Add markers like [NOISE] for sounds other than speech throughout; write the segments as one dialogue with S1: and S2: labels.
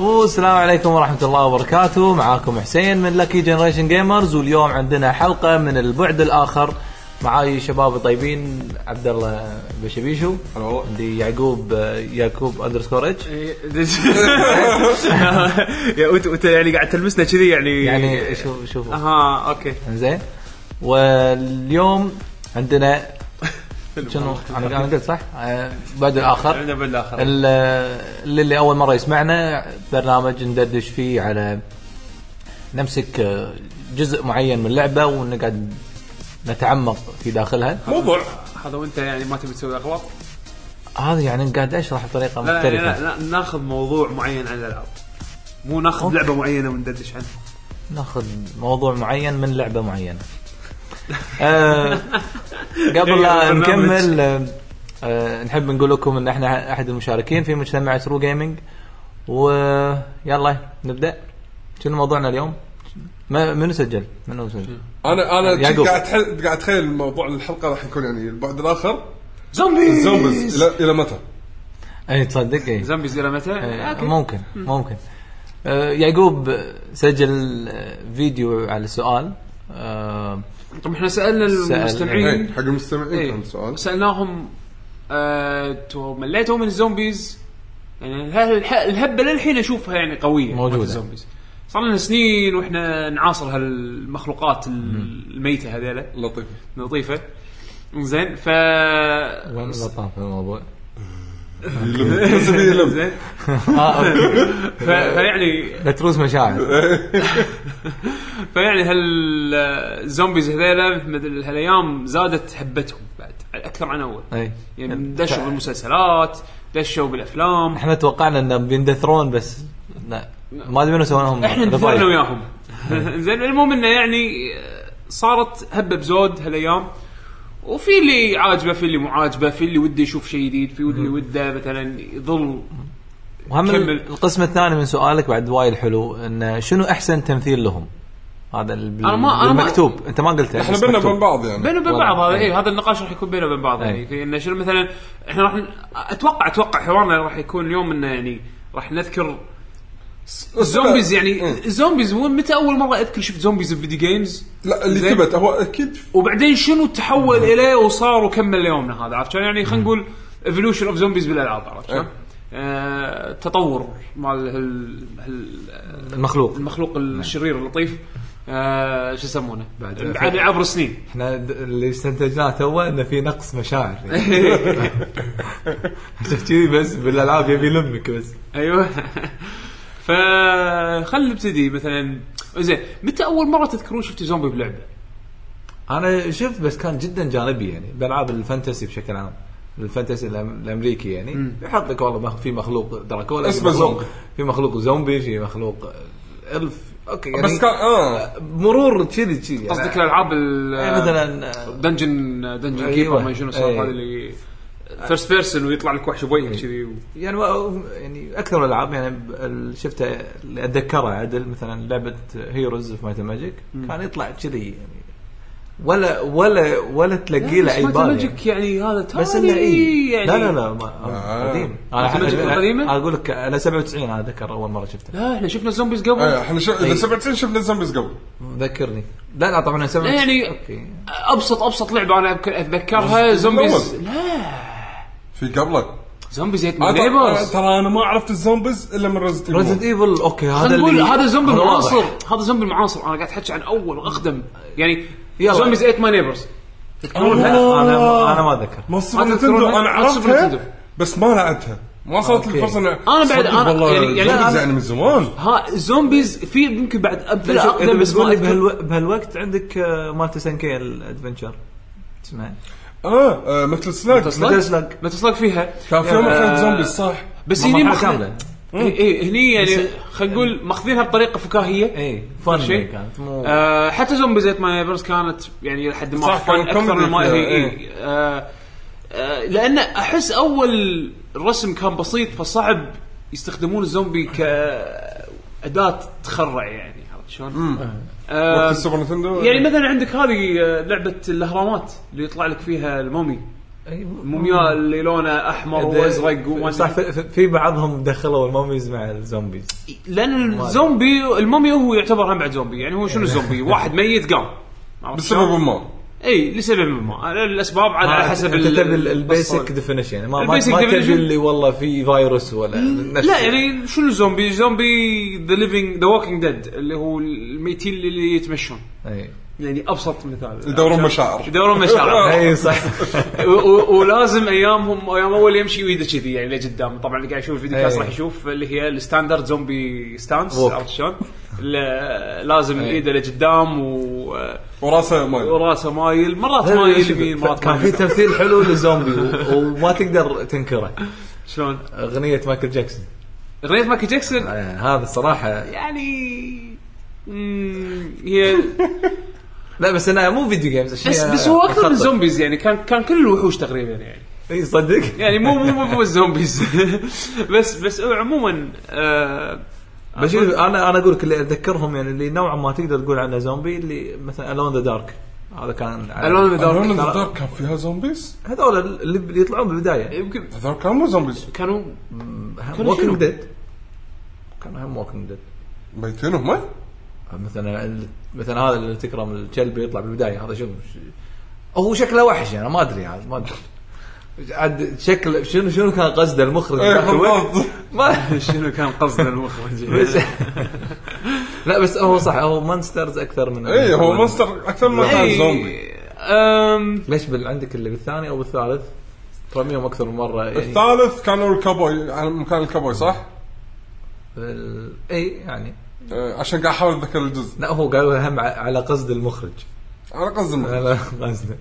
S1: والسلام عليكم ورحمة الله وبركاته معاكم حسين من لكي جنريشن جيمرز واليوم عندنا حلقة من البعد الآخر معاي شباب طيبين عبد الله بشبيشو عندي يعقوب يعقوب اندرسكور اتش
S2: إيه. [LAUGHS] يا وانت وانت يعني قاعد تلمسنا كذي يعني
S1: يعني شوف شوف
S2: اها اوكي
S1: زين واليوم عندنا شنو انا أنا قلت صح؟ آه، بعد الاخر
S2: عندنا بالاخر
S1: ال- للي اول مره يسمعنا برنامج ندردش فيه على نمسك آه، جزء معين من لعبه ونقعد نتعمق في داخلها
S3: موضوع
S2: هذا وانت يعني ما تبي تسوي اغلاط
S1: هذا يعني قاعد اشرح بطريقه
S2: لا لا,
S1: مختلفه
S2: لا, لا ناخذ موضوع معين عن الالعاب مو ناخذ
S1: أوكي.
S2: لعبه معينه وندردش عنها
S1: ناخذ موضوع معين من لعبه معينه. آه قبل لا
S2: برنامج.
S1: نكمل آه، آه نحب نقول لكم ان احنا احد المشاركين في مجتمع ترو جيمنج ويلا نبدا شنو موضوعنا اليوم؟ ما منو سجل؟ منو سجل؟
S3: انا انا كنت
S1: يعقوب.
S3: قاعد أتحل- قاعد اتخيل موضوع الحلقه راح يكون يعني البعد الاخر
S2: زومبيز
S3: الزومبيز الى الى متى؟
S1: اي إيه، تصدق اي
S2: زومبيز الى متى؟
S1: آه،
S2: اوكي
S1: ممكن ممكن آه يعقوب سجل آه، فيديو على سؤال آه
S2: طب احنا سالنا
S1: سأل-
S3: إيه،
S2: طيب، المستمعين
S3: حق المستمعين كان سؤال
S2: سالناهم آه، تو- مليتوا من الزومبيز يعني ه- الح- الهبه للحين اشوفها يعني قويه
S1: موجودة.
S2: مالت الزومبيز صار لنا سنين واحنا نعاصر هالمخلوقات ال- الميته هذيلا
S3: لطيف
S2: لطيفه زين ف
S1: وين اللطافه الموضوع؟
S2: إيه.
S3: لازم يلم.
S2: [LAUGHS] زين
S1: اه اوكي
S2: ف- فيعني
S1: لا تروس مشاعر
S2: فيعني هالزومبيز هذيلا مثل هالايام زادت هبتهم بعد اكثر عن اول
S1: اي
S2: يعني دشوا بالمسلسلات دشوا بالافلام
S1: احنا توقعنا انهم بيندثرون بس لا ما ادري منو سوونهم
S2: احنا دفعنا وياهم [LAUGHS] زين المهم انه يعني آه، صارت هبه بزود هالايام وفي اللي عاجبه في اللي مو عاجبه في اللي وده يشوف شيء جديد في اللي وده مثلا يظل
S1: وهم
S2: كمل.
S1: القسم الثاني من سؤالك بعد وايد حلو انه شنو احسن تمثيل لهم؟ هذا ال-
S2: أنا ما- أنا ما-
S1: بالمكتوب انت ما قلته
S3: احنا
S1: بس
S3: بينا
S1: مكتوب.
S3: وبين بعض يعني
S2: بينه وبين
S1: والله.
S2: بعض هذا
S1: إيه.
S2: إيه هذا النقاش راح يكون بينه وبين بعض يعني في انه شنو مثلا احنا راح ن- اتوقع اتوقع حوارنا راح يكون اليوم انه يعني راح نذكر الزومبيز يعني
S3: مم.
S2: الزومبيز وين- متى اول مره اذكر شفت زومبيز بفيديو جيمز
S3: لا اللي
S2: زين.
S3: ثبت هو اكيد
S2: وبعدين شنو تحول اليه وصار وكمل يومنا هذا عرفت شلون؟ يعني خلينا نقول ايفولوشن اوف زومبيز بالالعاب عرفت شلون؟
S3: إيه.
S2: آه، تطور مال هال- هال-
S1: المخلوق نعم.
S2: المخلوق الشرير اللطيف آه، شو يسمونه؟
S1: بعد-
S2: عن- عبر سنين
S1: احنا د- اللي استنتجناه تو انه في نقص
S2: [LAUGHS]
S1: مشاعر عشان كذي بس بالالعاب يبي يلمك بس
S2: [LAUGHS] ايوه فخلنا نبتدي مثلا زين متى اول مره تذكرون شفتوا زومبي بلعبه؟
S1: انا شفت بس كان جدا جانبي يعني بالعاب الفانتسي بشكل عام الفانتسي الأم- الامريكي يعني يحط لك والله مخ- في مخلوق دراكولا في
S3: اسمه
S1: مخلوق
S3: زومبي.
S1: في مخلوق زومبي في مخلوق الف اوكي يعني
S3: بس كان اه
S1: مرور كذي كذي
S2: قصدك الالعاب ال-
S1: يعني مثلا آه،
S2: دنجن دنجن
S1: أيوة.
S2: كيبر ما شنو السالفة
S1: أيوة.
S2: هذه اللي فيرست بيرسون ويطلع لك وحش بوجهك كذي و-
S1: يعني ما- يعني اكثر الالعاب يعني ب- ال- شفتها اللي اتذكرها عدل مثلا لعبه هيروز اوف مايت ماجيك كان يطلع كذي يعني ولا ولا ولا تلقي له اي
S2: بس
S1: بال يعني.
S2: ماجيك يعني هذا يعني
S1: بس انه اي لا لا لا ما
S3: آه.
S1: قديم
S2: أنت مجد القديمة؟
S1: أنا اقول لك انا 97 انا ذكر اول مره شفته
S2: لا احنا شفنا الزومبيز قبل
S3: آه، احنا شف...
S1: طيب.
S3: اذا 97 شفنا زومبيز قبل
S1: ذكرني لا لا طبعا انا 97
S2: لا يعني
S1: اوكي
S2: ابسط ابسط لعبه انا أذك- اتذكرها
S3: بس
S2: زومبيز
S3: الأول.
S2: لا
S3: في قبله
S2: زومبيز هيت
S3: آه، ترى- آه،
S2: نيبرز
S3: ترى انا ما عرفت الزومبيز الا من ريزنت
S1: ريزنت ايفل اوكي هذا
S2: خلينا نقول هذا زومبي
S1: هذا واضح.
S2: المعاصر هذا زومبي المعاصر انا قاعد احكي عن اول واقدم يعني
S1: يلا.
S2: زومبيز ايت ماي نيبرز
S1: لا،
S2: تذكرونها؟
S1: انا انا ما ذكر
S3: ما
S2: ما
S3: صرت
S2: تذكرونها؟
S3: نتندو انا
S2: ما صرت نتندو.
S3: عرفتها بس ما لعبتها ما صارت
S1: أوكي.
S3: الفرصه
S2: أنا بعد- أنا- يعني-
S3: يعني
S2: يعني
S3: يعني
S2: أنا-
S3: يعني من زمان
S2: ها الزومبيز في يمكن بعد ابدا
S1: لا، شوف، اذا
S2: اقدم بس
S1: بتقول
S2: ما
S1: لي
S2: أذكر.
S1: بهالو- بهالوقت عندك آه، مالت سنكي الادفنشر اسمها
S3: اه آه، مثل سلاج
S2: مثل سلاج؟
S1: ميتل سلاج
S2: ما تطلق فيها
S3: كان في يوم
S2: آه،
S3: كان زومبيز صح
S2: بس هني
S1: مرحلة
S2: مخ...
S1: كاملة.
S2: اي هني يعني
S1: بس-
S2: خلينا نقول ماخذينها بطريقه فكاهيه
S1: اي فن
S2: شيء.
S1: كانت مو
S2: آه حتى زومبي زيت ماي نيبرز كانت يعني لحد ما
S3: صح،
S2: fun
S3: كان
S2: اكثر
S3: comedy
S2: من ما هي
S3: فيها،
S2: إيه. آه آه لان احس اول الرسم كان بسيط فصعب يستخدمون الزومبي ك اداه تخرع يعني عرفت شلون؟ آه،
S3: وقت السوبر نتندو
S2: يعني مثلا عندك هذه آه، لعبه الاهرامات اللي يطلع لك فيها المومي مومياء اللي لونه احمر
S3: إيه،
S2: وازرق وما
S1: صح
S2: أدري.
S1: إيه، في- في- في بعضهم دخلوا الموميز مع الزومبيز
S2: لان الزومبي المومي هو يعتبر هم بعد زومبي يعني هو شنو الزومبي؟ واحد ميت قام عرفت
S3: إيه. بسبب
S2: شلون؟
S3: ما
S2: اي لسبب ما الاسباب عاد على حسب
S1: انت
S2: ال-
S1: آه، تبي
S2: ال-
S1: البيسك
S2: القصة.
S1: ديفينيشن يعني ما ما-
S2: البيسك
S1: ما
S2: definition.
S1: تبي اللي والله في فيروس ولا نفس
S2: لا يعني شنو الزومبي؟ زومبي ذا ليفينج ذا ووكينج ديد اللي هو الميتين اللي يتمشون
S1: اي
S2: يعني ابسط مثال
S3: يدورون مشاعر
S2: يدورون
S1: [LAUGHS]
S2: مشاعر
S1: اي إيه،
S2: [LAUGHS]
S1: صح
S2: و- و- ولازم ايامهم ايام اول يمشي ويده كذي يعني لقدام طبعا اللي قاعد يشوف الفيديو كاست
S1: إيه.
S2: راح يشوف اللي هي الستاندرد زومبي ستانس
S1: Walk.
S2: عرفت شلون؟ لا- لازم
S1: إيه.
S2: ايده لقدام و...
S3: وراسه ما
S2: وراسه مايل مرات مايل يمين مرات
S1: كان في
S2: مايل
S1: تمثيل
S2: [LAUGHS]
S1: حلو للزومبي و- وما تقدر تنكره
S2: شلون؟
S1: اغنيه مايكل جاكسون
S2: غير مايكل جاكسون
S1: آه، هذا الصراحه
S2: يعني مم، هي
S1: لا بس انا مو فيديو جيمز أشياء
S2: [LAUGHS] بس بس هو اكثر من
S1: مخطط.
S2: زومبيز يعني كان كان كل الوحوش تقريبا يعني
S1: اي إيه، صدق
S2: يعني مو مو مو- مو الزومبيز [LAUGHS] بس بس هو عموما آه،
S1: بس شوف، انا انا اقول لك اللي اتذكرهم يعني اللي نوعا ما تقدر تقول عنه زومبي اللي مثلا الون ذا دارك هذا كان على-
S2: الون ذا
S3: دارك
S1: ترى-
S3: دارك كان فيها زومبيز
S1: هذول اللي اللي يطلعون بالبدايه
S2: يمكن
S3: دارك كان مو زومبيز
S2: كانوا كانوا شنو؟
S1: ووكينج ديد كانوا هم ووكينج ديد
S3: ميتين هم
S1: مثلا Uh, ال- مثلا هذا اللي تكرم الكلب يطلع بالبدايه هذا شنو ش- هو شكله وحش يعني ما ادري عاد ما ادري عاد شكل شنو شنو كان قصده المخرج
S3: إيه،
S1: ذاك الوقت؟
S3: بالضبط.
S1: ما
S2: شنو كان قصد [LAUGHS] المخرج
S1: [LAUGHS] بس لا بس هو صح هو مونسترز اكثر من
S3: اي إيه، هو مونستر اكثر ما
S2: إيه.
S3: كان زومبي
S2: أم،
S1: ليش بال عندك اللي بالثاني او بالثالث؟ ترميهم اكثر من مره يعني
S3: الثالث كانوا الكابوي على مكان الكابوي صح؟
S1: بال- اي يعني
S3: آه، عشان قاعد احاول اتذكر الجزء
S1: لا هو قالوا هم ع- على قصد المخرج
S3: على قصد
S2: آه.
S3: المخ.
S1: على قصده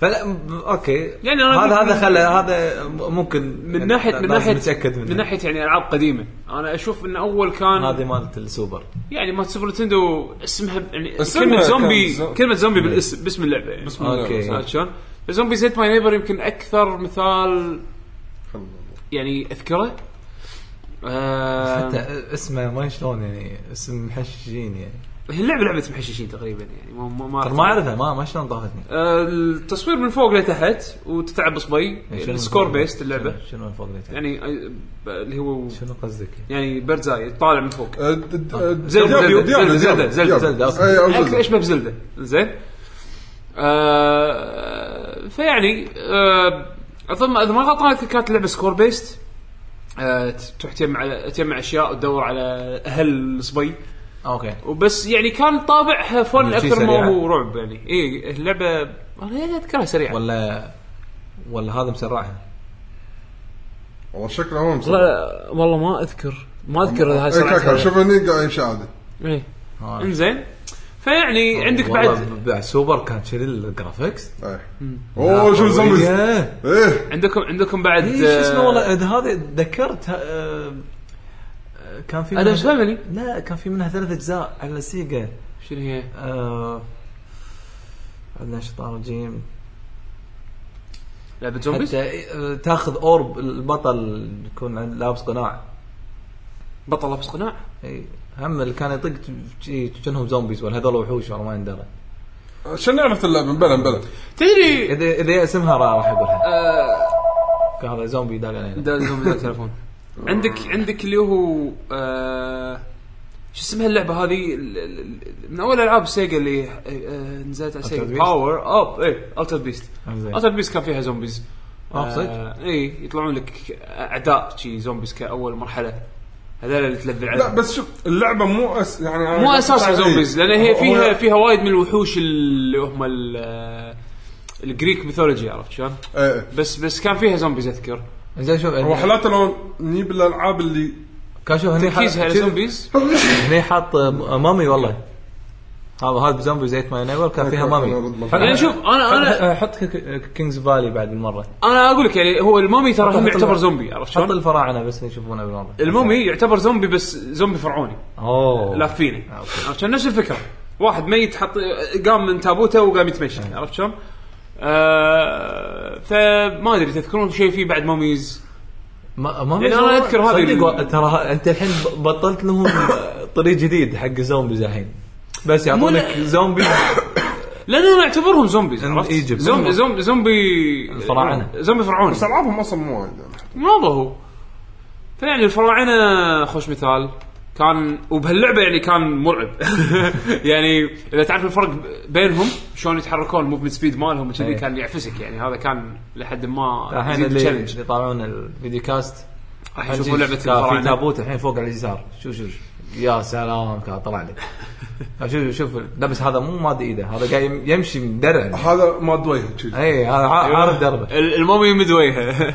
S1: فلا م- اوكي
S2: يعني
S1: يعني
S2: أنا
S1: هذا
S2: أقول-
S1: هذا خلى هذا م- ممكن
S2: من ناحيه من ناحيه
S1: متاكد منه
S2: من ناحيه يعني العاب قديمه انا اشوف ان اول
S1: هذه
S2: كان
S1: مالت السوبر
S2: يعني ما سوبر نتندو اسمها ب- يعني
S3: اسمها
S2: كلمه
S3: كان
S2: زومبي
S3: زو-
S2: كلمه زومبي بالاسم باسم اللعبه يعني
S3: بسم الله
S1: اوكي
S2: عرفت شلون؟ زومبي زيت ماي نيبر يمكن اكثر مثال يعني اذكره آه،
S1: حتى اسمه ما شلون يعني اسم محششين يعني
S2: هي اللعبه لعبه محششين تقريبا يعني ما ما
S1: ترى ما اعرفها ما ما شلون طافتني
S2: آه، التصوير من فوق لتحت وتتعب بصبي
S1: يعني شنو
S2: السكور
S1: الفوق-
S2: بيست اللعبه
S1: شنو- شنو الفوق اللي تحت؟
S2: يعني آه، ب- اللي هو
S1: شنو قصدك؟
S2: يعني بيردزاي طالع من فوق
S3: آه، د- د- آه،
S2: زلدة،
S3: ديابلو،
S2: زلدة،
S3: ديابلو،
S2: زلدة،
S3: ديابلو،
S2: زلدة،
S1: زلدة،
S3: ديابلو.
S1: أوكي.
S3: أي، إيه، أو
S2: اكثر
S3: زلدة.
S2: اشبه بزلده زين آه فيعني آه اظن اذا ما غلطان أذكر كانت اللعبه سكور بيست آه ت- تروح تجمع تجمع اشياء وتدور على اهل صبي
S1: اوكي
S2: وبس يعني كان طابعها فن
S1: شي
S2: اكثر ما
S1: سريعة.
S2: هو رعب يعني اي اللعبه انا يعني اذكرها سريعه
S1: ولا ولا هذا مسرعها
S3: والله شكله هو مسوي.
S2: لا والله ما اذكر ما اذكر هاي
S3: إيه، كاكا،
S2: سرعه
S3: شوف هني قاعد يمشي عادي
S2: إيه. انزين فيعني عندك بعد
S1: آه. والله بعد سوبر كان شريل الجرافيكس
S3: إيه. اوه شوف زومبيز
S1: إيه.
S3: ايه
S2: عندكم عندكم بعد آه،
S1: إيه، شو اسمه والله إذا هذا ذكرت آه، آه، كان في
S2: ادم
S1: منها-
S2: فاميلي
S1: لا كان في منها ثلاث اجزاء على السيجا
S2: شنو هي؟
S1: آه، عندنا شيطان رجيم
S2: لعبه زومبيز؟
S1: حتى آه، تاخذ اورب البطل يكون عند- لابس قناع
S2: بطل لابس قناع
S1: إي، هم اللي كان يطق شي- كأنهم زومبيز ولا هذول وحوش والله ما يندرى
S3: شنو لعبه اللعبه بلا بلا
S2: أه. تدري
S1: اذا اذا اسمها را- راح اقولها
S2: آه،
S1: كان هذا زومبي داق علينا
S2: دا زومبي دا التليفون عندك عندك اللي هو آه، شو اسمها اللعبه هذه ال- ال- ال- من اول العاب سيجا اللي آه، آه، نزلت على
S1: Altered
S2: سيجا إيه،
S1: Beast؟ آه،
S2: باور اب اي التر بيست
S1: زين.
S2: التر بيست كان فيها زومبيز
S1: آه، صدق؟
S2: اي يطلعون لك اعداء شي زومبيز كاول مرحله هذول اللي تلفل
S3: لا
S2: عليهم
S3: بس شوف اللعبه مو أس... يعني أنا
S2: مو
S3: قاعد
S2: اساسها
S3: أتابع-
S2: زومبيز
S3: إيه.
S2: لان هي
S3: هو-
S2: فيها فيها وايد من الوحوش اللي هم ال- آه، الجريك ميثولوجي عرفت شلون؟
S3: إيه، إيه.
S2: بس بس كان فيها زومبيز اذكر
S1: زين شوف
S3: هو
S1: إن-
S3: حالاته لو نجيب الالعاب اللي
S1: كان شوف هني
S2: تركيزها على
S1: حط- شوف
S2: زومبيز
S1: هني حط مامي والله هذا هذا بزومبي زيت ماي نيبر كان [LAUGHS] فيها مامي
S2: يعني شوف انا انا
S1: حط- حط ك- كينجز فالي بعد بالمره
S2: انا اقول لك يعني هو المومي ترى هم
S1: حط
S2: يعتبر
S1: الم-
S2: زومبي عرفت
S1: حط
S2: شلون؟
S1: الفراعنه بس يشوفونه بالمره
S2: المومي يعتبر زومبي بس زومبي فرعوني
S1: اوه
S2: لافينه
S1: أوكي.
S2: عرفت شلون؟ نفس الفكره واحد ميت حط قام من تابوته وقام يتمشى عرفت شلون؟ آه فما ادري تذكرون شيء فيه بعد موميز
S1: ما ما
S2: يعني أنا أذكر هذه ال-
S1: صدق و- ترى ه- انت الحين ب- بطلت لهم طريق جديد حق الزومبيز الحين بس يعطونك
S2: مو-
S1: زومبي
S2: لان انا اعتبرهم زومبيز
S1: In
S2: عرفت؟
S1: Egypt.
S2: زومبي زومبي زومبي
S1: الفراعنة.
S2: زومبي فراعنه
S3: بس العابهم اصلا مو وايد يعني.
S2: ماضى هو فيعني الفراعنه خوش مثال كان وبهاللعبه يعني كان مرعب [LAUGHS] يعني اذا تعرف الفرق بينهم شلون يتحركون الموفمنت سبيد مالهم وكذي
S1: إيه.
S2: كان يعفسك يعني هذا كان لحد ما
S1: الحين
S2: يزيد
S1: اللي
S2: challenge.
S1: اللي يطالعون الفيديو كاست
S2: راح يشوفوا لعبه
S1: في
S2: الفراعنه
S1: تابوت الحين فوق على اليسار شوف شوف شوف. يا سلام كا- طلع لك شوف شوف لبس هذا مو ماد ايده هذا قاعد يم- يمشي مدرع
S3: هذا ما دويه شي.
S1: اي هذا ع- عارف دربه
S2: ال- المومي مدويها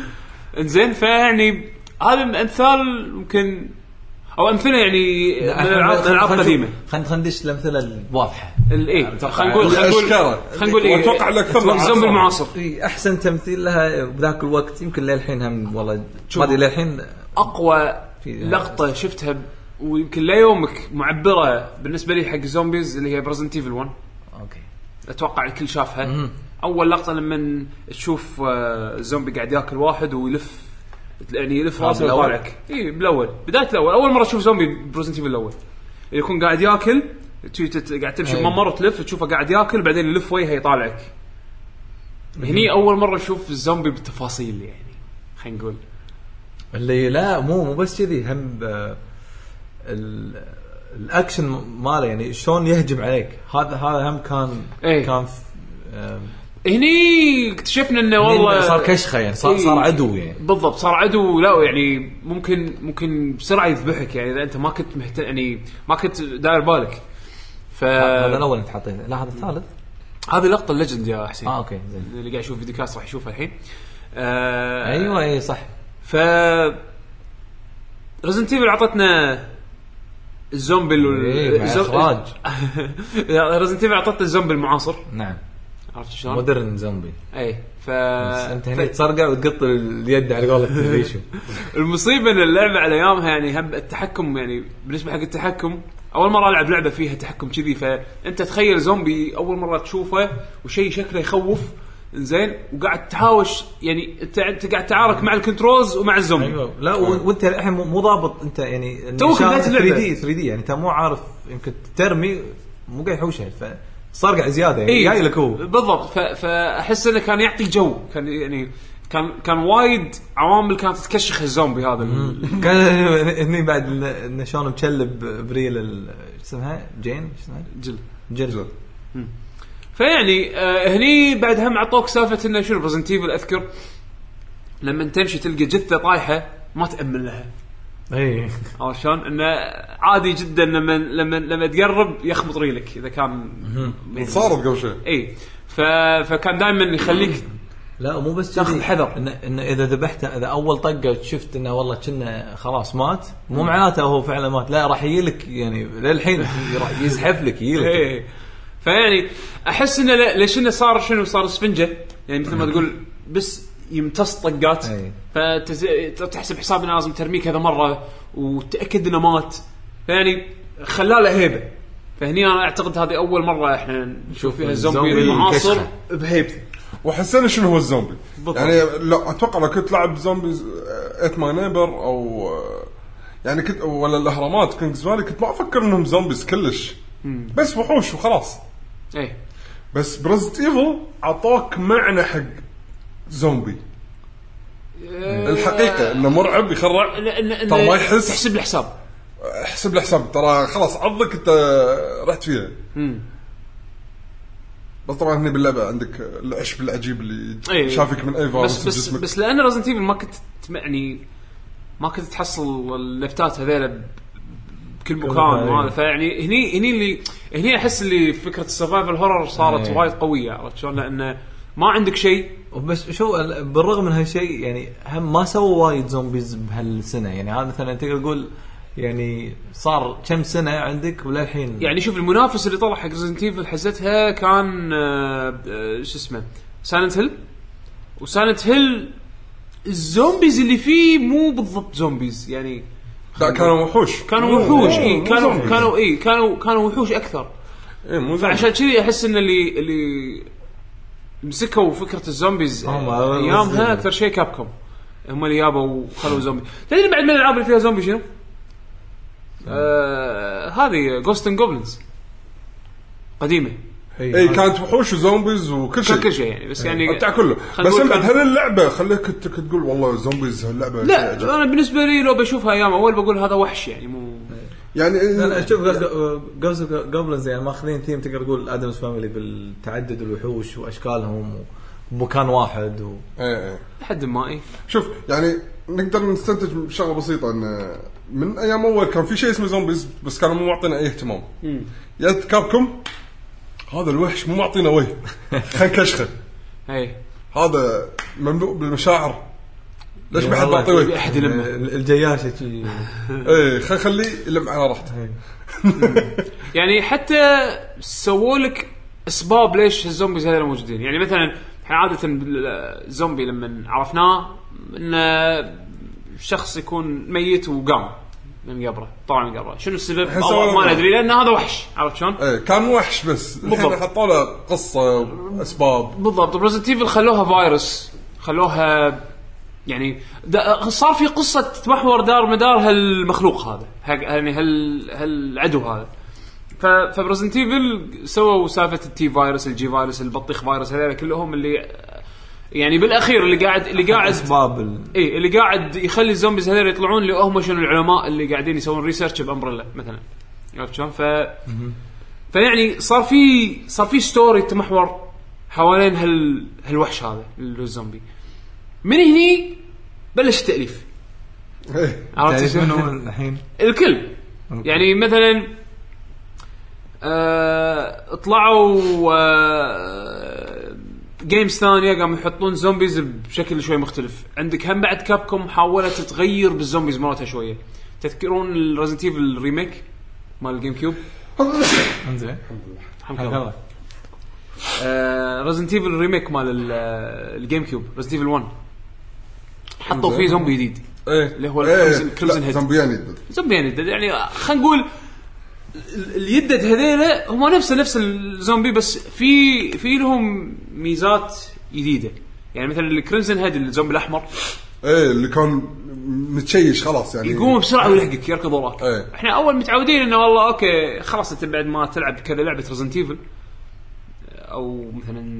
S2: [LAUGHS] انزين فيعني هذا من امثال ممكن او امثله يعني من الالعاب من الالعاب القديمه
S1: خلينا ندش الامثله الواضحه
S2: ال- ايه
S1: أتوقع
S2: خلينا نقول خلينا نقول
S3: الأشكال.
S2: خلينا نقول ايه
S3: وأتوقع الأكثر
S2: الزومبي
S3: الأعصاب.
S2: المعاصر
S1: إي، احسن تمثيل لها بذاك الوقت يمكن للحين هم والله ما ادري للحين
S2: اقوى
S1: في-
S2: لقطه شفتها ب- ويمكن ليومك معبره بالنسبه لي حق الزومبيز اللي هي برزنت ايفل 1
S1: اوكي
S2: اتوقع الكل شافها
S1: مم.
S2: اول لقطه لما تشوف آه، الزومبي قاعد ياكل واحد ويلف يعني يلف
S1: آه،
S2: راسه
S1: بالأول.
S2: ويطالعك اي بالاول بدايه الاول اول مره تشوف زومبي برزنت ايفل الاول يكون قاعد ياكل تي- تت- قاعد تمشي
S1: أي.
S2: بممر وتلف تشوفه قاعد ياكل بعدين يلف وجهه يطالعك هني اول مره اشوف الزومبي بالتفاصيل يعني خلينا نقول
S1: اللي لا مو مو بس كذي هم آه، ال- الاكشن ماله يعني شلون يهجم عليك هذا هذا هم كان
S2: إيه.
S1: كان ف- آه،
S2: هني اكتشفنا انه والله
S1: صار كشخه يعني صار, صار
S2: إيه.
S1: عدو يعني
S2: بالضبط صار عدو لا يعني ممكن ممكن بسرعه يذبحك يعني اذا انت ما كنت مهتم يعني ما كنت داير بالك ف
S1: هذا الاول انت حاطينه لا هذا الثالث
S2: هذه لقطه الليجند يا حسين
S1: اه اوكي زين
S2: اللي قاعد يشوف فيديو كاست راح يشوفها الحين آه
S1: ايوه اي صح
S2: ف ريزنت ايفل اعطتنا الزومبي
S1: إيه، مع
S2: [LAUGHS]
S1: اخراج
S2: ريزنت ايفل اعطتنا الزومبي المعاصر
S1: نعم
S2: عرفت شلون؟ آه، طيب.
S1: مودرن زومبي
S2: اي ف
S1: بس انت
S2: ف-
S1: هنا تصرقع وتقط اليد على
S2: [LAUGHS]
S1: قولة بيشو
S2: المصيبه ان اللعبه على ايامها يعني هم التحكم يعني بالنسبه حق التحكم اول مره العب لعبه فيها تحكم كذي فانت تخيل زومبي اول مره تشوفه وشيء شكله يخوف زين وقاعد تهاوش يعني انت انت قاعد تعارك مع الكنترولز ومع الزومبي
S1: ايوه لا و- وانت الحين مو- مو ضابط انت يعني
S2: توك بداية اللعبة.
S1: 3 دي 3 دي يعني انت مو عارف يمكن ترمي مو قاعد يحوشها فصار قاعد زياده يعني جاي لك هو
S2: إيه. بالضبط ف- فاحس انه كان يعطي جو كان يعني كان كان وايد عوامل كانت تكشخ الزومبي هذا
S1: كان [LAUGHS] هني بعد إن- إن شلون مشلب بريل ال- شو اسمها جين شو اسمها
S2: الجل
S1: جيل
S2: فيعني آه هني بعد هم عطوك سالفه انه شنو بريزنت ايفل اذكر لما تمشي تلقى جثه طايحه ما تامن لها إيه.
S1: اي
S2: عرفت شلون؟ انه عادي جدا لما لما لما تقرب يخبط ريلك اذا كان يعني-
S3: صارت قبل شوي
S2: اي ف... فكان دائما يخليك
S1: لا مو بس
S2: تاخذ
S1: كذي.
S2: حذر.
S1: إن, ان اذا ذبحته اذا اول طقه شفت انه والله كنا خلاص مات مو معناته هو فعلا مات لا راح يجيلك يعني للحين راح يزحف لك يجيلك
S2: إيه. فيعني احس انه ل- ليش انه صار شنو صار اسفنجه يعني مثل ما
S3: نعم.
S2: تقول بس يمتص طقات
S1: إيه.
S2: فتحسب حساب انه لازم ترميه كذا مره وتاكد انه مات فيعني خلى له هيبه فهني انا اعتقد هذه اول مره احنا نشوف فيها الزومبي
S1: الزومبي
S2: المعاصر
S1: الكشخة.
S2: بهيبته
S3: وحسينا شنو هو الزومبي
S2: بالضبط.
S3: يعني لو اتوقع لو كنت لعب آه، زومبيز ات ماي نيبر او آه، يعني كنت ولا الاهرامات كينجز فالي كنت ما افكر انهم زومبيز كلش بس وحوش وخلاص
S2: ايه
S3: بس برزت ايفل عطوك معنى حق زومبي
S2: إيه.
S3: الحقيقه انه مرعب يخرع ترى ما يحس.
S2: تحسب الحساب
S3: احسب له حساب ترى خلاص عضك انت رحت فيها
S2: مم.
S3: بس طبعا هنا باللعبه عندك العشب العجيب اللي
S2: إيه.
S3: شافك من اي فارس
S2: بس بس
S3: بجسمك
S2: بس لان رزنت ايفل ما كنت تم- يعني ما كنت تحصل اللفتات هذيلا ب- بكل مكان
S1: مكان،
S2: وهذا
S1: أي.
S2: فيعني هني هني اللي هني احس اللي فكره السرفايفل هورر صارت
S3: إيه.
S1: أي.
S2: وايد قويه عرفت شلون لانه ما عندك شيء
S1: بس شو ال- بالرغم من هالشيء يعني هم ما سووا وايد زومبيز بهالسنه يعني هذا مثلا تقدر تقول يعني صار كم سنه عندك وللحين
S2: يعني شوف المنافس اللي طلع حق رزنت ايفل حزتها كان آه، آه، شو اسمه سايلنت هيل وسايلنت هيل الزومبيز اللي فيه مو بالضبط زومبيز يعني
S3: لا كانوا وحوش
S2: كانوا
S3: مو-
S2: وحوش
S3: مو-
S2: اي
S3: مو
S2: كانوا
S3: زومبي.
S2: كانوا اي كانوا كانوا وحوش اكثر
S3: إيه، مو زومبي.
S2: فعشان كذي احس ان اللي اللي مسكوا فكره الزومبيز
S1: هم
S2: ايامها
S1: قصدي.
S2: اكثر شيء كابكم هم اللي جابوا وخلوا زومبي تدري بعد من الالعاب اللي فيها زومبي شنو؟ آه هذه جوست اند جوبلنز قديمه
S1: إيه،
S3: اي إيه، كانت وحوش وزومبيز وكل شيء
S2: كل شيء يعني بس يعني
S3: متع كله
S2: خلينا
S3: بس
S2: نقول
S3: هم بعد
S2: كان-
S3: هل اللعبه خليك كنت كنت تقول والله زومبيز هاللعبه شيء عجيب.
S2: لا انا بالنسبه لي لو بشوفها ايام اول بقول هذا وحش يعني مو
S3: يعني
S1: لا شوف قبل يعني ماخذين ثيم تقدر تقول ادمز فاميلي بالتعدد الوحوش واشكالهم ومكان واحد و...
S3: إيه إيه.
S2: لحد ما اي
S3: شوف يعني نقدر نستنتج من شغله بسيطه ان من ايام اول كان في شيء اسمه زومبيز بس كانوا مو معطينا اي اهتمام جت كابكم هذا الوحش مو معطينا
S2: [LAUGHS]
S3: وجه خلينا نكشخه
S2: اي
S3: هذا مملوء بالمشاعر ليش ما حد
S1: والله
S3: معطي وجه؟
S2: احد يلمه
S1: الجياشة شي
S3: ايه خلينا نخليه يلم على راحته
S2: يعني حتى سووا لك اسباب ليش الزومبيز هذول موجودين يعني مثلا احنا عاده بال- الزومبي لما عرفناه انه شخص يكون ميت وقام من قبره طلع من قبره شنو السبب؟
S3: الحين
S2: أو
S3: سووا
S2: ما
S3: له-
S2: ندري لان هذا وحش عرفت شلون؟
S3: ايه كان وحش بس الحين
S2: بالضبط.
S3: حطوا له قصه واسباب
S2: بالضبط بريزنت ايفل خلوها فايروس خلوها يعني دا صار في قصه تتمحور دار مدار هالمخلوق هذا هق- يعني هال هالعدو هذا ف فبريزنت ايفل سووا سالفه التي فايروس الجي فايروس البطيخ فايروس هذول كلهم اللي يعني بالاخير اللي قاعد اللي قاعد
S1: اسباب ال-
S2: اي إيه، اللي قاعد يخلي الزومبيز هذول يطلعون اللي هم شنو العلماء اللي قاعدين يسوون ريسيرش بامبريلا مثلا عرفت شلون؟ ف فيعني صار في صار في ستوري تمحور حوالين هال هالوحش هذا اللي هو الزومبي من هني بلش التاليف
S3: ايه
S2: عرفت
S1: تعرف
S2: شلون؟
S1: منو الحين؟
S2: الكل يعني مثلا آه طلعوا آه جيمز ثانيه قاموا يحطون زومبيز بشكل شوي مختلف عندك هم بعد كابكوم حاولت تغير بالزومبيز مراتها شويه تذكرون ريزنت ايفل الريميك مال الجيم كيوب
S1: انزين
S2: حمك
S1: حياك
S2: الله
S1: الله
S2: ريزنت ايفل الريميك مال ال- آه، الجيم كيوب ريزنت ايفل 1 حطوا فيه زومبي جديد
S3: ايه
S2: اللي هو
S3: إيه.
S2: الكريمزن-
S3: لا،
S2: كريمزن هيد.
S3: زامبيان يدد.
S2: زومبيان يدد يعني خلينا نقول ال- اليدد هذيلا هم نفس نفس الزومبي بس في في لهم ميزات جديده يعني مثلا الكريمزن هيد الزومبي الاحمر
S3: ايه اللي كان متشيش خلاص يعني
S2: يقوم بسرعه ويلحقك يركض وراك
S3: إيه.
S2: احنا اول متعودين انه والله اوكي خلاص انت بعد ما تلعب كذا لعبه ريزنت ايفل او مثلا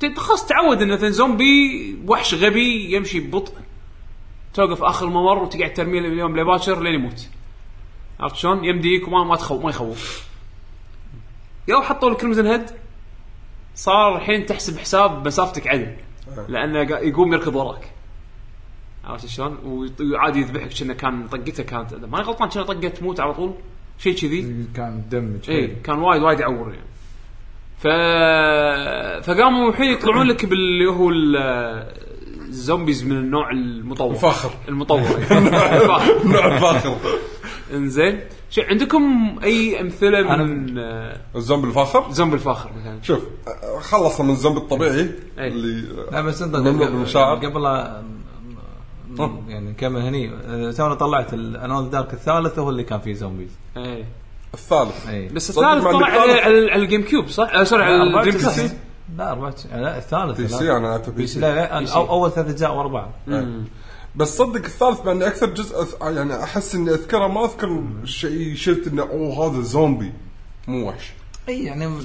S2: ت- خلاص تعود انه مثلا زومبي وحش غبي يمشي ببطء توقف اخر ممر وتقعد ترميه اليوم لباكر لين يموت عرفت شلون؟ يمديك وما ما تخو ما يخوف يو حطوا الكريمزن هيد صار الحين تحسب حساب مسافتك عدل لانه قا- يقوم يركض وراك عرفت شلون؟ ويط- وعادي يذبحك كأنه كان طقته كانت اذا ماني غلطان كأنه طقه تموت على طول شيء كذي
S1: كان دمج
S2: اي كان وايد وايد يعور يعني ف فقاموا الحين يطلعون لك باللي هو ال- الزومبيز من النوع المطور
S3: الفاخر. [LAUGHS]
S2: المطور الفاخر
S3: نوع الفاخر
S2: انزين شو عندكم اي امثله من آه،
S3: الزومبي الفاخر
S2: زومبي الفاخر مثلا
S3: شوف أه، خلصنا من الزومبي الطبيعي
S2: أي.
S3: اللي
S1: لا بس انت
S3: مملوء
S1: قبل-
S3: بالمشاعر.
S1: قبل لا ن- ن- يعني نكمل هني أه، تونا طلعت الانون دارك الثالث هو اللي كان فيه زومبيز
S2: اي
S3: الثالث
S1: اي
S2: إيه. بس
S3: صدق
S2: الثالث
S3: ما
S2: طلع
S3: عندك
S2: على
S3: ثالث؟
S2: على على الجيم كيوب صح؟ آه، سوري على
S1: لا،
S2: الدريم
S1: 94.
S2: كيوب
S1: لا 24 لا الثالث
S3: بي
S1: لا.
S3: سي انا أعتبر
S1: بي سي لا, لا
S2: يعني بي سي.
S1: أو اول ثلاث اجزاء ورا بعض
S3: بس صدق الثالث مع اني اكثر جزء أث- يعني احس اني اذكره ما اذكر شيء شفت انه اوه هذا زومبي مو وحش
S1: اي يعني م-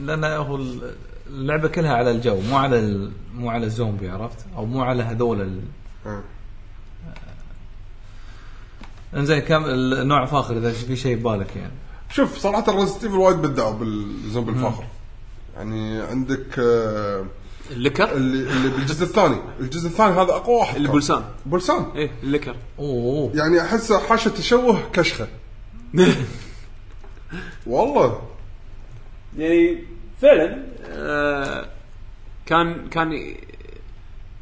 S1: لان هو ال- اللعبه كلها على الجو مو على ال- مو على الزومبي عرفت او مو على هذول ال...
S3: أه.
S1: انزين كم النوع فاخر اذا في شيء ببالك يعني
S3: شوف صراحه الريزنت ايفل وايد بدعوا بالزومبي الفاخر يعني عندك آه،
S2: اللكر
S3: اللي اللي بالجزء الثاني الجزء الثاني هذا اقوى واحد كان.
S2: البلسان
S3: بلسان
S2: ايه اللكر
S1: اوه
S3: يعني احسه حاشة تشوه كشخه والله
S2: يعني فعلا آه كان كان ي-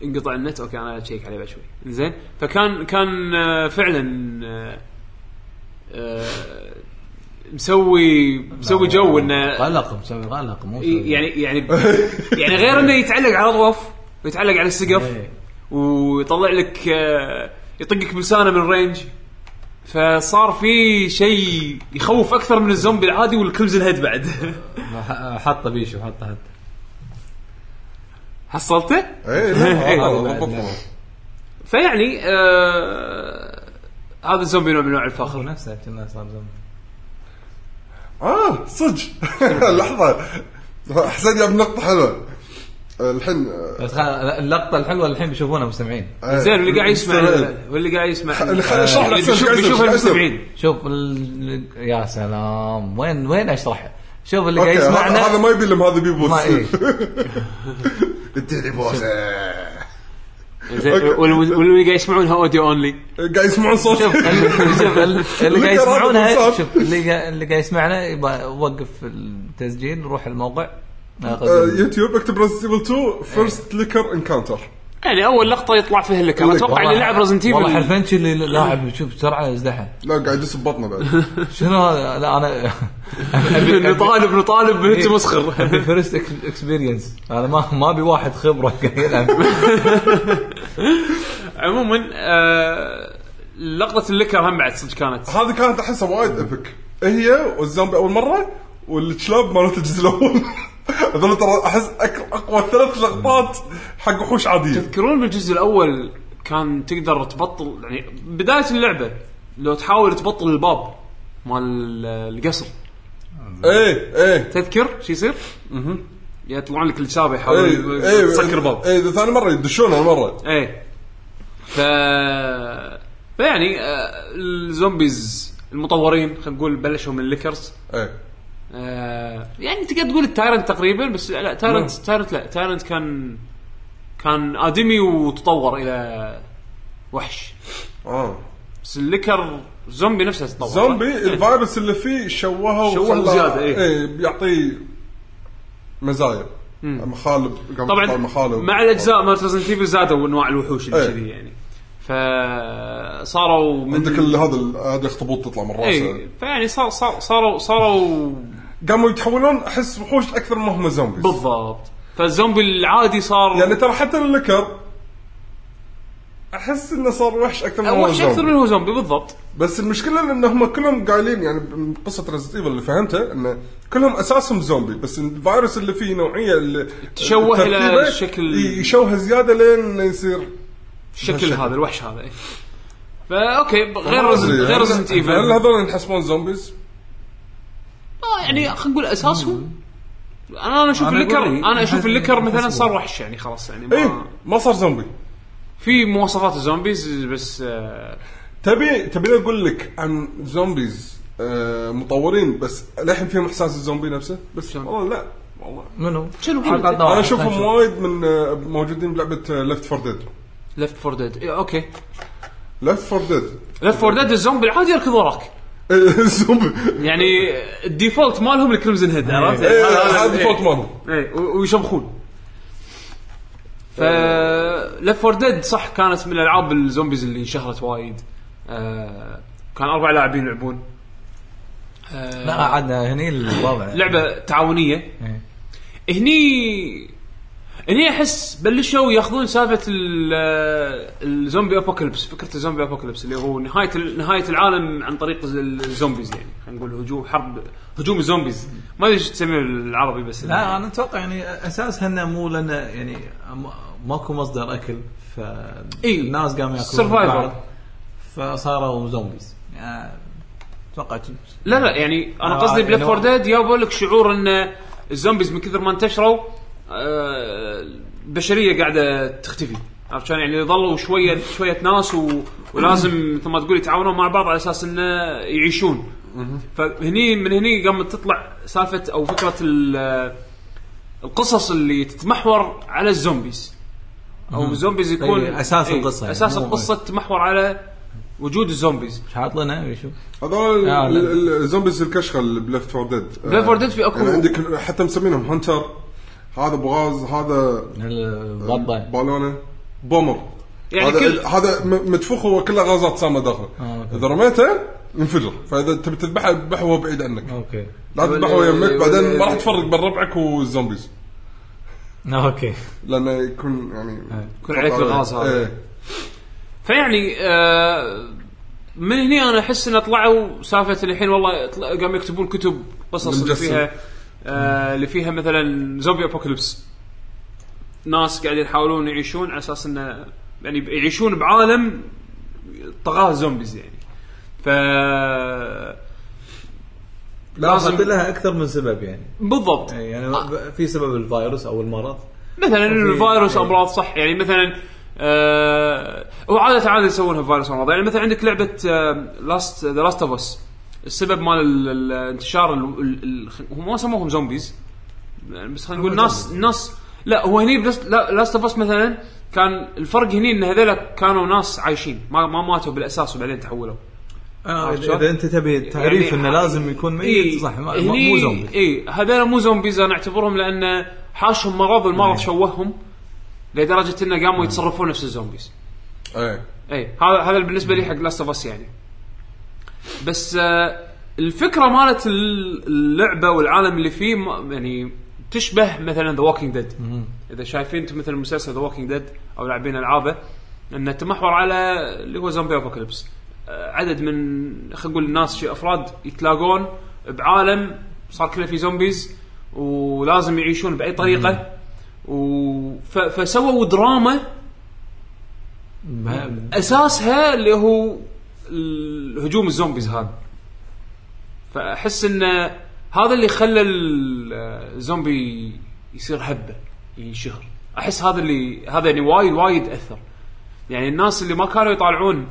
S2: انقطع النت اوكي انا اشيك عليه بعد شوي زين فكان كان آه فعلا آه آه مسوي مسوي جو انه
S1: قلق مسوي قلق مو مسوي-
S2: يعني يعني يعني غير انه يتعلق على الاضواف ويتعلق على السقف
S1: إيه.
S2: ويطلع لك آه يطقك بلسانه من الرينج فصار في شيء يخوف اكثر من الزومبي العادي والكلز الهيد بعد [LAUGHS]
S1: ح- حطه بيشو حطه حتى
S2: حصلته؟
S3: [LAUGHS] اي
S2: إيه.
S3: لا والله ضبطها.
S2: فيعني آه هذا الزومبي نوع من انواع الفخر
S1: نفسه كنا صار زومبي
S3: اه صدق [LAUGHS] لحظه حسين جاب نقطه حلوه الحين آه،
S4: بس خل- اللقطه الحلوه الحين بيشوفونها مستمعين
S2: زين واللي قاعد يسمع
S3: مستمعين.
S2: واللي قاعد يسمع آه،
S3: خل- خل- اشرح لك
S2: اللي بيشوف-
S3: شو قاعد يصير،
S2: بيشوف
S3: شو قاعد يصير.
S2: المستمعين
S4: شوف ال... يا سلام وين وين اشرحها شوف اللي قاعد
S3: اوكي هذا هذا
S4: يسمعنا
S3: ما يبي لهم هذا بي بوس
S4: ما إيه.
S3: انت لي بوس آه،
S2: زين وال- واللي قاعد يسمعونها اوديو اونلي
S3: قاعد يسمعون صوت
S4: شوف ال- شوف ال- اللي قاعد
S3: ذكر هذا
S4: يسمعونها
S3: بالصوت.
S4: شوف اللي قاعد- اللي قاعد يسمعنا يبا- وقف التسجيل روح الموقع ناخذ
S3: [LAUGHS] آه،
S4: ال-
S3: يوتيوب اكتب ريزنت 2 فيرست ليكر انكاونتر
S2: يعني اول لقطه يطلع فيها لك انا اتوقع اللي
S4: والله-
S2: لعب ريزنت
S4: والله
S2: ايفل
S4: حرفيا شي اللي لاعب شوف بسرعه يزدحم
S3: لا قاعد يدس
S4: [LAUGHS]
S3: ببطنه بعد
S4: شنو هذا لا إيه. انا
S2: نطالب نطالب بهيك
S4: [LAUGHS]
S2: مسخر
S4: ابي فيرست اكسبيرينس انا ما ما ابي واحد خبره قاعد يلعب
S2: عموما آه، لقطه اللكر هم بعد صدق كانت
S3: هذه كانت احسها وايد ايبك هي والزومبي اول مره والكلاب مالت الجزء الاول [LAUGHS] هذول ترى احس أك- اقوى ثلاث لقطات حق وحوش عاديه
S2: تذكرون بالجزء الاول كان تقدر تبطل يعني بدايه اللعبه لو تحاول تبطل الباب مال القصر
S3: ايه ايه
S2: تذكر شو يصير؟ يطلعون لك الشابه يحاولون
S3: ايه ايه
S2: تسكر باب
S3: ايه ثاني مره يدشون هالمره
S2: ايه ف فيعني آه، الزومبيز المطورين خلينا نقول بلشوا من الليكرز
S3: ايه
S2: آه، يعني تقدر تقول التايرنت تقريبا بس لا تايرنت
S3: نعم.
S2: تايرنت لا تايرنت كان كان ادمي وتطور الى وحش آه.
S3: اه
S2: بس الليكر زومبي نفسه تطور
S3: زومبي
S2: صح؟ يعني
S3: الفيروس اللي فيه شوهه
S2: شوهه
S3: وخلاه-
S2: زيادة، إيه.
S3: ايه بيعطيه مزايا مخالب قام
S2: طبعا
S3: يطلع مخالب
S2: مع الاجزاء مالت ريزنت ايفل زادوا انواع الوحوش اللي
S3: إيه.
S2: كذي يعني فصاروا من
S3: عندك ال- هذا ال- هذا الاخطبوط تطلع من راسه
S2: اي فيعني صار صار صاروا صاروا
S3: قاموا يتحولون احس وحوش اكثر ما هم زومبيز
S2: بالضبط فالزومبي العادي صار
S3: يعني ترى حتى اللكر احس انه صار وحش اكثر من هو
S2: وحش اكثر
S3: زومبي.
S2: من هو زومبي بالضبط
S3: بس المشكله ان هم كلهم قايلين يعني من قصه ريزنت اللي فهمتها انه كلهم اساسهم زومبي بس الفيروس اللي فيه نوعيه اللي
S2: تشوه إلى
S3: التركيبة
S2: شكل-
S3: يشوه زياده لين يصير
S2: الشكل
S3: بشكل.
S2: هذا الوحش هذا إيه. فا اوكي غير رزنت غير رزنت
S3: هل
S2: ايفل
S3: يعني هذول ينحسبون زومبيز؟
S2: يعني خلينا نقول اساسهم انا انا اشوف
S1: أنا
S2: الليكر
S1: أقول إيه.
S2: انا اشوف
S1: حسب-
S2: الليكر مثلا
S1: حسب.
S2: صار وحش يعني خلاص يعني
S3: اي
S2: ما
S3: إيه، ما صار زومبي
S2: في مواصفات الزومبيز بس آه،
S3: تبي تبي اقول لك عن زومبيز آه، مطورين بس للحين فيهم احساس الزومبي نفسه بس
S2: شلون؟
S3: والله لا والله
S4: منو؟
S2: شنو
S3: انا اشوفهم وايد من آه، موجودين آه، بلعبه ليفت فور ديد
S2: ليفت فور ديد اوكي
S3: ليفت فور [LAUGHS] ديد
S2: ليفت فور ديد الزومبي العادي يركض وراك
S3: إيه، الزومبي
S2: يعني الديفولت مالهم الكريمزن هيد عرفت؟
S3: إيه، هذا
S2: إيه.
S3: فوت مالهم
S2: ايه و- ويشمخون ف ليفت فور ديد صح كانت من العاب الزومبيز اللي انشهرت وايد آه كان اربع لاعبين يلعبون آه
S4: لا عادنا هني الوضع
S2: لعبه تعاونيه
S4: إيه.
S2: هني هني احس بلشوا ياخذون سالفه ال- آه، الزومبي ابوكاليبس فكره الزومبي ابوكاليبس اللي هو نهايه ال- نهايه العالم عن طريق ال- الزومبيز يعني خلينا نقول هجوم حرب هجوم الزومبيز ما ادري ايش تسميه بالعربي بس
S1: لا انا اتوقع يعني اساسها انه مو لنا يعني م- ماكو مصدر اكل ف
S2: إي.
S1: الناس قاموا ياكلون
S2: Survivor.
S1: بعض، فصاروا زومبيز يعني اتوقع ج-
S2: لا لا يعني انا
S1: آه،
S2: قصدي
S1: يعني
S2: بليف فور
S1: هو-
S2: ديد جابوا لك شعور ان الزومبيز من كثر ما انتشروا آه، البشريه قاعده تختفي عرفت شلون يعني ظلوا شويه شويه ناس و...
S1: [CLEARS THROAT]
S2: ولازم مثل ما تقول يتعاونون مع بعض على اساس انه يعيشون فهني من هني قامت تطلع سالفه او فكره ال- القصص اللي تتمحور على الزومبيز او الزومبيز يكون
S1: أي، طيب، أساس القصة يعني،
S2: اساس
S1: مو-
S2: القصه تتمحور على وجود الزومبيز
S1: مش حاط لنا يشوف
S3: هذول
S4: آه، لا.
S3: ال- ال- الزومبيز الكشخه اللي بليفت فور ديد يعني
S2: Left 4 Dead في أكو-
S3: عندك حتى مسمينهم هانتر هذا بغاز هذا
S4: الضبه
S3: بالونه بومر
S2: يعني
S3: هذا
S2: كل-
S3: هذا م- مدفوخ هو كله غازات سامه داخله
S4: آه، أوكي.
S3: اذا رميته ينفجر فاذا تبي تذبحه ذبحه وهو بعيد
S1: آه.
S3: عنك
S4: اوكي
S3: لا تذبحه
S2: ولا-
S3: يمك بعدين ما
S2: ولا-
S3: راح تفرق بين ربعك والزومبيز
S4: اوكي
S3: لانه يكون يعني
S2: يكون عليك الغاز هذا.
S3: إيه.
S2: فيعني آه، من هنا انا احس انه طلعوا سالفه الحين والله طلع- قاموا يكتبون كتب قصص اللي
S3: المجسم.
S2: فيها آه، اللي فيها مثلا زومبي ابوكاليبس ناس قاعدين يحاولون يعيشون على اساس انه يعني يعيشون بعالم طغاه زومبيز يعني ف لازم-
S1: لازم لها اكثر من سبب يعني
S2: بالضبط
S1: اي يعني في سبب الفيروس او المرض
S2: مثلا الفيروس
S1: إيه.
S2: امراض صح يعني مثلا آه وعاده عاده يسوونها فيروس امراض يعني مثلا عندك آه، لعبه لاست ذا لاست اوف اس السبب مال ال- ال- انتشار ال- ال- ال- هم ما سموهم زومبيز بس خلينا نقول ناس ناس لا هو هني لاست اوف اس مثلا كان الفرق هني ان هذول كانوا ناس عايشين ما ما ماتوا بالاساس وبعدين تحولوا
S1: آه،
S2: عرفت
S1: اذا
S2: شلون؟
S1: إذا انت تبي تعريف
S2: يعني- إيه،
S1: انه لازم يكون ميت صح ما- ما- مو زومبي
S2: اي هذول مو زومبيز انا اعتبرهم لان حاشهم مرض
S1: إيه.
S2: والمرض شوههم لدرجه انه قاموا يتصرفون نفس الزومبيز
S3: ايه
S2: اي إيه، هذا هذا بالنسبه لي حق لاست اوف اس يعني بس آه الفكره مالت ال- اللعبه والعالم اللي فيه ما- يعني تشبه مثلا ذا ووكينج ديد اذا شايفين انتم مثلا مسلسل ذا ووكينج ديد او لاعبين العابه انه تمحور على اللي هو زومبي ابوكاليبس آه، عدد من خلينا نقول الناس شي افراد يتلاقون بعالم صار كله في زومبيز ولازم يعيشون باي طريقه و... ف... فسووا دراما
S1: ما-
S2: اساسها اللي هو ال- هجوم الزومبيز هذا فاحس ان هذا اللي خلى ال- الزومبي يصير هبه ينشهر احس هذا اللي هذا يعني وايد وايد اثر يعني الناس اللي ما كانوا يطالعون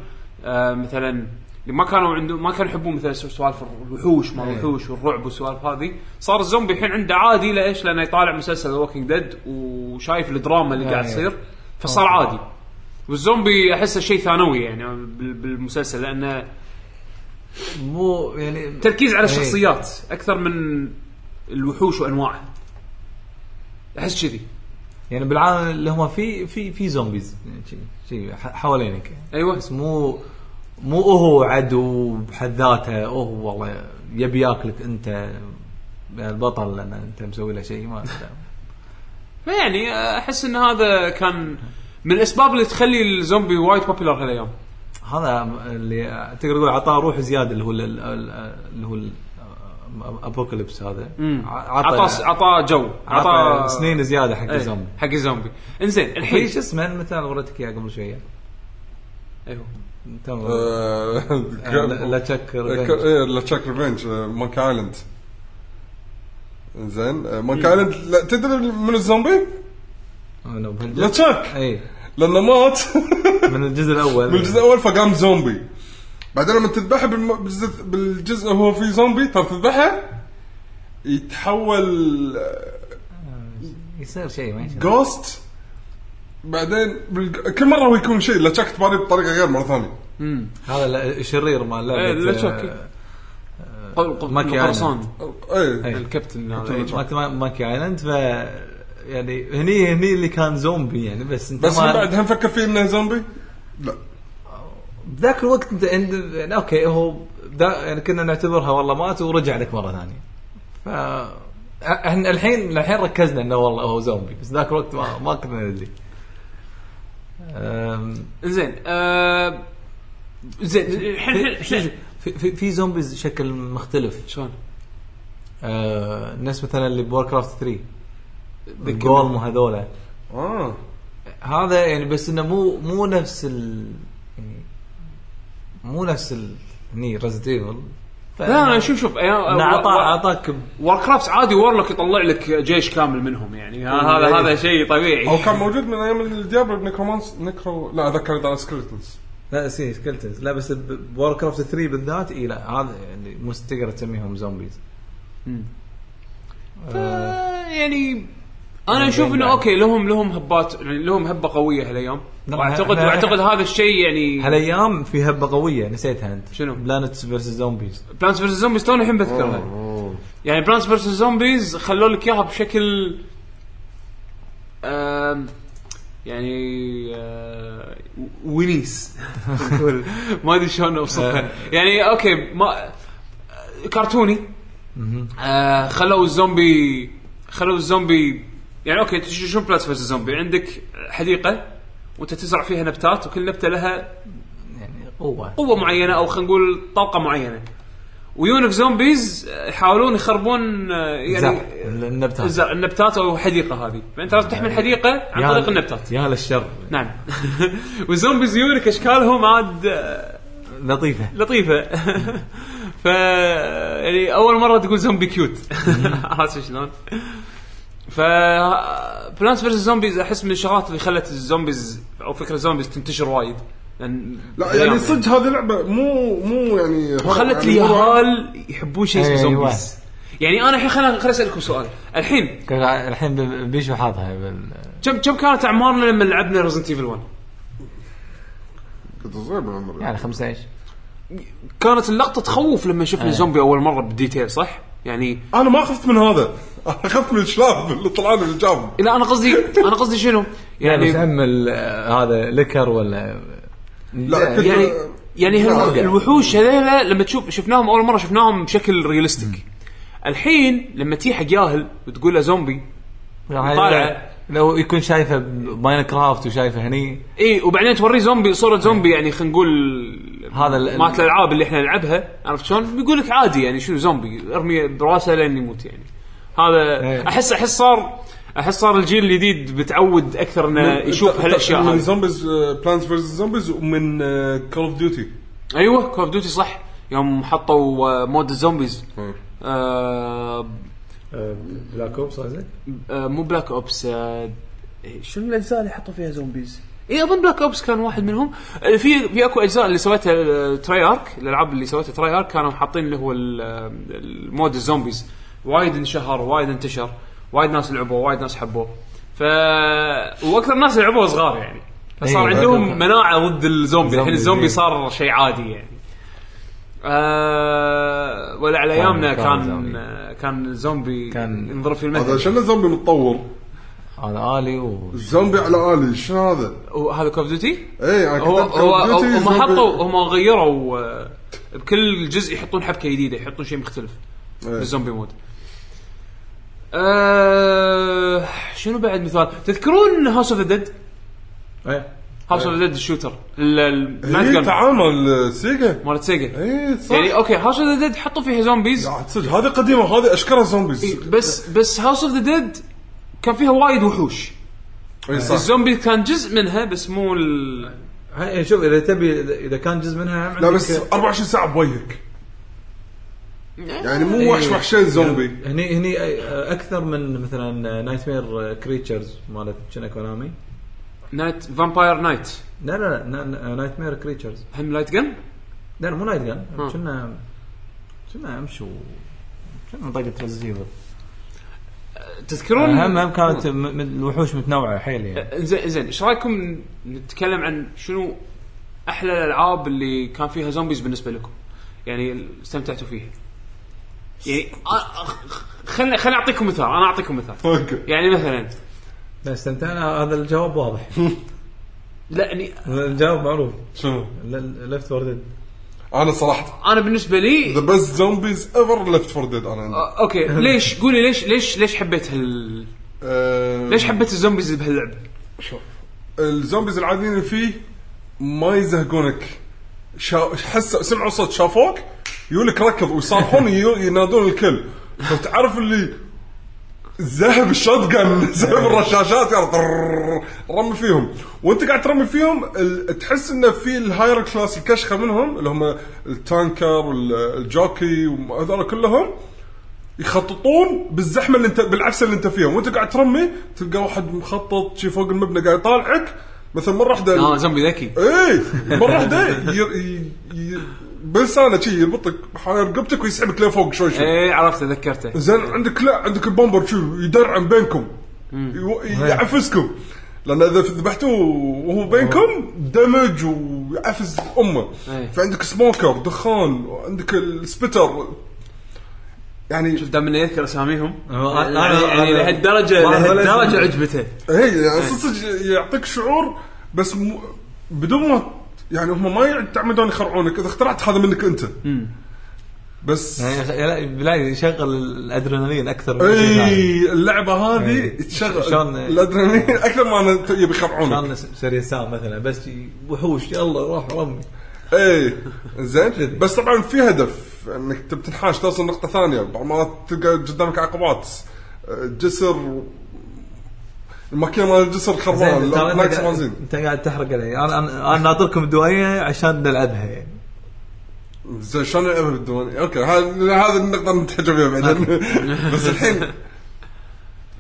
S2: آه مثلا اللي ما كانوا عندهم ما كانوا يحبون مثلا سوالف الوحوش ما الوحوش والرعب والسوالف هذه صار الزومبي الحين عنده عادي ليش؟ لانه يطالع مسلسل ووكينج ديد وشايف الدراما اللي قاعد
S1: أي.
S2: تصير فصار عادي والزومبي احسه شيء ثانوي يعني بال- بالمسلسل لانه
S1: مو يعني
S2: تركيز على
S1: إيه.
S2: الشخصيات اكثر من الوحوش وانواعها احس كذي
S1: يعني بالعالم اللي هم فيه في في زومبيز يعني شي- شي ح- حوالينك يعني.
S2: ايوه
S1: بس مو مو هو عدو بحد ذاته هو والله يبي ياكلك انت البطل لان انت مسوي له شيء ما
S2: فيعني احس ان يعني هذا كان من الاسباب اللي تخلي الزومبي وايد بوبيلر هالايام
S1: [LAUGHS] هذا اللي تقدر تقول عطاه روح زياده اللي هو ال- ال- اللي هو الابوكاليبس هذا
S2: مم.
S1: ع-
S2: عطى عطى جو
S1: عطى سنين زياده حق
S2: إيه،
S1: الزومبي
S2: حق الزومبي انزين
S1: في
S2: الحين
S1: شو اسمه المثال اللي وريتك اياه قبل شويه
S2: ايوه
S1: تمام.
S3: آه،
S1: لا لا تشكر
S3: ك- إيه، لا تشيك ريفنج مونك ايلاند زين مونك ايلاند لا تدري من الزومبي؟
S1: أنا إيه. بهالجزء.
S3: لا تشيك
S1: اي
S3: لانه مات
S1: من الجزء الاول
S3: من الجزء الاول فقام زومبي بعدين لما تذبحه بالم- بالجزء- بالجزء هو في زومبي ترى تذبحه يتحول
S1: يصير شيء ما يصير.
S3: جوست بعدين بالج- كل مره هو يكون شيء لا تشيك تباري بطريقه غير مره ثانيه
S2: امم
S1: هذا ال- الشرير مال
S2: إيه، لا
S1: لعبه
S2: تشك.
S1: آه،
S2: قل- قل-
S1: ماكي آيلاند.
S2: القرصان
S3: ايه
S1: إيه.
S2: الكابتن هذا إيه.
S1: ماك- ما- ماكي ايلاند ف يعني هني هني اللي كان زومبي يعني بس انت
S3: بس
S1: ما-
S3: هم بعد هم فكر فيه انه زومبي؟ لا
S1: ذاك الوقت انت عند يعني اوكي هو دا يعني كنا نعتبرها والله مات ورجع لك مره ثانيه. ف احنا الحين الحين ركزنا انه والله هو زومبي بس ذاك الوقت ما ما كنا ندري. أم،
S2: انزين آه زين الحين الحين-
S1: شو- شو-
S2: الحين
S1: في في, في زومبيز شكل مختلف
S2: شلون؟
S1: أه، الناس مثلا اللي بور كرافت 3 الجولم وهذولا
S3: اه
S1: هذا يعني بس انه مو مو نفس ال يعني مو نفس ال هني ريزنت ايفل آه،
S2: لا انا شوف شوف
S1: اعطى اعطاك
S2: واركرافت عادي وورلوك يطلع لك جيش كامل منهم يعني هذا هذا شيء
S3: هو
S2: طبيعي
S3: كان موجود من ايام الديابلو بنيكرومانس نيكرو لا اتذكر ذا سكريتنز
S1: لا سي سكلتنز لا بس بور كرافت 3 بالذات اي لا هذا يعني مو تقدر تسميهم زومبيز
S2: ف- يعني انا اشوف انه اوكي لهم لهم هبات يعني لهم هبه قويه هالايام
S1: نعم،
S2: واعتقد
S1: إحنا-
S2: واعتقد هذا الشيء يعني
S1: هالايام في هبه قويه نسيتها انت
S2: شنو؟
S1: بلانتس فيرسس زومبيز
S2: بلانس فيرس زومبيز توني الحين بذكرها يعني بلانس فيرس زومبيز خلوا لك اياها بشكل آم، يعني آه، ونيس نقول. [LAUGHS] ما ادري شلون اوصفها يعني اوكي ما كرتوني آه، خلوا الزومبي خلوا الزومبي يعني اوكي تش- شو بلانس فيرس زومبي عندك حديقه وانت تزرع فيها نبتات وكل نبته لها
S1: يعني قوه
S2: قوه معينه او خلينا نقول طلقه معينه ويونك زومبيز يحاولون يخربون آه، يعني
S1: زرع النبتات.
S2: الزرع النبتات او الحديقه هذه فانت لازم تحمي الحديقه عن
S1: يا
S2: طريق
S1: ل-
S2: النبتات
S1: يا للشر
S2: نعم [LAUGHS] [LAUGHS] والزومبيز يونك اشكالهم عاد آه،
S1: لطيفه
S2: لطيفه ف يعني اول مره تقول زومبي كيوت [LAUGHS] عرفت شلون؟ ف بلانس فيرس زومبيز احس من الشغلات اللي خلت الزومبيز او فكره الزومبيز تنتشر وايد لان
S3: لا يعني صدق هذه لعبه مو مو يعني
S2: وخلت
S3: يعني مو-
S2: اليهال يحبون شيء اسمه
S4: أيوة.
S2: زومبيز يعني انا الحين خليني خليني اسالكم سؤال الحين
S4: كان الحين ب- بيشو حاطها بال-
S2: كم كم كانت اعمارنا لما لعبنا ريزنت ايفل 1؟
S3: كنت صغير بالعمر
S4: يعني 15
S2: كانت اللقطه تخوف لما شفنا الزومبي اول مره بالديتيل صح؟ يعني
S3: انا ما خفت من هذا [LAUGHS] انا خفت من الشلاب اللي طلع لي الجاب
S2: لا انا قصدي انا قصدي شنو؟
S1: يعني
S2: يعني
S1: هم ال- هذا لكر ولا
S3: لا كنت
S2: يعني يعني
S3: لا،
S2: هال-
S3: أرجع.
S2: الوحوش هذيلا لما تشوف شفناهم اول مره شفناهم بشكل ريالستيك الحين لما تي حق ياهل وتقول له زومبي طالعة.
S4: لو يكون شايفه بماين كرافت وشايفه هني
S2: اي إيه، وبعدين توريه زومبي صوره زومبي يعني خلينا نقول
S4: هذا ال-
S2: مات الالعاب اللي احنا نلعبها عرفت شلون؟ بيقول لك عادي يعني شنو زومبي ارمي براسه لين يموت يعني هذا
S4: إيه.
S2: احس احس صار احس صار الجيل الجديد متعود اكثر انه آه، يشوف هالاشياء
S3: من
S2: هذه
S3: زومبيز آه، بلانز فيرز زومبيز ومن آه، كول اوف ديوتي
S2: ايوه كول اوف ديوتي صح يوم حطوا آه، مود الزومبيز آه
S1: بلاك اوبس قصدك؟
S2: آه، مو بلاك اوبس آه، إيه، شنو الاجزاء اللي حطوا فيها زومبيز؟ اي اظن بلاك اوبس كان واحد منهم آه، في في اكو اجزاء اللي سويتها آه، تراي ارك الالعاب اللي سويتها تراي ارك كانوا حاطين اللي هو ال- آه، المود الزومبيز وايد انشهر وايد انتشر وايد ناس لعبوه وايد ناس حبوه ف واكثر الناس اللي لعبوه صغار يعني فصار
S4: إيه.
S2: عندهم مناعه ضد الزومبي الحين
S4: زومبي،
S2: الزومبي
S4: إيه.
S2: صار شيء عادي يعني أه ولا على ايامنا
S4: كان
S2: كان
S4: زومبي.
S2: آه، كان الزومبي
S4: كان-
S2: كان نضرب في
S3: هذا
S2: المثل
S3: شنو زومبي متطور
S4: انا الي و
S3: زومبي على الي شنو هذا؟
S2: هو هذا كوف ديوتي؟
S3: اي انا
S2: هو
S3: كتبت Call of
S2: هو
S3: Duty
S2: هم
S3: زومبي-
S2: حطوا هم غيروا آه، بكل جزء يحطون حبكه جديده يحطون شيء مختلف
S3: إيه.
S2: بالزومبي مود. أه شنو بعد مثال؟ تذكرون هاوس اوف ذا ديد؟
S1: إيه.
S2: هاوس اوف ذا
S3: إيه.
S2: ديد الشوتر ال- ال- نايت
S3: هي
S2: جان
S3: تعامل آه، سيجا
S2: مالت سيجا
S3: اي إيه، صح
S2: يعني اوكي هاوس اوف ذا ديد حطوا فيها زومبيز
S3: لا، صدق آه، هذه قديمه هذه اشكرها زومبيز
S2: بس بس هاوس اوف ذا ديد كان فيها وايد وحوش
S3: اي إيه، صح
S2: الزومبي كان جزء منها بس مو ال...
S1: هاي إيه، شوف اذا تبي إذا- اذا كان جزء منها هم
S3: لا
S1: عندك-
S3: بس 24 ساعه بوجهك يعني
S2: إيه.
S3: مو وحش وحشين زومبي
S1: هني هني أي- اكثر من مثلا نايت مير كريتشرز مالت شنو كونامي
S2: نايت فامباير نايت
S1: لا لا لا نايت مير كريتشرز
S2: هم لايت جن؟
S1: لا لا، مو نايت جان
S2: ها.
S1: كنا كنا امشي و-
S4: شنو منطقه ريزيفل
S2: تذكرون
S4: هم هم كانت م- من الوحوش متنوعه حيل يعني
S2: زين زين ايش رايكم نتكلم عن شنو احلى الالعاب اللي كان فيها زومبيز بالنسبه لكم؟ يعني استمتعتوا فيها. يعني خليني خليني اعطيكم مثال انا اعطيكم مثال
S3: اوكي
S2: يعني مثلا
S1: لا استمتعنا هذا الجواب واضح [LAUGHS]
S2: لا يعني
S1: الجواب معروف
S3: شنو؟
S1: ليفت فور ديد
S3: انا صراحه
S2: انا بالنسبه لي
S3: ذا بيست زومبيز ايفر ليفت فور ديد انا عندي
S2: آه، اوكي ليش قولي ليش ليش ليش حبيت هال
S3: آه،
S2: ليش حبيت الزومبيز بهاللعبه؟
S3: الزومبيز العاديين اللي فيه ما يزهقونك شا... حسوا سمعوا صوت شافوك يقولك ركض ويصارخون يو- ينادون الكل فتعرف اللي زهب الشوت [LAUGHS] جن زهب الرشاشات يلا طرررر، رمي فيهم وانت قاعد ترمي فيهم ال... تحس انه في الهاير كلاس الكشخه منهم اللي هم التانكر والجوكي وهذول كلهم يخططون بالزحمه اللي انت بالعفسه اللي انت فيها وانت قاعد ترمي تلقى واحد مخطط شي فوق المبنى قاعد يطالعك مثلا مره واحده
S2: اه زومبي ذكي
S3: ايه مره واحده ير- ي- ي- بلسانه شي يربطك حول رقبتك ويسحبك لفوق شوي شوي
S2: ايه عرفت تذكرته
S3: زين عندك لا عندك البومبر شو يدرعم بينكم يو- يعفسكم لان اذا ذبحتوه وهو بينكم دمج ويعفس امه
S2: إيه.
S3: فعندك سموكر دخان عندك السبتر يعني
S2: شوف دام انه يذكر اساميهم
S1: هو أنا-
S2: يعني يعني
S1: أنا-
S2: لهالدرجه
S1: والله ولا
S2: لهالدرجه
S1: اسم.
S2: عجبته
S3: اي يعني صدق يعطيك شعور بس م... بدون ما يعني هم ما يعتمدون يخرعونك اذا اخترعت هذا منك انت بس
S1: إيه.
S4: يعني لا- بالعكس يشغل الادرينالين اكثر من شيء
S1: إيه.
S4: ثاني
S3: اي اللعبه هذه
S4: إيه.
S3: تشغل
S4: شلون-
S3: الادرينالين اكثر ما أنا ت- يبي يخرعونك
S1: كان سريسان مثلا بس ي- وحوش يلا روح رمي
S3: اي إيه. زين بس طبعا في هدف انك تبي تنحاش توصل نقطه ثانيه بعض المرات تلقى قدامك عقبات أه، جسر الماكينه مال الجسر خربان
S1: زين، ترى
S3: لا-
S1: انت
S3: ناقص
S1: قاعد-
S3: بنزين
S1: انت قاعد تحرق علي انا انا أنا ناطركم الدوايه عشان نلعبها يعني
S3: زين شلون نلعبها بالديوانيه؟ اوكي هذا هذا النقطه نتحجر فيها بعدين بس الحين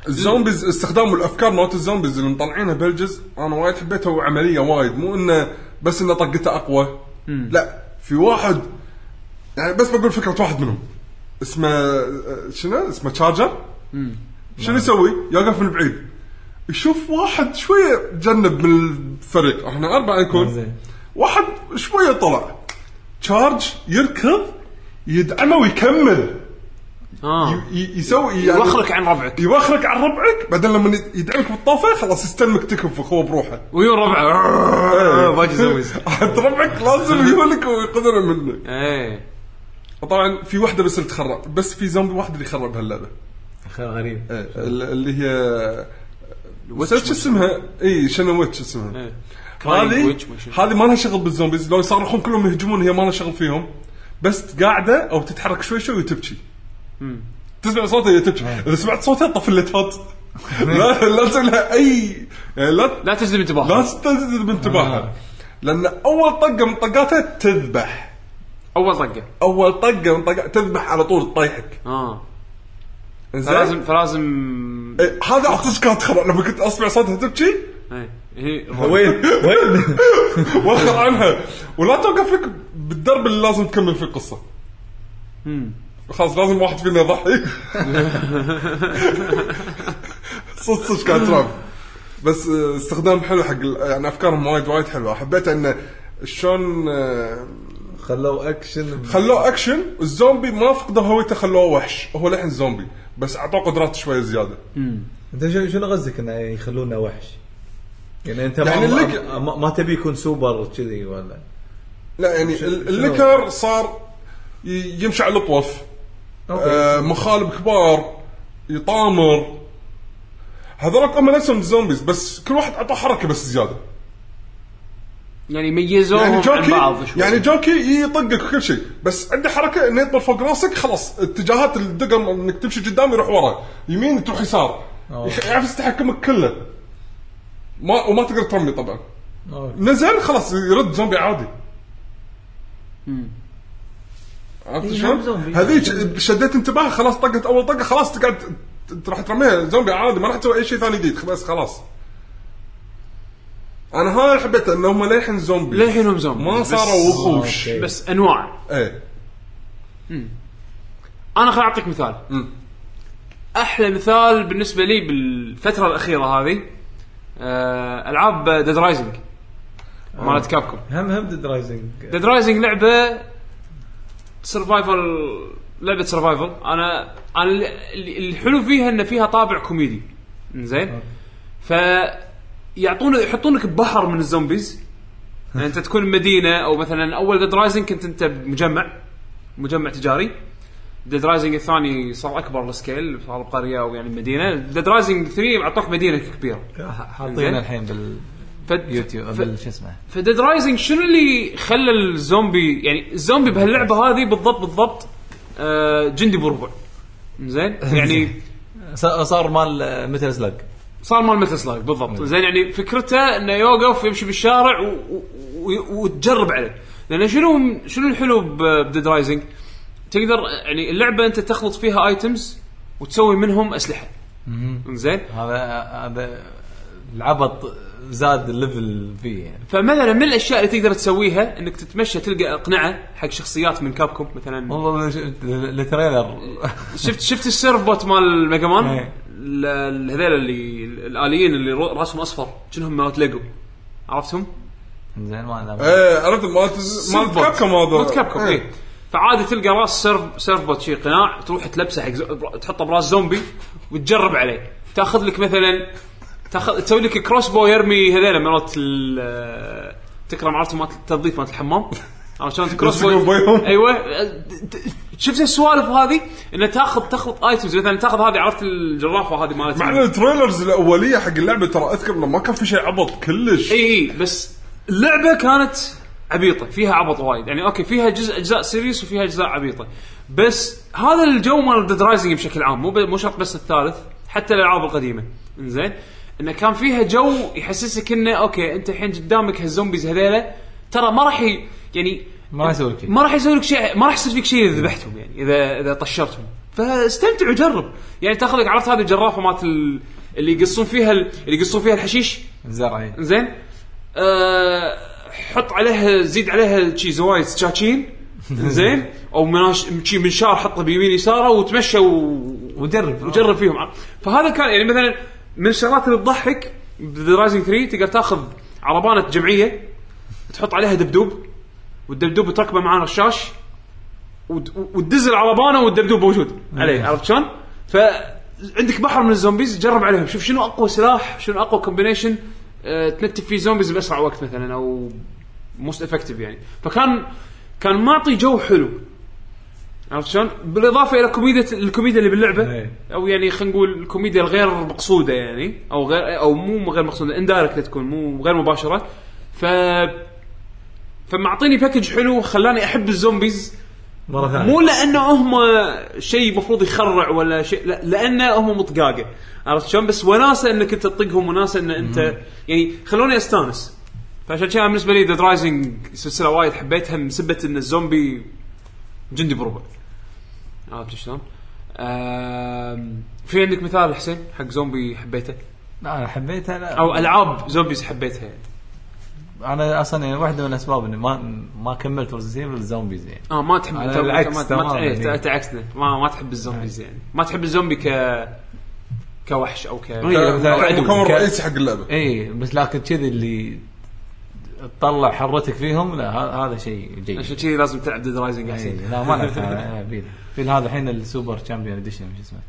S3: الزومبيز استخدام الافكار مالت الزومبيز اللي مطلعينها بهالجزء انا وايد حبيتها وعمليه وايد مو انه بس انه طقته اقوى لا في واحد يعني بس بقول فكره واحد منهم اسمه آه، شنو اسمه تشارجر شنو يسوي؟ يوقف من بعيد يشوف واحد شويه تجنب من الفريق احنا اربعه نكون
S1: زين.
S3: واحد شويه طلع تشارج يركض يدعمه ويكمل
S2: اه
S3: ي- ي- يسوي يعني
S2: يوخرك عن ربعك
S3: يوخرك عن ربعك بعدين لما يد- يدعمك بالطوفه خلاص يستلمك تكب في خوه بروحه
S2: ويون
S3: آه،
S2: ربعه [LAUGHS] باجي اسوي
S3: [LAUGHS] عاد ربعك لازم يهلك ويقدر منك
S2: ايه
S3: طبعا في واحده بس اللي تخرب بس في زومبي واحد اللي خرب هاللعبه
S1: غريب
S3: إيه، ال- اللي هي وش اسمها اي شنو ويتش اسمها
S2: إيه.
S3: هذه
S2: Witch ما شنو.
S3: هذه ما لها شغل بالزومبيز لو يصرخون كلهم يهجمون هي ما لها شغل فيهم بس قاعده او تتحرك شوي شوي وتبكي تسمع صوتها هي تبكي اذا سمعت صوتها طفي الليتات لا لا تسوي لها اي يعني لا
S2: لا تجذب
S3: لا
S2: انتباه
S3: تستجذب انتباهها لان اول طقه من طقاتها تذبح
S2: اول طقه
S3: اول طقه من طقاتها تذبح على طول تطيحك
S2: اه
S3: إنزين؟
S2: فلازم فلازم
S3: إيه، هذا اعطيك كانت خبر لما كنت اسمع صوتها تبكي
S2: ايه هي
S1: وين وين
S3: وخر عنها ولا توقفك بالدرب اللي لازم تكمل فيه القصه
S2: مم.
S3: خلاص لازم واحد فينا يضحي صدق صدق كان تراب بس آه، استخدام حلو حق ال- يعني افكارهم وايد وايد حلوه حبيت انه شلون آه،
S1: خلوه اكشن
S3: خلوه اكشن الزومبي ما فقدوا هويته خلوه وحش هو لحن زومبي بس اعطوه قدرات شويه زياده
S1: انت شنو شنو غزك انه يخلونا وحش؟ يعني انت
S3: يعني
S1: يعني ما,
S3: اللك-
S1: ما, ما, ما تبي يكون سوبر كذي ولا
S3: لا يعني
S1: شنو-
S3: ال-
S1: شنو؟
S3: الليكر صار ي- يمشي على الطوف
S1: اوكي
S3: آه، مخالب كبار يطامر هذولك هم نفسهم الزومبيز بس كل واحد اعطاه حركه بس زياده
S2: يعني ميزوهم
S3: يعني
S2: عن
S3: جوكي
S2: بعض شوي
S3: يعني جوكي يطقك وكل شيء بس عنده حركه انه يطبل فوق راسك خلاص اتجاهات الدقم انك تمشي قدام يروح ورا يمين تروح يسار
S1: أوه.
S3: يخ- يعرف يستحكمك كله ما وما تقدر ترمي طبعا
S1: أوكي.
S3: نزل خلاص يرد زومبي عادي عرفت
S1: إيه،
S3: شلون؟
S1: هم زومبي.
S3: هذيك شديت انتباهها خلاص طقت اول طقه خلاص تقعد ت- ت- راح ترميها زومبي عادي ما راح تسوي اي شيء ثاني جديد بس خلاص انا هاي اللي حبيتها ان هم للحين زومبي
S2: للحين هم زومبي.
S3: ما
S2: بس-
S3: صاروا وحوش
S1: أوكي.
S2: بس انواع
S3: ايه
S2: انا خل اعطيك مثال
S3: مم.
S2: احلى مثال بالنسبه لي بالفتره الاخيره هذه آه، العاب ديد رايزنج
S3: آه.
S2: مالت كابكم
S1: هم هم ديد رايزنج
S2: ديد رايزنج لعبه سرفايفل لعبه سرفايفل انا انا اللي- الحلو فيها ان فيها طابع كوميدي زين ف يعطون يحطونك ببحر من الزومبيز يعني انت تكون بمدينه او مثلا اول ديد رايزنج كنت انت بمجمع مجمع تجاري ديد رايزنج الثاني صار اكبر السكيل صار بقريه او يعني مدينه ديد رايزنج 3 اعطوك مدينه كبيره زين.
S4: حاطين الحين باليوتيوب
S2: فد- ف-
S4: بال- شو اسمه
S2: فديد رايزنج شنو اللي خلى الزومبي يعني الزومبي بهاللعبه هذه بالضبط بالضبط آه جندي بربع زين يعني
S4: صار- صار مال مثل سلاج
S2: صار مال مثل سلاج بالضبط زين يعني فكرته انه يوقف يمشي بالشارع و- و- و- وتجرب عليه لان شنو شنو الحلو ب- بديد رايزنج تقدر يعني اللعبه انت تخلط فيها ايتمز وتسوي منهم اسلحه زين
S4: هذا هذا العبط زاد الليفل فيه يعني
S2: فمثلا من الاشياء اللي تقدر تسويها انك تتمشى تلقى اقنعه حق شخصيات من كابكم مثلا
S4: والله شفت
S1: [LAUGHS]
S4: التريلر
S2: شفت شفت السيرف بوت مال ميجا مان
S4: إيه.
S2: ال- ال- هذيل اللي الاليين اللي رو- راسهم اصفر شنهم مالت ليجو عرفتهم؟
S4: زين ما
S3: ايه عرفت مالت مالت
S2: سيرف بوت.
S3: كابكم هذا إيه.
S2: مالت إيه. كابكم اي فعادي تلقى راس سيرف سيرف بوت شي قناع تروح تلبسه حق زو- برا- تحطه براس زومبي وتجرب عليه تاخذ لك مثلا تاخذ تسوي لك كروس بو يرمي هذيل مالت ال- تكرم عرفت مالت التنظيف مالت الحمام عرفت شلون كروس
S3: يمسكون
S2: بو
S3: بويهم.
S2: ايوه ت- ت- شفت السوالف هذه انه تاخذ تخلط ايتمز مثلا تاخذ هذه عرفت الجرافه هذه مالت
S3: مع ان يعني التريلرز الاوليه حق اللعبه ترى اذكر انه ما كان في شيء عبط كلش
S2: اي اي بس اللعبه كانت عبيطه فيها عبط وايد يعني اوكي فيها جزء اجزاء سيريس وفيها اجزاء عبيطه بس هذا الجو مال ديد رايزنج بشكل عام مو ب- مو شرط بس الثالث حتى الالعاب القديمه انزين انه كان فيها جو يحسسك انه اوكي انت الحين قدامك هالزومبيز هذيلا ترى ما راح ي- يعني
S1: ما راح يسوي لك شيء
S2: ما راح يسوي لك شيء ما راح يصير فيك شيء اذا ذبحتهم يعني اذا اذا طشرتهم فاستمتع وجرب يعني تاخذ لك عرفت هذه الجرافه مالت ال- اللي يقصون فيها ال- اللي يقصون فيها الحشيش
S1: زرعي
S2: زين أه حط عليها زيد عليها شي زوايد شاشين زين او مناش شي منشار حطه بيمين يساره وتمشى و...
S1: وجرب
S2: وجرب فيهم فهذا كان يعني مثلا من الشغلات اللي تضحك بذا رايزنج 3 تقدر تاخذ عربانه جمعيه تحط عليها دبدوب والدبدوب تركبه مع رشاش وت- وتدز العربانه والدبدوب موجود عليه عرفت شلون؟ ف عندك بحر من الزومبيز جرب عليهم شوف شنو اقوى سلاح شنو اقوى كومبينيشن أه تنتف فيه زومبيز باسرع وقت مثلا او موست افكتيف يعني فكان كان معطي جو حلو عرفت شلون؟ بالاضافه الى كوميديا الكوميديا اللي باللعبه
S1: إيه.
S2: او يعني خلينا نقول الكوميديا الغير مقصوده يعني او غير او مو غير مقصوده اندايركت تكون مو غير مباشره ف فمعطيني باكج حلو خلاني احب الزومبيز
S1: مره ثانيه
S2: مو لانه هم شيء المفروض يخرع ولا شيء لا لانه هم مطقاقه عرفت شلون بس وناسه انك انت تطقهم وناسه ان انت يعني خلوني استانس فعشان كذا بالنسبه لي ذا رايزنج سلسله وايد حبيتها من سبه ان الزومبي جندي بربع عرفت شلون؟ آم، في عندك مثال حسين حق زومبي حبيته
S1: لا انا حبيتها لا
S2: او العاب زومبيز حبيتها يعني.
S1: انا اصلا يعني واحده من الاسباب اني ما ما كملت ريزنت ايفل الزومبيز يعني
S2: اه ما تحب
S1: على
S2: انت-
S1: العكس
S2: ما- ما
S1: تماماً إيه.
S2: إيه،
S1: يعني.
S2: ت- تعكسنا ما ما تحب الزومبيز يعني ما تحب الزومبي ك كوحش او ك
S1: إيه، مثلاً عدو.
S3: المكون
S1: ك-
S3: الرئيسي آه، حق اللعبه
S2: إيه.
S1: اي إيه، بس لكن كذي اللي تطلع حرتك فيهم لا ه- هذا شيء جيد
S2: عشان كذي لازم تلعب ديد رايزنج
S1: إي،
S2: احسن
S1: لا ما لعبت [LAUGHS] أنا، أنا بيل بيل هذا الحين السوبر تشامبيون اديشن شو اسمه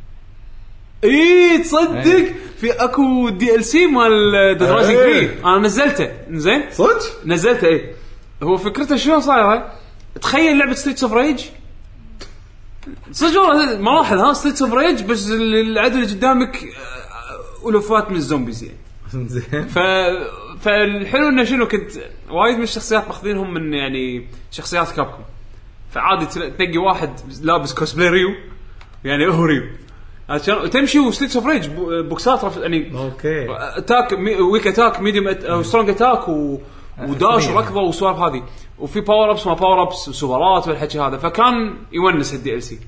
S1: إيه.
S2: اي إيه، تصدق في اكو دي ال سي مال ديد رايزنج
S3: إيه.
S2: 3 انا نزلته زين
S3: صدق؟
S2: نزلته اي هو فكرته شلون صايره؟ تخيل لعبه ستريتس اوف ريج صدق والله مراحل ها ستريتس اوف ريج بس العدو اللي قدامك آه، الوفات من الزومبيز يعني
S1: [LAUGHS] زين
S2: ف فالحلو انه شنو كنت وايد من الشخصيات ماخذينهم من يعني شخصيات كابكم فعادي تل- تنقي واحد لابس كوسبلاي ريو يعني هو ريو عرفت شلون؟ وتمشي وستيتس اوف ريج بو- بوكسات رف... يعني
S1: اوكي
S2: اتاك مي... ويك اتاك ميديوم أت... او سترونج اتاك و... وداش
S1: خفيف.
S2: وركضه وسوالف هذه وفي باور ابس ما باور ابس وسوبرات والحكي هذا فكان يونس الدي ال سي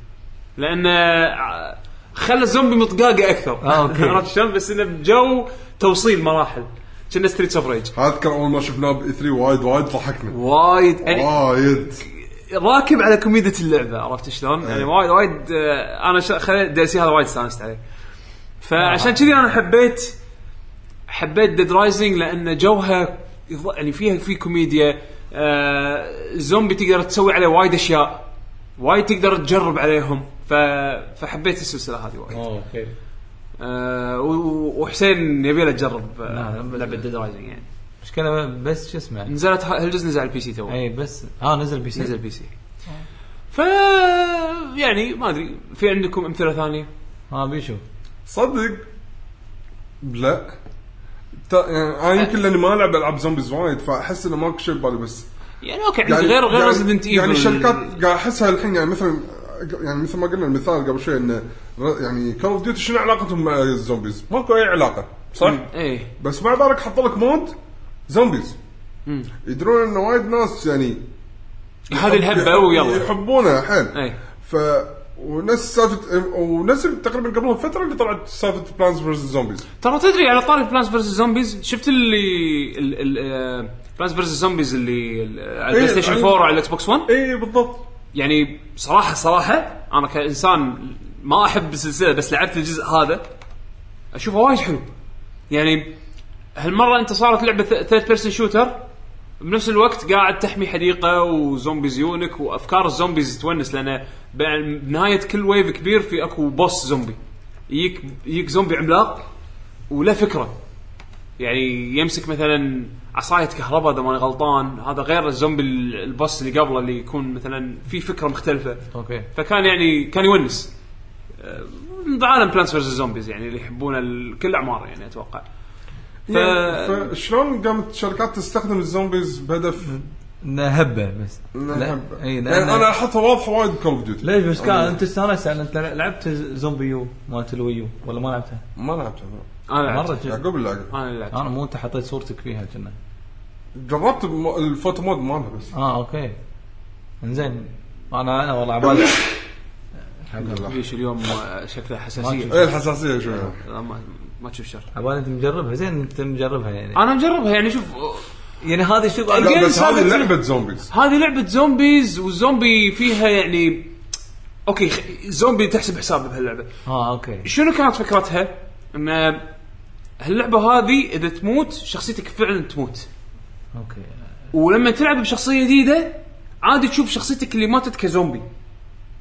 S2: لانه ع- خلى الزومبي مطقاقه اكثر [LAUGHS]
S1: آه، أوكي.
S2: عرفت شلون بس انه بجو توصيل مراحل كنا ستريتس اوف ريج
S3: اذكر اول ما شفناه باي 3 وايد وايد ضحكنا
S2: وايد يعني
S3: وايد
S2: راكب على كوميديا اللعبه عرفت شلون؟
S1: إيه.
S2: يعني وايد وايد آه، انا شا- خليت دي سي هذا وايد استانست عليه. فعشان
S1: آه.
S2: كذي انا حبيت حبيت ديد رايزنج لان جوها يض- يعني فيها في كوميديا آه، الزومبي تقدر تسوي عليه وايد اشياء وايد تقدر تجرب عليهم ف... فحبيت السلسله هذه وايد
S1: اوكي
S2: آه، و- و- وحسين يبي له تجرب آه،
S1: لا، لا،
S2: لعبه ديد رايزنج يعني
S1: مشكله بس شو اسمه
S2: نزلت ه- هالجزء نزل على البي سي تو
S1: اي بس اه نزل بي سي
S2: نزل بي سي ف يعني ما ادري في عندكم امثله ثانيه؟
S1: اه بيشوف
S3: صدق لا تا... يعني انا
S2: أه.
S3: يمكن لاني ما العب العاب زومبيز وايد فاحس انه ماكو شيء ببالي بس
S2: يعني اوكي عندي غير غير ريزدنت ايفل
S3: يعني الشركات قاعد احسها الحين يعني مثلا يعني مثل ما قلنا المثال قبل شوي انه ر- يعني كول اوف ديوتي شنو علاقتهم مع الزومبيز؟ ماكو اي علاقه صح؟
S2: ايه
S3: بس مع ذلك حط لك مود زومبيز يدرون ان وايد ناس يعني
S2: هذه الهبه
S3: [LAUGHS]
S2: ويلا
S3: يحبونه حيل
S2: ايه
S3: ف ونفس سالفه ونفس تقريبا قبل فتره اللي طلعت سالفه بلانز فيرس زومبيز
S2: ترى تدري على طاري بلانس فيرس زومبيز شفت اللي آه، بلانس فيرس زومبيز اللي ال- على البلاي
S3: إيه،
S2: ستيشن
S3: على-
S2: 4 وعلى الاكس بوكس 1
S3: اي بالضبط
S2: يعني صراحه صراحه انا كانسان ما احب السلسله بس لعبت الجزء هذا اشوفه وايد حلو يعني هالمره انت صارت لعبه ثيرد بيرسون شوتر بنفس الوقت قاعد تحمي حديقه وزومبيز يونك وافكار الزومبيز تونس لان ب- بنهايه كل ويف كبير في اكو بوس زومبي يجيك يجيك زومبي عملاق وله فكره يعني يمسك مثلا عصايه كهرباء اذا ماني غلطان هذا غير الزومبي ال- البوس اللي قبله اللي يكون مثلا في فكره مختلفه
S1: اوكي
S2: فكان يعني كان يونس أه، بعالم بلانس فيرز زومبيز يعني اللي يحبون ال- كل الاعمار يعني اتوقع ف...
S3: فشلون يعني، قامت الشركات تستخدم الزومبيز بهدف
S1: إنه هبه بس لا،
S3: نحبه؟
S1: اي
S3: يعني
S1: لأن-
S3: انا احطها واضحه وايد كول اوف ديوتي
S1: ليش بس كان انت استانست على انت لعبت زومبي يو مالت الويو ولا ما لعبتها؟
S3: ما لعبتها أنا.
S2: انا لعبت.
S1: مره جد.
S3: يعقوب اللي لعبها
S2: انا لعبت
S1: انا مو انت حطيت صورتك فيها كنا
S3: جربت الم- الفوتو مود مالها بس
S1: اه اوكي زين انا انا والله عبالي
S2: ليش اليوم آه، شكله حساسيه
S3: ايه الحساسيه شوي
S2: لا، ما ما تشوف شر
S1: عبالي انت مجربها زين انت مجربها يعني
S2: انا مجربها يعني شوف آه،
S1: يعني هذه شوف أنا-
S2: Again،
S3: لا بس هذه
S2: ثابت-
S3: لعبه زومبيز
S2: هذه لعبه زومبيز والزومبي فيها يعني اوكي خ- زومبي تحسب حساب بهاللعبه
S1: اه اوكي
S2: شنو كانت فكرتها؟ ان هاللعبه هذه اذا تموت شخصيتك فعلا تموت
S1: اوكي
S2: ولما تلعب بشخصيه جديده عادي تشوف شخصيتك اللي ماتت كزومبي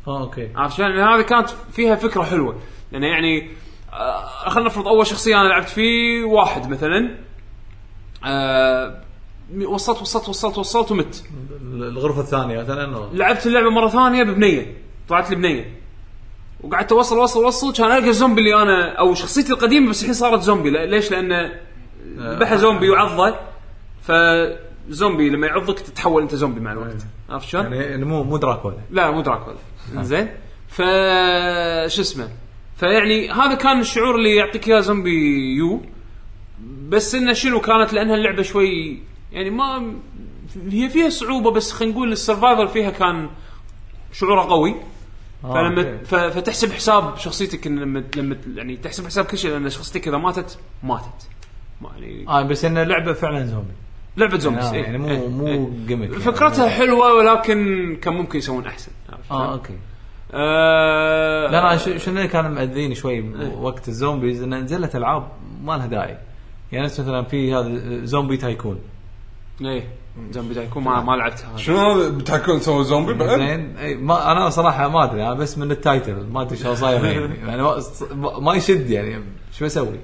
S1: اه اوكي
S2: عرفت شلون؟ لان هذه كانت فيها فكره حلوه لان يعني آه خلينا نفرض اول شخصيه انا لعبت فيه واحد مثلا آه وصلت وصلت وصلت وصلت ومت
S1: الغرفه الثانيه مثلا و-
S2: لعبت اللعبه مره ثانيه ببنيه طلعت لي بنيه وقعدت اوصل اوصل اوصل كان القى الزومبي اللي انا او شخصيتي القديمه بس الحين صارت زومبي لا- ليش؟ لانه ذبحها زومبي وعضه فزومبي لما يعضك تتحول انت زومبي مع الوقت عرفت شلون؟
S1: يعني مو مو دراكولا
S2: لا مو دراكولا زين ف شو اسمه فيعني هذا كان الشعور اللي يعطيك اياه زومبي يو بس انه شنو كانت لانها اللعبه شوي يعني ما هي فيها صعوبه بس خلينا نقول السرفايفل فيها كان شعوره قوي فلما
S1: آه، أوكي.
S2: ف- فتحسب حساب شخصيتك إن لما لما يعني تحسب حساب كل شيء لان شخصيتك اذا ماتت ماتت ما يعني
S1: اه بس انها لعبه فعلا زومبي
S2: لعبه زومبيز
S1: آه،
S2: إيه،
S1: يعني
S2: إيه،
S1: مو
S2: إيه.
S1: مو جيمك يعني.
S2: فكرتها حلوه ولكن كان ممكن يسوون احسن عرفت شلون؟
S1: اه اوكي
S2: آه
S1: لا انا ش- شنو اللي كان مأذيني شوي وقت الزومبيز انه نزلت العاب ما لها داعي يعني نفس مثلا في هذا زومبي تايكون
S2: ايه زومبي دايكون ما ما لعبتها هذه.
S3: شنو هذا بتحكون سووا زومبي بعد؟
S1: زين أي، ما انا صراحه ما ادري انا بس من التايتل ما ادري شو صاير [LAUGHS] يعني يعني ما- ما يشد يعني شو اسوي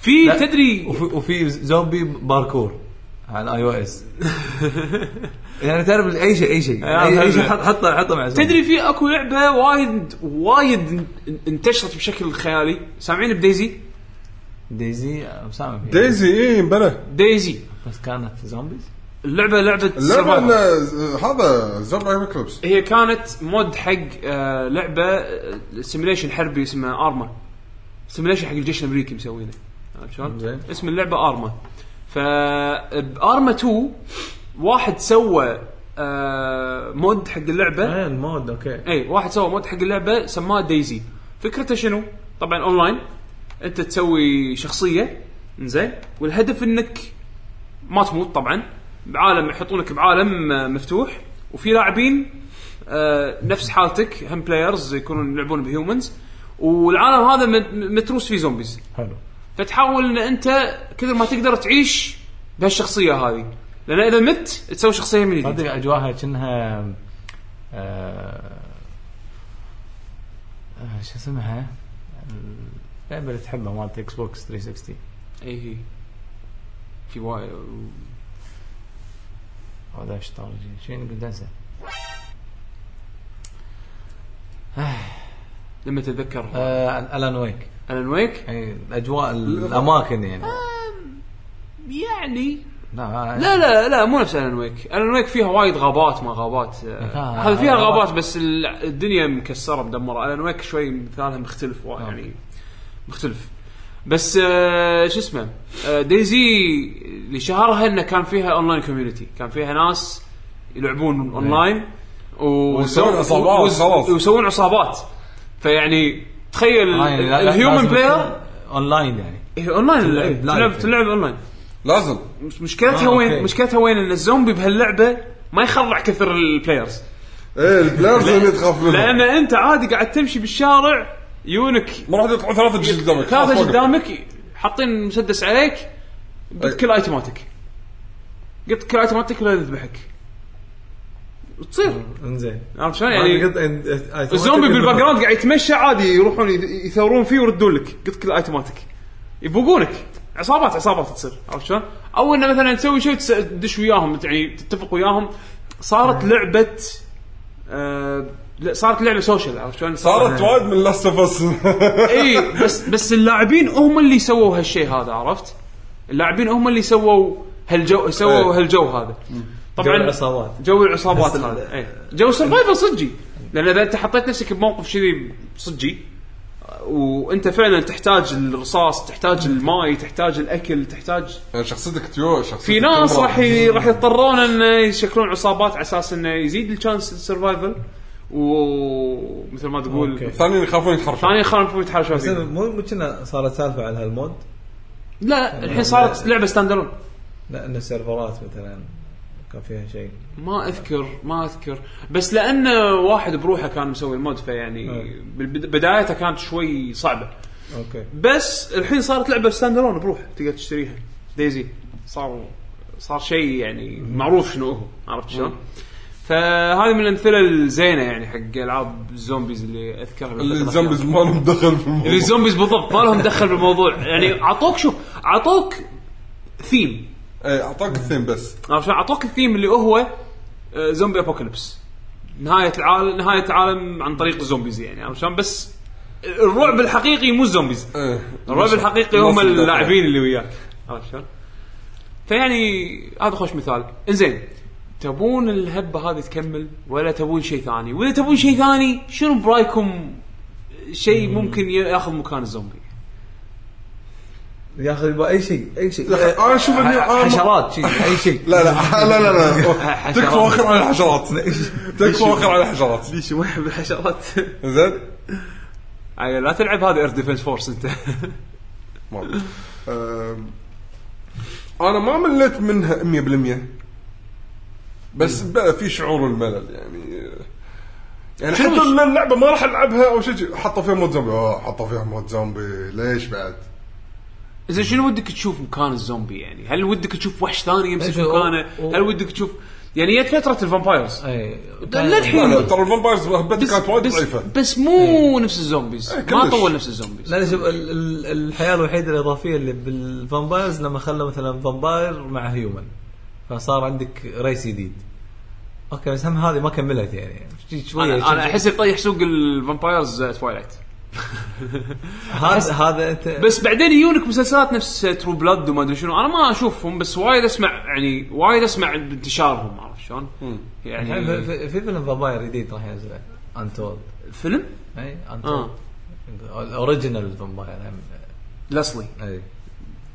S2: في
S1: لا.
S2: تدري
S1: وفي, وفي زومبي باركور على اي او [LAUGHS] اس يعني تعرف اي شيء اي شيء
S2: آه،
S1: اي أي شيء
S2: فهمت.
S1: حط- حطه حطه مع زومبي.
S2: تدري في اكو لعبه وايد وايد ان- ان- انتشرت بشكل خيالي سامعين بدايزي
S1: دايزي آه، مسامح فيها.
S3: دايزي ايه بلى
S2: دايزي
S1: بس كانت زومبيز
S2: اللعبه لعبه
S3: اللعبه
S2: survival.
S3: إنه- هذا زومبي اكليبس
S2: هي كانت مود حق آه، لعبه سيميليشن حربي اسمها ارما سيميليشن حق الجيش الامريكي مسوينه عرفت شلون؟
S1: زين.
S2: اسم اللعبه ارما ف بارما 2 واحد سوى آه، مود حق اللعبه
S1: ايه المود اوكي
S2: اي إيه، واحد سوى مود حق اللعبه سماه دايزي فكرته شنو؟ طبعا اونلاين انت تسوي شخصيه زين والهدف انك ما تموت طبعا بعالم يحطونك بعالم آه، مفتوح وفي لاعبين آه، نفس حالتك هم بلايرز يكونون يلعبون بهيومنز والعالم هذا مت- متروس فيه زومبيز
S1: حلو
S2: فتحاول ان انت كثر ما تقدر تعيش بهالشخصيه هذه لان اذا مت تسوي شخصيه من جديد
S1: صدق اجواها كأنها آه، آه، شو اسمها؟ اللعبه اللي تحبها مالت اكس بوكس 360
S2: اي إيه، هي. في وايد
S1: هذا ايش طار شنو يعني قلت انسى
S2: لما تتذكر
S1: آه، الان ويك
S2: الان ويك
S1: يعني الاجواء الاماكن يعني
S2: يعني
S1: لا
S2: لا لا لا مو نفس الان ويك الان ويك فيها وايد غابات ما غابات آه،
S1: آه،
S2: هذا فيها
S1: غابات.
S2: غابات بس ال- الدنيا مكسره مدمره الان ويك شوي مثالها مختلف وايد يعني مختلف بس آه، شو اسمه آه، دايزي اللي شهرها انه كان فيها اونلاين كوميونتي كان فيها ناس يلعبون اونلاين و-
S3: ويسوون عصابات،
S2: وز-
S3: خلاص.
S2: ويسوون عصابات فيعني تخيل
S1: يعني
S2: الهيومن
S1: الهيومن
S2: بلاير
S1: اونلاين يعني
S2: اونلاين اللعب.
S1: لايف
S2: إيه، تلعب
S1: يعني.
S2: تلعب اونلاين
S3: لازم
S2: مش- مشكلتها
S1: آه،
S2: وين
S1: أوكي.
S2: مشكلتها وين ان الزومبي بهاللعبه ما يخرع كثر البلايرز
S3: ايه البلايرز اللي تخاف منهم
S2: لان انت عادي قاعد تمشي بالشارع يونك
S3: ما راح يطلعوا ثلاثه جيش قدامك خلاص
S2: ثلاثه
S3: وقف.
S2: قدامك حاطين مسدس عليك قلت كل ايتماتك قلت كل ايتماتك لا يذبحك
S1: آه.
S2: تصير
S1: انزين
S2: عرفت شلون يعني الزومبي
S1: الزومبي
S2: بالباك [LAUGHS] جراوند قاعد يتمشى عادي يروحون يث- يثورون فيه ويردون لك قلت كل ايتماتك يبوقونك عصابات عصابات تصير عرفت شلون؟ او انه مثلا تسوي شيء تس- تدش وياهم يعني تتفق وياهم صارت لعبه آه لا صارت لعبه سوشيال عرفت شلون؟
S3: صارت وايد من لاست اوف [LAUGHS] اس
S2: اي بس بس اللاعبين هم اللي سووا هالشيء هذا عرفت؟ اللاعبين هم اللي سووا هالجو سووا
S3: إيه.
S2: هالجو هذا
S1: طبعا
S2: طبعا
S1: العصابات
S2: جو العصابات
S1: بس
S2: هذا إيه. جو سرفايفل صجي لان اذا انت حطيت نفسك بموقف كذي صجي وانت فعلا تحتاج الرصاص تحتاج الماي تحتاج الاكل تحتاج
S3: يعني شخصيتك تيو شخصيتك
S2: في ناس
S3: تمرض.
S2: راح ي- راح يضطرون ان يشكلون عصابات على اساس انه يزيد الشانس السرفايفل ومثل ما تقول
S1: أوكي.
S3: ثانيين يخافون يتحرشون
S2: ثاني خلنا يتحاشوا
S1: بس
S2: فيه
S1: مو مو كنا صارت سالفه على هالمود
S2: لا الحين صارت لعبه ستاند الون
S1: لا ان السيرفرات مثلا كان فيها شيء
S2: ما اذكر ما اذكر بس لان واحد بروحه كان مسوي المود فيعني
S1: أي.
S2: بالبد- بدايتها كانت شوي صعبه
S1: اوكي
S2: بس الحين صارت لعبه ستاند الون بروحه تقدر تشتريها دايزي صار صار شيء يعني معروف شنو هو عرفت شلون؟ فهذه من الامثله الزينه يعني حق العاب الزومبيز اللي اذكرها بالفترة
S3: اللي
S2: الأخيرة.
S3: الزومبيز ما لهم دخل في الموضوع
S2: اللي الزومبيز بالضبط ما لهم دخل بالموضوع يعني عطوك شوف عطوك ثيم
S3: اي اعطاك الثيم إيه، بس
S2: عرفت شلون؟ اعطوك الثيم اللي هو آه، زومبي ابوكاليبس نهايه العالم نهايه العالم عن طريق الزومبيز يعني عرفت شلون بس الرعب الحقيقي مو الزومبيز
S3: إيه.
S2: الرعب الحقيقي هم
S3: مصر داخل.
S2: اللاعبين اللي وياك عرفت شلون؟ فيعني هذا خوش مثال انزين تبون الهبه هذه تكمل ولا تبون شيء ثاني ولا تبون شيء ثاني شنو برايكم شيء ممكن ياخذ مكان الزومبي
S1: ياخذ يبغى اي شيء اي شيء
S3: يا أخي، انا اشوف اني أنا-
S1: حشرات شيء اي شيء
S3: لا لا لا لا
S2: [LAUGHS]
S3: لا
S2: حشرات.
S3: تكفى وخر على
S2: [LAUGHS]
S3: الحشرات تكفى وخر على الحشرات
S2: ليش ما يحب [LAUGHS] الحشرات؟
S3: زين
S2: أي لا تلعب هذه اير ديفنس فورس انت [LAUGHS]
S3: ما- أم، انا ما مليت منها 100% بس بقى في شعور الملل يعني يعني
S2: شنو
S3: حتى
S2: الش-
S3: إن اللعبه ما راح العبها او شيء حطوا فيها مود زومبي اه حطوا فيها مود زومبي ليش
S2: [CLEARS THROAT]
S3: بعد؟
S2: زين شنو ودك تشوف مكان الزومبي يعني؟ هل ودك تشوف وحش ثاني يمسك
S1: إيه، شو-
S2: مكانه؟
S1: أو-
S2: هل ودك تشوف يعني جت فتره الفامبايرز
S1: اي
S2: للحين.
S3: لا لا ترى الفامبايرز هبتها
S2: بس
S3: كانت وايد
S2: بس,
S3: ضعيفه
S2: بس مو نفس الزومبيز
S3: إيه،
S2: ما
S3: كلش.
S2: طول نفس الزومبيز
S1: لا شوف ال- ال- الحياه الوحيده الاضافيه اللي بالفامبايرز لما خلوا مثلا فامباير مع هيومن فصار عندك ريس جديد اوكي بس هم هذه ما كملت يعني شي- شويه
S2: انا, أنا
S1: شي-
S2: احس يطيح سوق الفامبايرز آه، توايلايت
S1: هذا هذا انت
S2: بس بعدين يجونك مسلسلات نفس ترو بلاد وما ادري شنو انا ما اشوفهم بس وايد اسمع يعني وايد اسمع انتشارهم عرفت شلون؟
S1: الحين في-
S2: يعني
S1: في في فيلم فامباير جديد راح ينزل انتولد
S2: فيلم
S1: اي انتولد
S2: اه
S1: الاوريجنال فامباير هم.
S2: لاسلي
S1: اي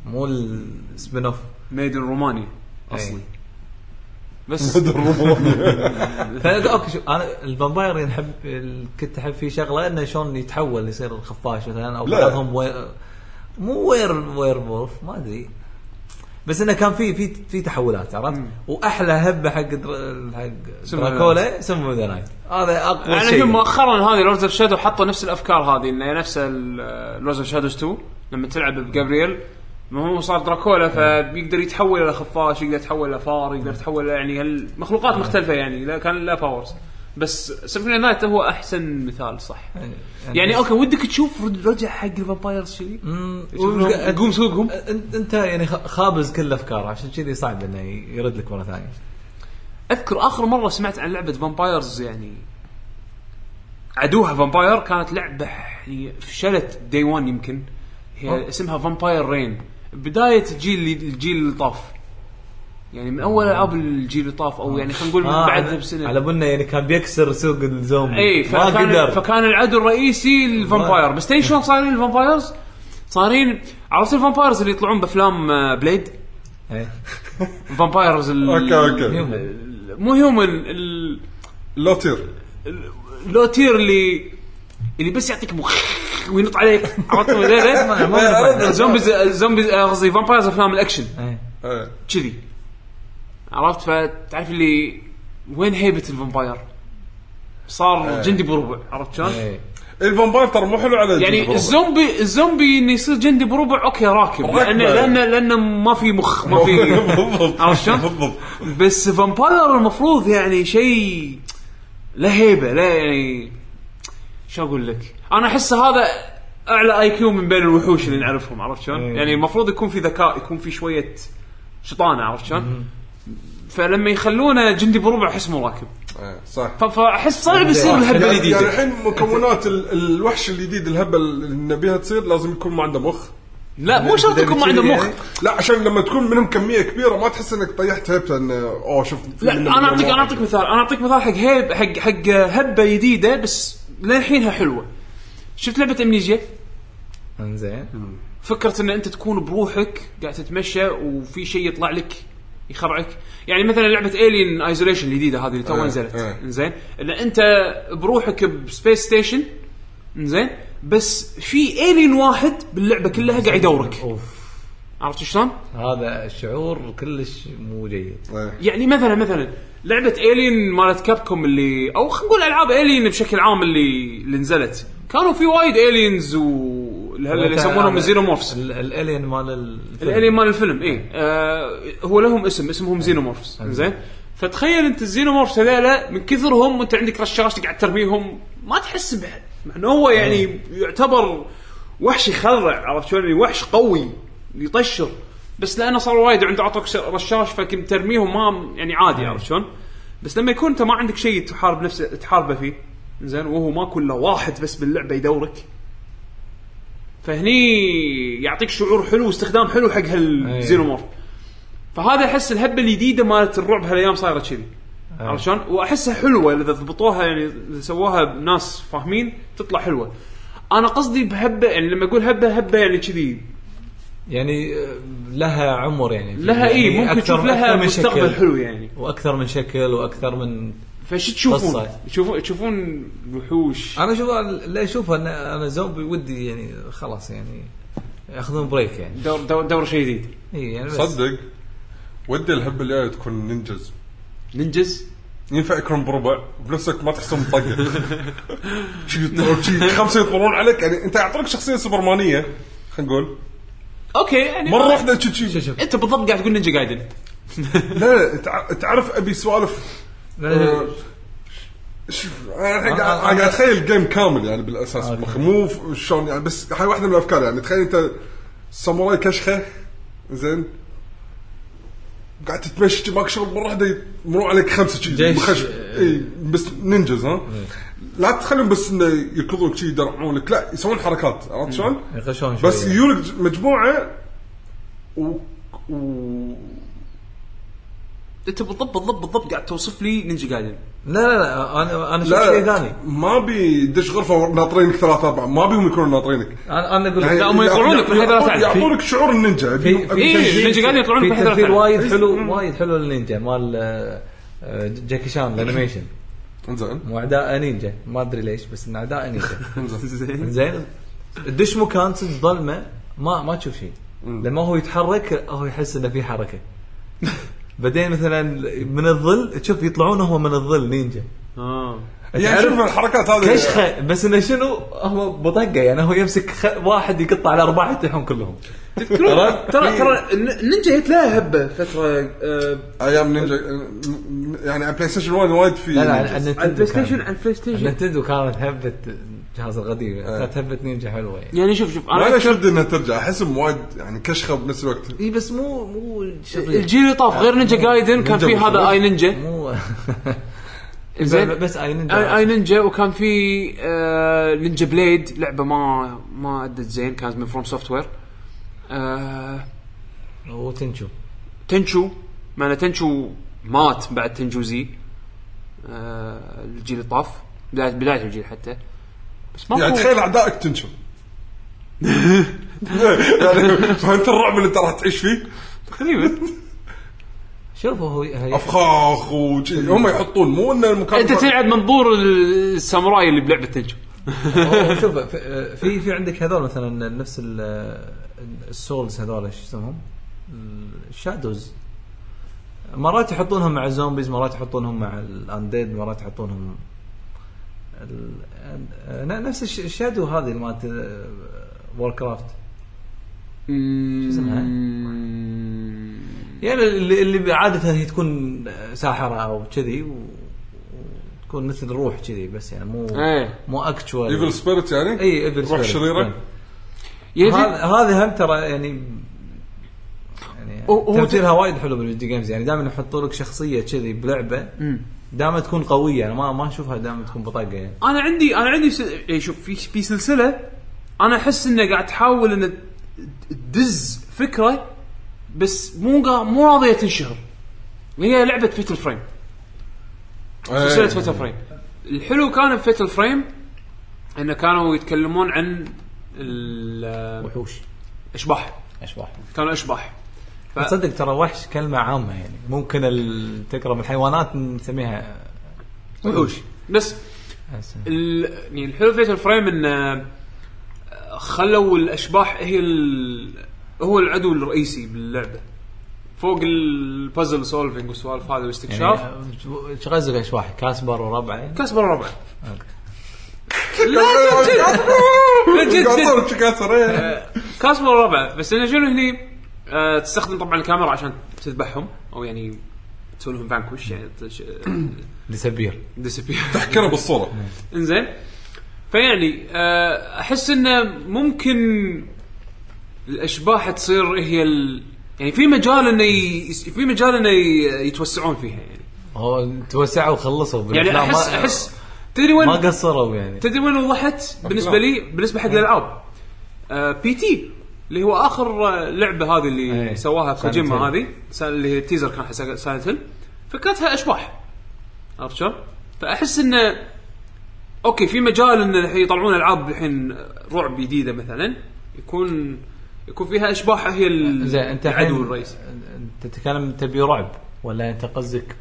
S1: مو السبين اوف
S2: ميدن رومانيا
S1: إيه.
S2: اصلي بس [LAUGHS]
S1: فأنا- اوكي شوف انا الفامباير ينحب ال- كنت احب فيه شغله انه شلون يتحول يصير خفاش مثلا او
S3: لا.
S1: بعضهم وير مو وير وير وولف ما ادري بس انه كان في في في تحولات عرفت؟ واحلى هبه حق در... حق
S2: سم أوف ذا
S1: دراكولا سم ذا نايت هذا اقوى
S2: انا
S1: شيء
S2: الحين مؤخرا هذه لورد اوف شادو حطوا نفس الافكار هذه انه نفس لورد اوف شادوز 2 لما تلعب بجابرييل ما هو صار دراكولا فبيقدر يتحول الى خفاش يقدر يتحول الى فار يقدر يتحول إلى يعني هالمخلوقات مختلفه يعني لا كان لا باورز بس سيمفوني نايت هو احسن مثال صح يعني اوكي ودك تشوف رجع حق الفامبايرز شذي
S1: مم،
S2: يشوفونهم
S1: وش-
S2: يقوم سوقهم.
S1: انت انت يعني خ- خابز كل الافكار عشان كذي صعب انه يرد لك مره ثانيه
S2: اذكر اخر مره سمعت عن لعبه فامبايرز يعني عدوها فامباير كانت لعبه يعني فشلت دي 1 يمكن هي
S1: أوه.
S2: اسمها فامباير رين بدايه الجيل اللي- الجيل اللي طاف يعني من اول العاب الجيل اللي طاف او يعني خلينا نقول من
S1: آه،
S2: بعدها
S1: على-
S2: بسنه
S1: على بنا يعني كان بيكسر سوق الزومبي
S2: اي
S1: ما
S2: إيه، فكان
S1: قدر
S2: فكان العدو الرئيسي الفامباير بس تدري شلون صايرين الفامبايرز؟ صايرين عرفت الفامبايرز اللي يطلعون بافلام آه، بليد
S1: إيه.
S2: فامبايرز ال-
S3: اوكي اوكي
S1: يوم.
S2: ال- مو هيومن ال-
S3: لوتير
S2: اللوتير اللي اللي بس يعطيك مخ وينط عليك
S1: [LAUGHS]
S2: عرفت
S1: ما- ما أعرف.
S2: ليه؟ زومبيز زومبيز آه، قصدي فامبايرز افلام الاكشن
S1: إيه.
S3: إيه.
S2: كذي عرفت فتعرف اللي وين هيبه الفامباير؟ صار جندي بربع عرفت شلون؟
S1: إيه.
S3: الفامباير ترى مو حلو على الجنوب
S2: يعني
S3: والله.
S2: الزومبي الزومبي انه يصير جندي بربع اوكي راكب لان
S3: راكبة.
S2: لان لانه ما في مخ ما
S1: [LAUGHS]
S2: في
S3: [LAUGHS] بالضبط
S2: عرفت شلون؟
S3: بالضبط
S2: بس فامباير المفروض يعني شيء له هيبه لا يعني شو اقول لك؟ انا احس هذا اعلى اي كيو من بين الوحوش اللي نعرفهم عرفت شلون؟
S1: إيه.
S2: يعني المفروض يكون في ذكاء يكون في شويه شطانه عرفت شلون؟ فلما يخلونه جندي بربع احس مو راكب
S3: إيه، صح
S2: ف- فاحس صعب يصير الهبه
S3: يعني يعني
S2: الجديده
S3: الحين مكونات ال- الوحش الجديد الهبه اللي نبيها تصير لازم يكون ما عنده مخ
S2: لا مو شرط يكون ما عنده مخ
S3: يعني. لا عشان لما تكون منهم كميه كبيره ما تحس انك طيحت هبته انه اوه شوف في
S2: لا
S3: منهم
S2: انا اعطيك
S3: واحد.
S2: انا اعطيك مثال انا اعطيك مثال حق هيب حق حق هبه جديده بس للحينها حلوه شفت لعبه امنيجيا
S1: انزين
S2: فكره ان انت تكون بروحك قاعد تتمشى وفي شيء يطلع لك يخرعك يعني مثلا لعبه الين ايزوليشن الجديده هذه اللي تو
S3: إيه،
S2: نزلت
S3: إيه.
S2: زين ان انت بروحك بسبيس ستيشن زين بس في الين واحد باللعبه كلها قاعد يدورك
S1: اوف
S2: عرفت شلون؟
S1: هذا الشعور كلش مو جيد
S3: إيه.
S2: يعني مثلا مثلا لعبه الين مالت كابكوم اللي او خلينا نقول العاب الين بشكل عام اللي اللي نزلت كانوا في وايد الينز و اللي يسمونهم زينومورفز
S1: ال- الالين مال الفيلم.
S2: الالين مال الفيلم اي آه هو لهم اسم اسمهم زينومورفز زين فتخيل انت الزينومورفز هذول من كثرهم وانت عندك رشاش قاعد ترميهم ما تحس بحد مع انه هو يعني يعتبر وحش يخرع عرفت شلون يعني وحش قوي يطشر بس لانه صار وايد عنده عطوك ش- رشاش فكنت ترميهم ما يعني عادي عرفت شلون بس لما يكون انت ما عندك شيء تحارب نفسه تحاربه فيه زين وهو ما كله واحد بس باللعبه يدورك فهني يعطيك شعور حلو واستخدام حلو حق هالزينومورف فهذا احس الهبه الجديده مالت الرعب هالايام صايره كذي
S1: آه.
S2: عرفت شلون؟ واحسها حلوه اذا ضبطوها يعني إذا سووها بناس فاهمين تطلع حلوه. انا قصدي بهبه يعني لما اقول هبه هبه يعني كذي
S1: يعني آه، لها عمر يعني
S2: لها
S1: يعني
S2: اي ممكن
S1: أكثر-
S2: تشوف لها
S1: أكثر من
S2: مستقبل
S1: شكل.
S2: حلو يعني
S1: واكثر من شكل واكثر من
S2: فش تشوفون؟
S1: قصة.
S2: تشوفون تشوفون وحوش
S1: انا اشوف لا اشوف انا انا زومبي ودي يعني خلاص يعني ياخذون بريك يعني
S2: دور دور, دور شيء جديد
S1: اي يعني بس
S3: صدق ودي الهبه الجايه تكون نينجز
S2: ننجز
S3: ينفع يكون بربع بنفسك ما تحسهم مطقه [LAUGHS] شي يطلعون شي خمسه يطلعون عليك يعني انت اعطيك شخصيه سوبرمانيه خلينا نقول
S2: اوكي يعني
S3: مره واحده شي- شي
S1: شوف شوف
S2: انت بالضبط قاعد تقول نينجا جايدن
S3: لا لا تع- تعرف ابي سوالف
S1: لا،
S3: آه،
S1: لا،
S2: أه.
S3: شوف، انا الحين قاعد أنا قاعد اتخيل جيم يعني كامل يعني بالاساس بمخي مو ف- شلون يعني بس هاي واحده من الافكار يعني تخيل انت ساموراي كشخه زين قاعد تتمشى ماك شغل مره واحده يت- مروا عليك خمسه شي
S1: جيش.
S3: بخش اي بس ننجز ها لا تخليهم بس انه يركضونك شي يدرعونك لا يسوون حركات عرفت شلون؟
S1: يخشون شوي
S3: بس يجونك ج- مجموعه و... و...
S2: انت بالضبط بالضبط بالضبط قاعد توصف لي نينجا جايدن
S1: لا لا لا انا انا شفت
S3: لا
S1: شيء ثاني
S3: ما بي دش غرفه ناطرينك ثلاث اربع ما بيهم يكونوا ناطرينك
S1: انا انا اقول لك
S3: يعني
S2: هم يطلعونك
S3: يعطون-
S2: من هذا لا تعرف.
S3: يعطونك شعور النينجا
S1: في في
S2: إيه،
S1: تمثيل-
S2: النينجا قاعدين يطلعون
S1: في
S2: بحذر
S1: تمثيل
S2: ثاني.
S1: وايد حلو وايد حلو للنينجا مال آه، آه، جاكي شان الانيميشن
S3: زين
S1: مو اعداء نينجا ما ادري ليش بس ان اعداء نينجا
S2: زين
S1: زين تدش مكان صدق ظلمه ما ما تشوف شيء لما هو يتحرك هو يحس انه في حركه بعدين مثلا من الظل تشوف يطلعون هم من الظل نينجا
S2: اه
S3: يعني شوف الحركات هذه
S1: كشخه بس انه شنو هم بطقه يعني هو يمسك خ... واحد يقطع على اربعه يطيحون كلهم
S2: ترى ترى ترى النينجا جت لها هبه فتره آه،
S3: ايام نينجا يعني على بلاي ستيشن 1 وايد في
S1: لا لا عن- عن
S3: نينجاز.
S2: على
S1: نينتندو
S2: البلاي ستيشن
S1: كان-
S2: على البلاي
S1: عن
S2: ستيشن
S1: نينتندو كانت هبه جهاز القديم كانت هبه نينجا حلوه يعني
S2: يعني شوف شوف
S3: ما
S2: انا
S3: انا
S2: أذكر
S3: شد انها ترجع احسهم وايد يعني كشخه بنفس الوقت
S1: اي بس مو مو شرير
S2: الجيل اللي طاف غير نينجا جايدن كان في
S1: نينجا
S2: هذا اي نينجا
S1: مو [LAUGHS]
S2: زين
S1: بس اي
S2: اي
S1: نينجا
S2: آي نينجا وكان في آه، نينجا بليد لعبه ما ما ادت زين كانت من فروم سوفت وير
S1: وتنشو
S2: تنشو معنا تنشو مات بعد تنشو زي آه، الجيل اللي طاف بدايه بدايه الجيل حتى بس
S3: يعني
S2: ماكو
S3: تخيل اعدائك تنشر [LAUGHS] يعني فهمت الرعب اللي انت راح تعيش فيه
S2: تقريبا
S1: شوفوا هو هي-
S3: افخاخ وشي هم يحطون مو ان المكان
S2: انت تلعب منظور الساموراي اللي بلعبه تنشو
S1: هو- هو شوف في- في في عندك هذول مثلا نفس ال- السولز هذول شو اسمهم؟ الشادوز مرات يحطونهم مع الزومبيز مرات يحطونهم مع الانديد مرات يحطونهم ال- ن- نفس الش- الشادو هذه مالت وور كرافت اسمها؟ يعني اللي اللي عاده هي تكون ساحره او كذي و- وتكون مثل روح كذي بس يعني مو
S2: ايه.
S1: مو اكتشوال
S3: ايفل سبيريت يعني
S1: اي ايفل
S3: روح
S1: إيه، spirit.
S3: شريره
S2: يجي
S1: هذا هذا هم ترى يعني يعني
S2: هو- هو
S1: تمثيلها وايد حلو بالفيديو جيمز يعني دائما يحطوا لك شخصيه كذي بلعبه دائما تكون قويه انا ما ما اشوفها دائما تكون بطاقه يعني
S2: انا عندي انا عندي سل... إيه شوف في في سلسله انا احس انه قاعد تحاول انه تدز فكره بس مو قا... مو راضيه تنشهر هي لعبه فيتل فريم
S1: نعم.
S2: سلسله فيتل فريم الحلو كان بفيتل فريم انه كانوا يتكلمون عن ال-
S1: وحوش
S2: الاشباح
S1: اشباح
S2: كانوا اشباح ف-
S1: تصدق ترى وحش كلمه عامه يعني ممكن ال- تكرم الحيوانات نسميها
S2: وحوش بس ال- يعني الحلو في فيتل فريم انه خلوا الاشباح هي ال... هو العدو الرئيسي باللعبه فوق البازل سولفنج والسوالف هذه والاستكشاف يعني
S1: ايش غزق اشباح كاسبر وربعه يعني
S2: كسبر ربع جد.
S3: قاطر شكاسر إيه.
S2: كاسبر ربع بس انه شنو هني آه تستخدم طبعا الكاميرا عشان تذبحهم او يعني تسوي لهم فانكوش يعني
S1: لسبير
S2: ديسبير
S3: تحكرها بالصوره
S2: انزين فيعني آه، احس انه ممكن الاشباح تصير هي ال... يعني في مجال انه ي... في مجال انه ي- يتوسعون فيها يعني
S1: هو توسعوا وخلصوا
S2: يعني
S1: بالأفلام.
S2: احس
S1: ما-
S2: احس تدري
S1: ما
S2: وين
S1: قصروا يعني
S2: تدري وين وضحت بالنسبه لي بالنسبه
S1: أه.
S2: حق الالعاب آه، بي تي اللي هو اخر آه، لعبه هذه اللي
S1: أي.
S2: سواها
S1: إيه. Silent
S2: كوجيما
S1: Hill.
S2: هذه سا- اللي هي التيزر كان حق سايلنت هيل فكرتها اشباح عرفت شلون؟ فاحس انه اوكي في مجال ان الحين يطلعون العاب الحين رعب جديده مثلا يكون يكون فيها اشباح هي ال-
S1: إيه، زين انت الحين
S2: العدو الرئيسي
S1: انت تتكلم تبي رعب ولا انت قصدك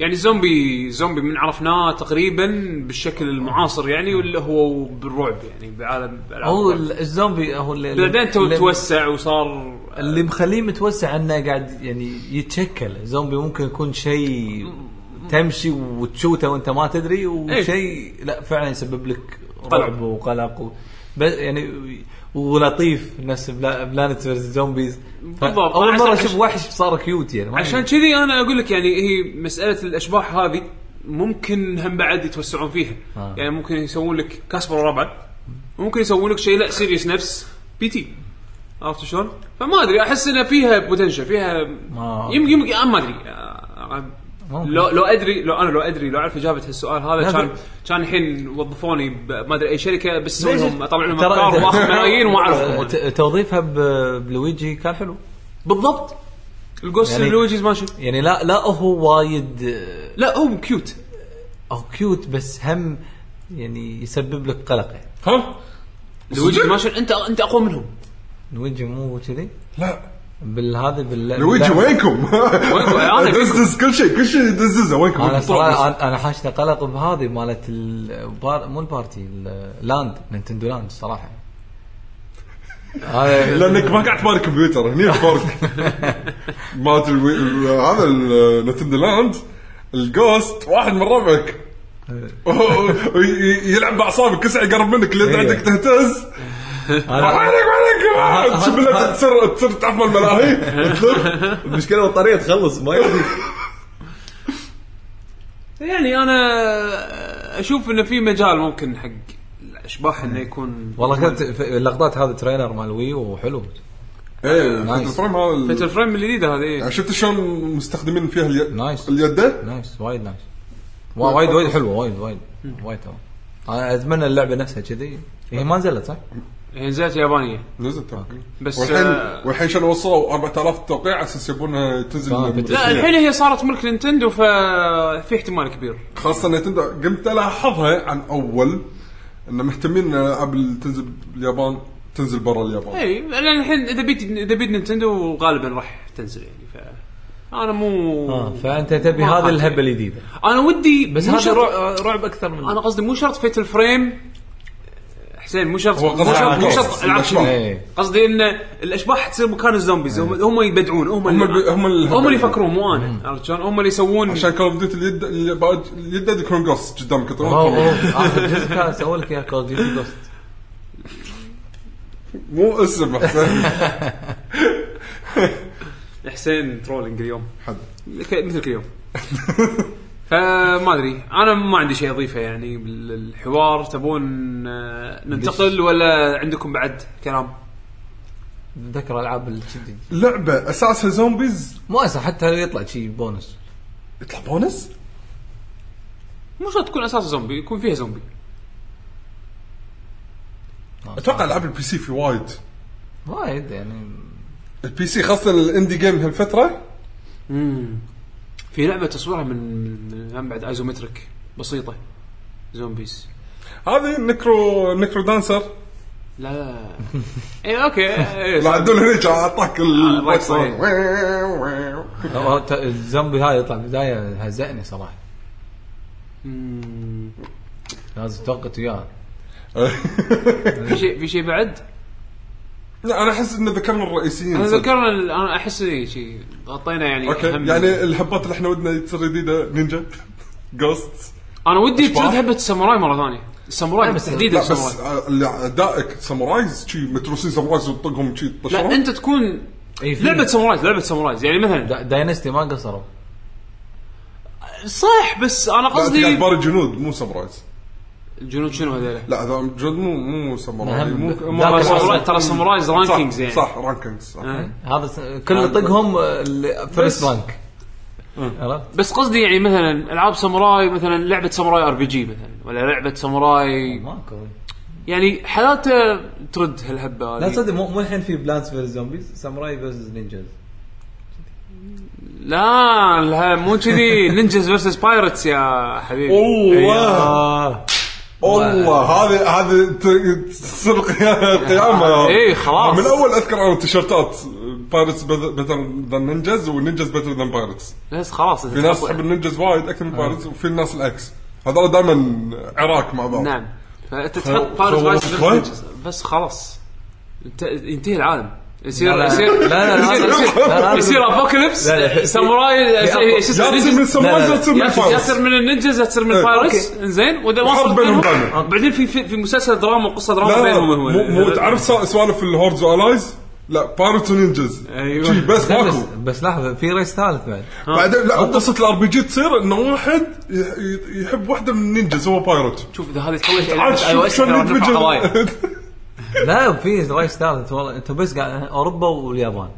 S2: يعني الزومبي زومبي من عرفناه تقريبا بالشكل المعاصر
S1: إيه.
S2: يعني واللي هو بالرعب يعني بعالم ألعاب
S1: هو
S2: الرعب.
S1: ال- الزومبي هو اللي
S2: بعدين تو-
S1: اللي-
S2: توسع وصار
S1: اللي مخليه متوسع انه قاعد يعني يتشكل الزومبي ممكن يكون شيء تمشي وتشوته وانت ما
S2: إيه.
S1: تدري وشيء لا فعلا يسبب لك رعب وقلق و... ب- يعني ولطيف نفس بلا... بلانت فيرز زومبيز ف-
S2: بالضبط.
S1: اول
S2: عشان-
S1: مره اشوف وحش صار كيوت يعني ما
S2: عشان كذي انا اقول لك يعني هي مساله الاشباح هذه ممكن هم بعد يتوسعون فيها
S1: آه.
S2: يعني ممكن يسوون لك كاسبر وربع ممكن يسوون لك شيء لا سيريس نفس بي تي عرفت شلون؟ فما ادري احس ان فيها بوتنشل فيها
S1: آه.
S2: يمكن يمكن أنا ما ادري آه،
S1: ممكن.
S2: لو لو ادري لو انا لو ادري لو اعرف اجابه هالسؤال هذا
S1: لا،
S2: كان
S1: لا.
S2: كان الحين وظفوني ب- ما ادري اي شركه بس اسوي
S1: ليش؟
S2: لهم اطلع لهم
S1: ترى- [LAUGHS]
S2: افكار واخذ ملايين
S1: ت-
S2: واعرفهم
S1: توظيفها ب- بلويجي كان حلو
S2: بالضبط الجوست
S1: يعني-
S2: البلوجيز ماشي
S1: يعني لا لا هو وايد آه،
S2: لا هو كيوت
S1: او كيوت بس هم يعني يسبب لك قلق يعني
S3: ها
S2: لويجي ماشون انت انت اقوى منهم
S1: لويجي مو كذي
S3: لا
S1: بالهذا بال
S3: لويجي وينكم؟
S2: أنا فيكم.
S3: دز دز كل شيء كل شيء دز دزه وينكم؟
S1: انا
S3: بالطرق بس.
S1: صراحه أنا- انا حاشته قلق بهذه مالت البار... مو البارتي اللاند نينتندو لاند الصراحه هذا
S3: لانك ما قاعد تباري كمبيوتر هني [LAUGHS] الفرق مالت الوي- ال- هذا النتندو لاند الجوست واحد من ربعك و- و- ي- يلعب باعصابك كل ساعه يقرب منك لين
S1: إيه.
S3: عندك تهتز
S1: هذا-
S3: وينك
S1: هذا-
S3: وينك
S1: هذا-
S3: تشب لها تصير تصير تعفن الملاهي
S5: المشكله بالطريقه تخلص ما يرضي
S2: يعني انا اشوف انه في مجال ممكن حق الاشباح انه يكون
S1: والله كانت في اللقطات هذا تريلر مال وي وحلو
S3: ايه
S1: نايس.
S3: الفريم هذا ال-
S2: فيتل فريم الجديده هذه
S3: يعني شفت شلون مستخدمين فيها اليد
S1: نايس.
S3: اليده
S1: نايس وايد نايس وا- وايد وايد حلوه وايد وايد وايد تمام انا اتمنى اللعبه نفسها كذي هي ما نزلت صح؟
S2: هي إيه، نزلت يابانيه
S3: نزلت
S2: بس
S3: والحين
S2: آه،
S3: والحين شنو وصلوا 4000 توقيع على اساس يبونها تنزل
S1: آه،
S3: من-
S2: لا الحين هي صارت ملك نينتندو ففي احتمال كبير
S3: خاصه نتندو قمت الاحظها عن اول ان مهتمين ان الالعاب اللي تنزل باليابان تنزل برا اليابان
S2: اي لان إيه، الحين اذا بيت اذا بيت نينتندو غالبا راح تنزل يعني ف انا مو
S1: آه، فانت تبي
S2: ما
S1: هذا
S2: أدري.
S1: الهبه الجديده
S2: انا ودي بس
S1: بس هذا رعب, رعب اكثر من
S2: انا قصدي مو شرط فيتل فريم حسين مو شرط
S3: هو
S2: مو
S3: قصده
S2: شرط
S3: على
S2: مو شرط
S3: القصص،
S2: العاب
S3: الأشباح.
S2: شذي.
S1: إيه.
S2: قصدي ان الاشباح تصير مكان الزومبيز هم هم يبدعون هم
S3: هم
S2: اللي
S3: ال- هم ال-
S2: هم اللي يفكرون مو انا عرفت شلون هم اللي يسوون
S3: عشان كول اوف ديوتي اليد اليد- اليد يكون قص قدامك
S1: أوه،
S3: يطلعون.
S1: أوه، اخر جزء كان سووا لك اياه كول ديوتي جوست
S3: مو اسم احسن
S2: حسين ترولينج اليوم
S3: حد.
S2: ك- مثل
S3: [LAUGHS]
S2: كل يوم فما ادري انا ما عندي شيء اضيفه يعني بالحوار تبون آه، ننتقل ولا عندكم بعد كلام؟
S1: ذكر العاب الشدي
S3: لعبه اساسها زومبيز
S1: مو اسا حتى يطلع شيء بونس
S3: يطلع بونس
S2: مو شرط تكون اساس زومبي يكون فيها زومبي
S3: اتوقع العاب البي سي في وايد
S1: وايد يعني
S3: البي سي خاصه الاندي جيم هالفتره
S2: في لعبه تصويرها من من- من بعد ايزومتريك بسيطه زومبيز
S3: هذه نكرو نكرو دانسر
S2: لا
S3: [LAUGHS]
S2: لا اي اوكي إيه،
S3: لا عدول هنيك اعطاك ال-
S2: آه، الرقص، صحيح.
S1: هو ت- الزومبي هاي يطلع بدايه هزأني صراحه
S2: مم.
S1: لازم توقت وياه
S2: في شيء في شيء بعد؟
S3: [LAUGHS] لا انا احس ان ذكرنا
S2: انا
S3: الرئيسيين صدق.
S2: ذكرنا ال- انا احس إيه شيء غطينا يعني
S3: اوكي
S2: أهم-
S3: يعني الهبات اللي احنا ودنا تصير جديده نينجا [LAUGHS] جوست
S2: انا ودي
S3: أشباح؟
S2: تصير هبه الساموراي مره ثانيه الساموراي
S1: بس-
S2: تحديدا
S3: لا بس آه،
S2: الساموراي
S3: اللي اعدائك سامورايز شي متروسين سامورايز وتطقهم شي
S2: لا
S3: طشرهم
S2: انت تكون
S1: اي في
S2: لعبه سامورايز لعبه سامورايز يعني مثلا
S1: دا- داينستي ما قصروا
S2: صح بس انا
S3: قصدي
S2: قصدي
S3: اخبار الجنود مو سامورايز
S2: الجنود شنو هذول؟
S3: لا هذا الجنود مو مو ساموراي
S1: مهم.
S3: مو
S1: ذاك
S3: مو-
S2: ترى
S1: بس-
S2: ساموراي ترى سامورايز رانكينجز
S3: صح
S2: يعني
S3: صح رانكينجز صح
S2: آه.
S1: هذا س- كل طقهم فيرست رانك عرفت؟
S2: بس قصدي يعني مثلا العاب ساموراي مثلا لعبه ساموراي ار بي جي مثلا ولا لعبه ساموراي
S1: ماكو
S2: يعني حالاته ترد هالهبه هذه
S1: لا تصدق مو مو الحين في بلانس فيرس زومبيز ساموراي فيرسز نينجاز
S2: لا لا مو كذي نينجز فيرسس بايرتس يا حبيبي أيوه.
S3: والله والله هذه هذه ت- تصير قيا- قيامه
S2: [LAUGHS] إيه، خلاص.
S3: من اول اذكر انا تيشرتات بايرتس بيتر ذان نينجز والنينجز بيتر ذان بايرتس
S2: بس خلاص
S3: في ناس تحب النينجز وايد اكثر من
S2: آه.
S3: بايرتس وفي الناس العكس هذول دائما عراك مع بعض
S2: نعم فانت
S3: خل-
S2: تحط بايرتس بايرتس
S3: خلص شوي.
S2: نينجز. بس خلاص انت ينتهي العالم يصير
S1: لا،
S2: يصير
S1: لا، لا، لا،
S2: يصير-
S1: لا،
S2: يصير-
S1: لا، لا.
S2: يصير ابوكاليبس
S1: لا، لا.
S2: ساموراي شو اسمه
S3: يا تصير من
S2: نينجز-
S3: السمرايز
S1: لا،
S3: يا
S1: لا.
S3: تصير من
S2: يا تصير- يا تصير
S3: الفايرتس
S2: من النينجز يا تصير من
S3: إيه.
S2: البايرتس انزين واذا ما
S3: وحرب
S2: صارت
S3: بينهم
S2: بينهم-
S3: دايما.
S2: بعدين في في في مسلسل دراما قصه
S3: لا
S2: دراما
S3: لا،
S2: بينهم
S3: مو
S2: هو
S3: مو تعرف سوا- سوالف الهوردز والايز لا بايرتس ونينجز
S2: أيوة.
S3: شي بس
S1: لا، بس
S3: ماكو
S1: بس لحظه في ريس ثالث بعد
S3: بعدين لا قصه الار بي جي تصير انه واحد يح- يحب واحده من النينجز هو بايرت
S2: شوف اذا هذه تحولت الى
S3: عاد
S2: اي او
S3: شوف
S2: اس
S3: شلون يدمج
S2: قضايا
S3: ال-
S1: لا في ريس ثالث والله انت بس قاعد اوروبا واليابان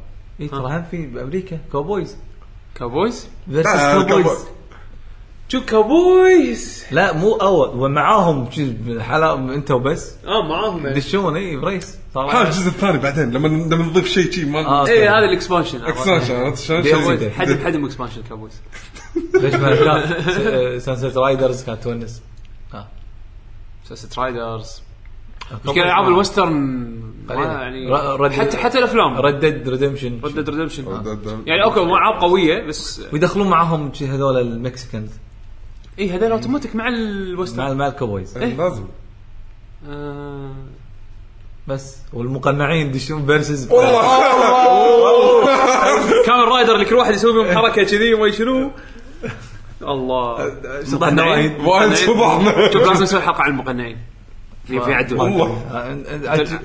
S1: اي ترى هم في بامريكا كوبويز
S2: كابويز
S1: فيرسز
S3: لا،
S1: كوبويز
S3: كوبوي.
S2: شوف كابويز
S1: لا مو اول ومعاهم شي حلا انت وبس
S2: اه معاهم يعني.
S1: دشون اي بريس
S3: هذا
S1: صار
S3: الجزء الثاني بعدين لما لما نضيف شيء شيء ما
S1: طيب. آه.
S2: ايه هذا الاكسبانشن
S3: اكسنشن عرفت شلون؟
S1: بيضيف.
S3: [LAUGHS] شيء-
S2: حجم حجم اكسبانشن كابويز
S1: ليش ما [LAUGHS] أدري؟ س- سانسيت رايدرز كانت تونس
S2: سلسله رايدرز مشكلة العاب الويسترن ما يعني
S1: ر- رد-
S2: حتى حتى الافلام ريد
S1: ردد ريدمشن
S2: ديد ريدمشن
S3: ده- ده-
S2: يعني اوكي مو العاب قويه بس
S1: ويدخلون معاهم شي هذول المكسيكنز
S2: اي هذول اوتوماتيك إيه، مع
S1: مع [LAUGHS]
S2: الويسترن
S1: مع الكوبويز
S3: إيه، لازم
S2: آه،
S1: بس والمقنعين يدشون فيرسز
S2: كامل رايدر اللي كل واحد يسوي بهم حركه كذي وما شنو الله
S1: شطحنا وايد
S3: [LAUGHS] وايد
S2: يعني
S3: صبحنا
S2: شوف لازم نسوي حلقه عن المقنعين اللي في عدول
S3: والله [LAUGHS]
S1: آه،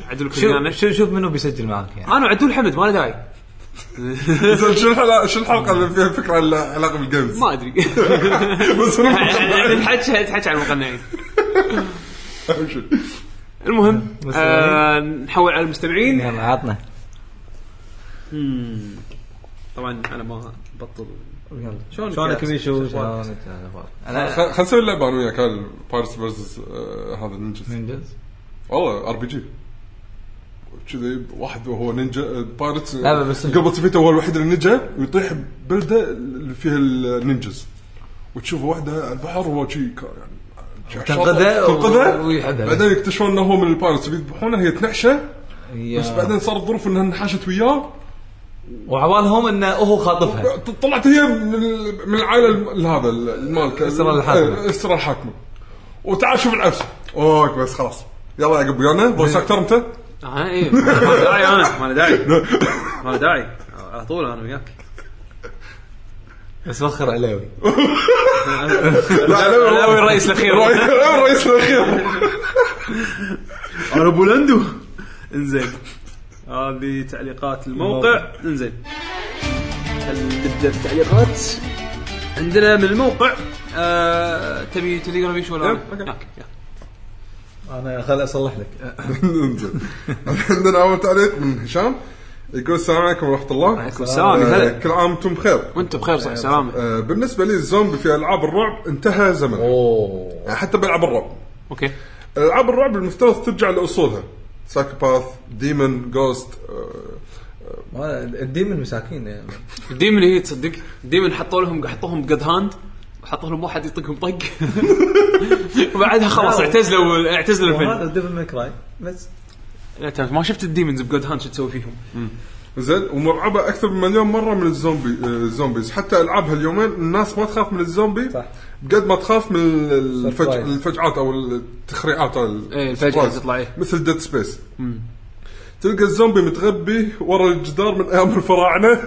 S2: عدل كل
S1: شوف
S2: جانب.
S1: شوف- شوف منو بيسجل معك يعني
S2: انا وعدول حمد ما له داعي
S3: زين، شو الحلقه شو الحلقه اللي فيها فكره عن العلاقه بالجيمز [LAUGHS]
S2: ما [LAUGHS] ادري
S3: بس أنا
S2: [LAUGHS]
S3: ما أدري.
S2: نتحكى نتحكى عن المقنعين المهم آه، نحول على المستمعين
S1: يلا عطنا
S2: طبعا انا ما بطل
S1: يلا
S2: شلونك
S1: شلونك
S2: يا
S1: بيشو
S2: أستاذ؟
S1: شلونك انا
S3: خل خل نسوي اللعبه انا وياك بايرتس فيرسز آه، هذا النينجز
S1: نينجز
S3: والله ار بي جي كذي واحد وهو نينجا بايرتس
S1: لا، بس-
S3: قبل تفيته هو الوحيد اللي نينجا ويطيح بلده اللي فيها النينجز وتشوف واحده على البحر وهو شي كا- يعني
S1: تنقذها و-
S3: تنقذها
S1: ويحبها.
S3: بعدين يكتشفون انه هو من البايرتس بيذبحونه هي تنحشه بس بعدين صارت ظروف انها انحشت وياه
S1: وعوالهم انه هو خاطفها
S3: طلعت هي من ال- من العائله الم- هذا ال- المالك
S1: الأسرة الحاكمة.
S3: إيه، الاسره الحاكمه وتعال شوف العفسه اوك بس خلاص يلا يا ويانا فويس اكتر انت
S2: انا [LAUGHS] ايه ما له داعي انا ما له [LAUGHS] داعي ما له داعي على طول انا وياك
S1: بس وخر علاوي
S3: لا لا
S2: علاوي الرئيس [LAUGHS] الأخير.
S3: لا الرئيس الاخير
S2: انا بولندو انزين هذه تعليقات الموقع انزين خل نبدا بالتعليقات عندنا من الموقع آه، تبي تليجرام ايش ولا
S3: يب، أوكي.
S2: ياك، ياك.
S1: انا خل اصلح لك
S3: انزين عندنا اول تعليق من هشام يقول السلام عليكم ورحمه الله
S2: وعليكم السلام، يا هلا.
S3: آه، كل عام وانتم بخير
S2: وانت بخير صحة سلامة
S3: آه، بالنسبه لي الزومبي في العاب الرعب انتهى زمنه
S1: اوه
S3: يعني حتى بالعاب الرعب
S2: اوكي
S3: العاب الرعب المفترض ترجع لاصولها سايكوباث ديمون جوست آه،
S1: الديمن مساكين يعني
S2: الديمن هي تصدق الديمن حطوا لهم حطوهم قد هاند وحط لهم واحد يطقهم طق [LAUGHS] وبعدها خلاص اعتزلوا اعتزلوا
S1: وهذا
S2: الفيلم
S1: ديفل ماي كراي [LAUGHS] بس
S2: لا ترى ما شفت الديمونز بجود هاند شو تسوي فيهم
S3: زين ومرعبه اكثر بمليون مره من الزومبي آه، الزومبيز حتى العاب هاليومين الناس ما تخاف من الزومبي
S1: صح.
S3: قد ما تخاف من ال- الفج...
S1: Surprise.
S3: الفجعات او التخريعات او ال-
S2: إيه، الفجعة
S3: surprise.
S2: اللي تطلع، إيه.
S3: مثل ديد سبيس تلقى الزومبي متغبي ورا الجدار من ايام الفراعنه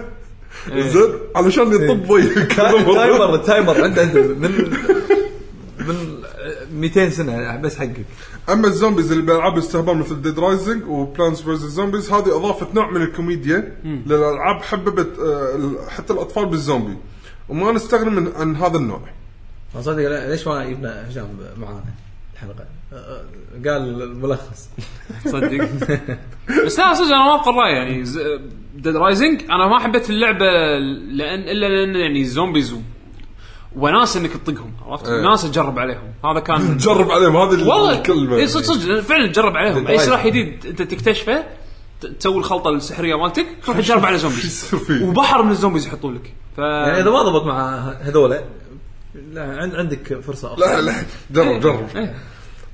S2: إيه.
S3: زين علشان يطب ضيق كل
S1: إيه. [LAUGHS] تايمر
S3: مرة.
S1: تايمر عنده عنده من من 200 سنه بس حقك
S3: اما الزومبيز اللي بالالعاب الاستهبال مثل ديد رايزنج وبلانس فيرز زومبيز هذه اضافت نوع من الكوميديا للالعاب حببت آه، ال- حتى الاطفال بالزومبي وما نستغني من عن هذا النوع [LAUGHS]
S1: ما صدق لا- ليش ما جبنا هشام معانا الحلقه أه، أه، قال الملخص
S2: تصدق بس لا صدق انا ما افضل راي يعني ديد رايزنج انا ما حبيت اللعبه لان الا لان يعني الزومبيز و- وناس انك تطقهم عرفت؟
S3: إيه.
S2: وناس تجرب عليهم هذا
S3: [LAUGHS]
S2: كان
S3: جرب عليهم هذه ال-
S2: والله
S3: الكلمه
S2: اي صدق صدق فعلا تجرب عليهم اي
S1: بالرايزنج.
S2: سلاح جديد انت تكتشفه ت- تسوي الخلطه السحريه مالتك تروح تجرب
S3: [LAUGHS]
S2: على زومبيز
S3: يصير فيه؟
S2: وبحر من الزومبيز يحطوا لك ف
S1: يعني اذا ما ضبط مع هذولا لا عن- عندك فرصه اخرى
S3: لا لا جرب جرب
S2: إيه.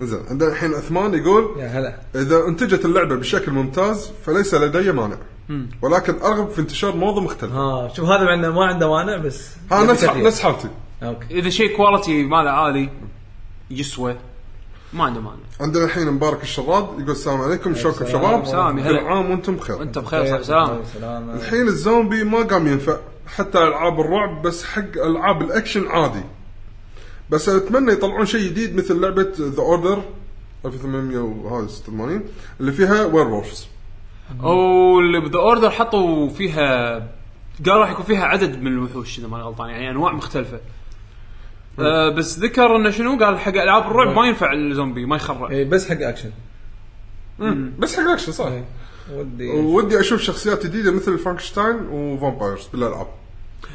S3: زين عندنا الحين عثمان يقول
S1: يا هلا
S3: اذا انتجت اللعبه بشكل ممتاز فليس لدي مانع ولكن ارغب في انتشار موضه مختلف
S1: ها شوف هذا مع انه ما عنده مانع بس
S3: ها نفس
S1: كثير.
S3: نفس حالتي
S1: اوكي
S2: اذا شيء كواليتي ماله عالي يسوى ما عنده مانع
S3: عندنا الحين مبارك الشراد يقول السلام عليكم شلونكم شباب
S2: سلام، يا هلا.
S3: كل عام وانتم بخير
S2: انت بخير صح سلام
S1: سلام
S3: الحين الزومبي ما قام ينفع حتى العاب الرعب بس حق العاب الاكشن عادي بس اتمنى يطلعون شيء جديد مثل لعبه ذا اوردر 1886 اللي فيها وير وولفز
S2: واللي بذا اوردر حطوا فيها قال راح يكون فيها عدد من الوحوش اذا ماني غلطان يعني انواع مختلفه آه بس ذكر انه شنو قال حق العاب الرعب ما ينفع الزومبي ما يخرع
S1: إيه، بس حق اكشن
S3: بس حق الاكشن صح
S1: ودي
S3: ودي اشوف شخصيات جديده مثل فرانكشتاين وفامبايرز بالالعاب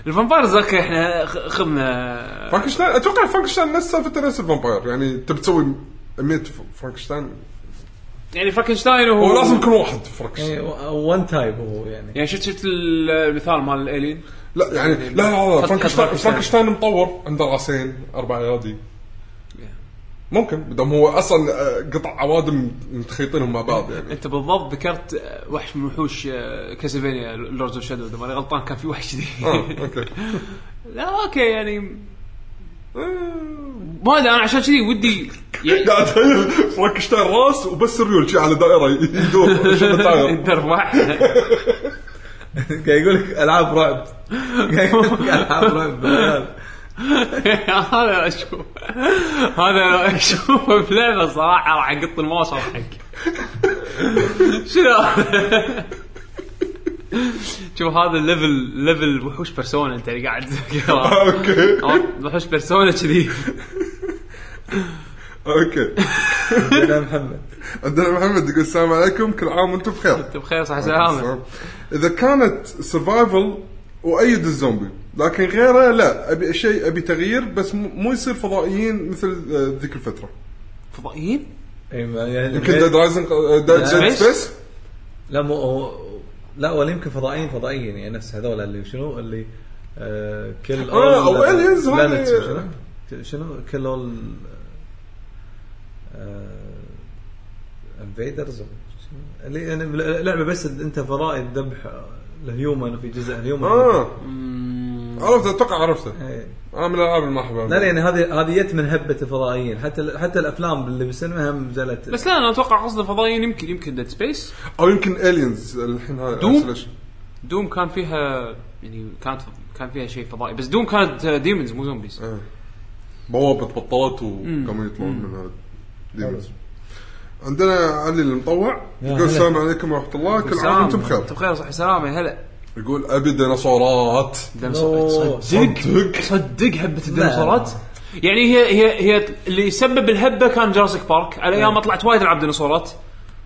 S2: الفامبايرز اوكي احنا خ- خذنا
S3: فرانكشتاين اتوقع فرانكشتاين نفس سالفته نفس الفامباير يعني تبي تسوي 100 فرانكشتاين
S2: يعني فرانكنشتاين هو
S3: هو لازم يكون واحد
S1: إيه،
S3: فرانكشتاين
S1: وان تايب هو يعني
S2: يعني شفت شفت المثال مال الالين
S3: لا يعني لا لا لا
S2: حط-
S3: فرانكشتاين
S2: حط
S3: فرانكشتاين مطور عنده راسين اربع ايادي ممكن دام هو اصلا آه، قطع عوادم متخيطينهم مع بعض يعني
S2: انت بالضبط ذكرت آه، وحش من وحوش آه، كاسلفينيا لوردز اوف شادو اذا ماني غلطان كان في وحش
S3: اه
S2: كذي
S3: اوكي
S2: [LAUGHS] لا اوكي يعني آه، ما ادري انا عشان كذي ودي يعني
S3: قاعد اتخيل فرانكشتاين راس وبس الريول شي على دائره يدور شنو
S2: [LAUGHS]
S3: تاير
S2: الدروع
S1: قاعد يقول لك العاب رعب قاعد يقول لك العاب رعب
S2: هذا اشوف هذا لو اشوفه بلعبه صراحه راح اقط الماوس واضحك [LAUGHS] شنو [LAUGHS] هذا؟ شوف هذا ليفل ليفل وحوش بيرسونا انت اللي قاعد
S3: [LAUGHS]
S2: تذكره
S3: اوكي
S2: أو وحوش بيرسونا كذي
S3: اوكي
S1: يا محمد
S3: عندنا محمد يقول السلام عليكم كل عام وانتم بخير
S2: انت بخير صح
S3: [LAUGHS]
S2: سلامة
S3: اذا كانت سرفايفل وايد الزومبي لكن غيره لا ابي شيء ابي تغيير بس مو مو يصير فضائيين مثل آه، ذيك الفتره
S2: فضائيين؟
S1: إيه، ما- يعني
S3: يمكن ديد رايزنج ديد
S2: Space؟
S3: سبيس
S1: لا مو هو- لا ولا يمكن فضائيين فضائيين يعني نفس هذول اللي شنو اللي آه، كل
S3: آه،
S1: all
S3: أو aliens
S1: planets
S3: هذه-
S1: شنو؟ ك- شنو كل اول آه، انفيدرز اللي يعني بل- لعبه بس انت فضائي تذبح الهيومن إيه. وفي جزء هيومن
S3: اه عرفته اتوقع عرفته انا من الالعاب اللي ما احبها
S1: لا لا يعني هذه هذه جت من هبه الفضائيين حتى ال- حتى الافلام اللي بالسينما هم نزلت
S2: بس لا انا اتوقع قصده فضائيين يمكن يمكن ديد سبيس
S3: او يمكن الينز الحين هاي
S2: Doom؟
S3: Isolation.
S2: دوم كان فيها يعني كانت كان فيها شيء فضائي بس دوم كانت ديمونز مو زومبيز
S3: إيه. بوابه بطلت وقاموا يطلعون من هذا Demons. عندنا علي المطوع يقول
S1: هلا.
S3: السلام عليكم ورحمه الله كل عام وانتم بخير
S2: انتم بخير صح سلامة يا هلا
S3: يقول ابي ديناصورات
S1: أوه.
S2: صدق صدق هبه الديناصورات يعني هي هي هي اللي سبب الهبه كان جراسيك بارك على ايام ما طلعت وايد العاب ديناصورات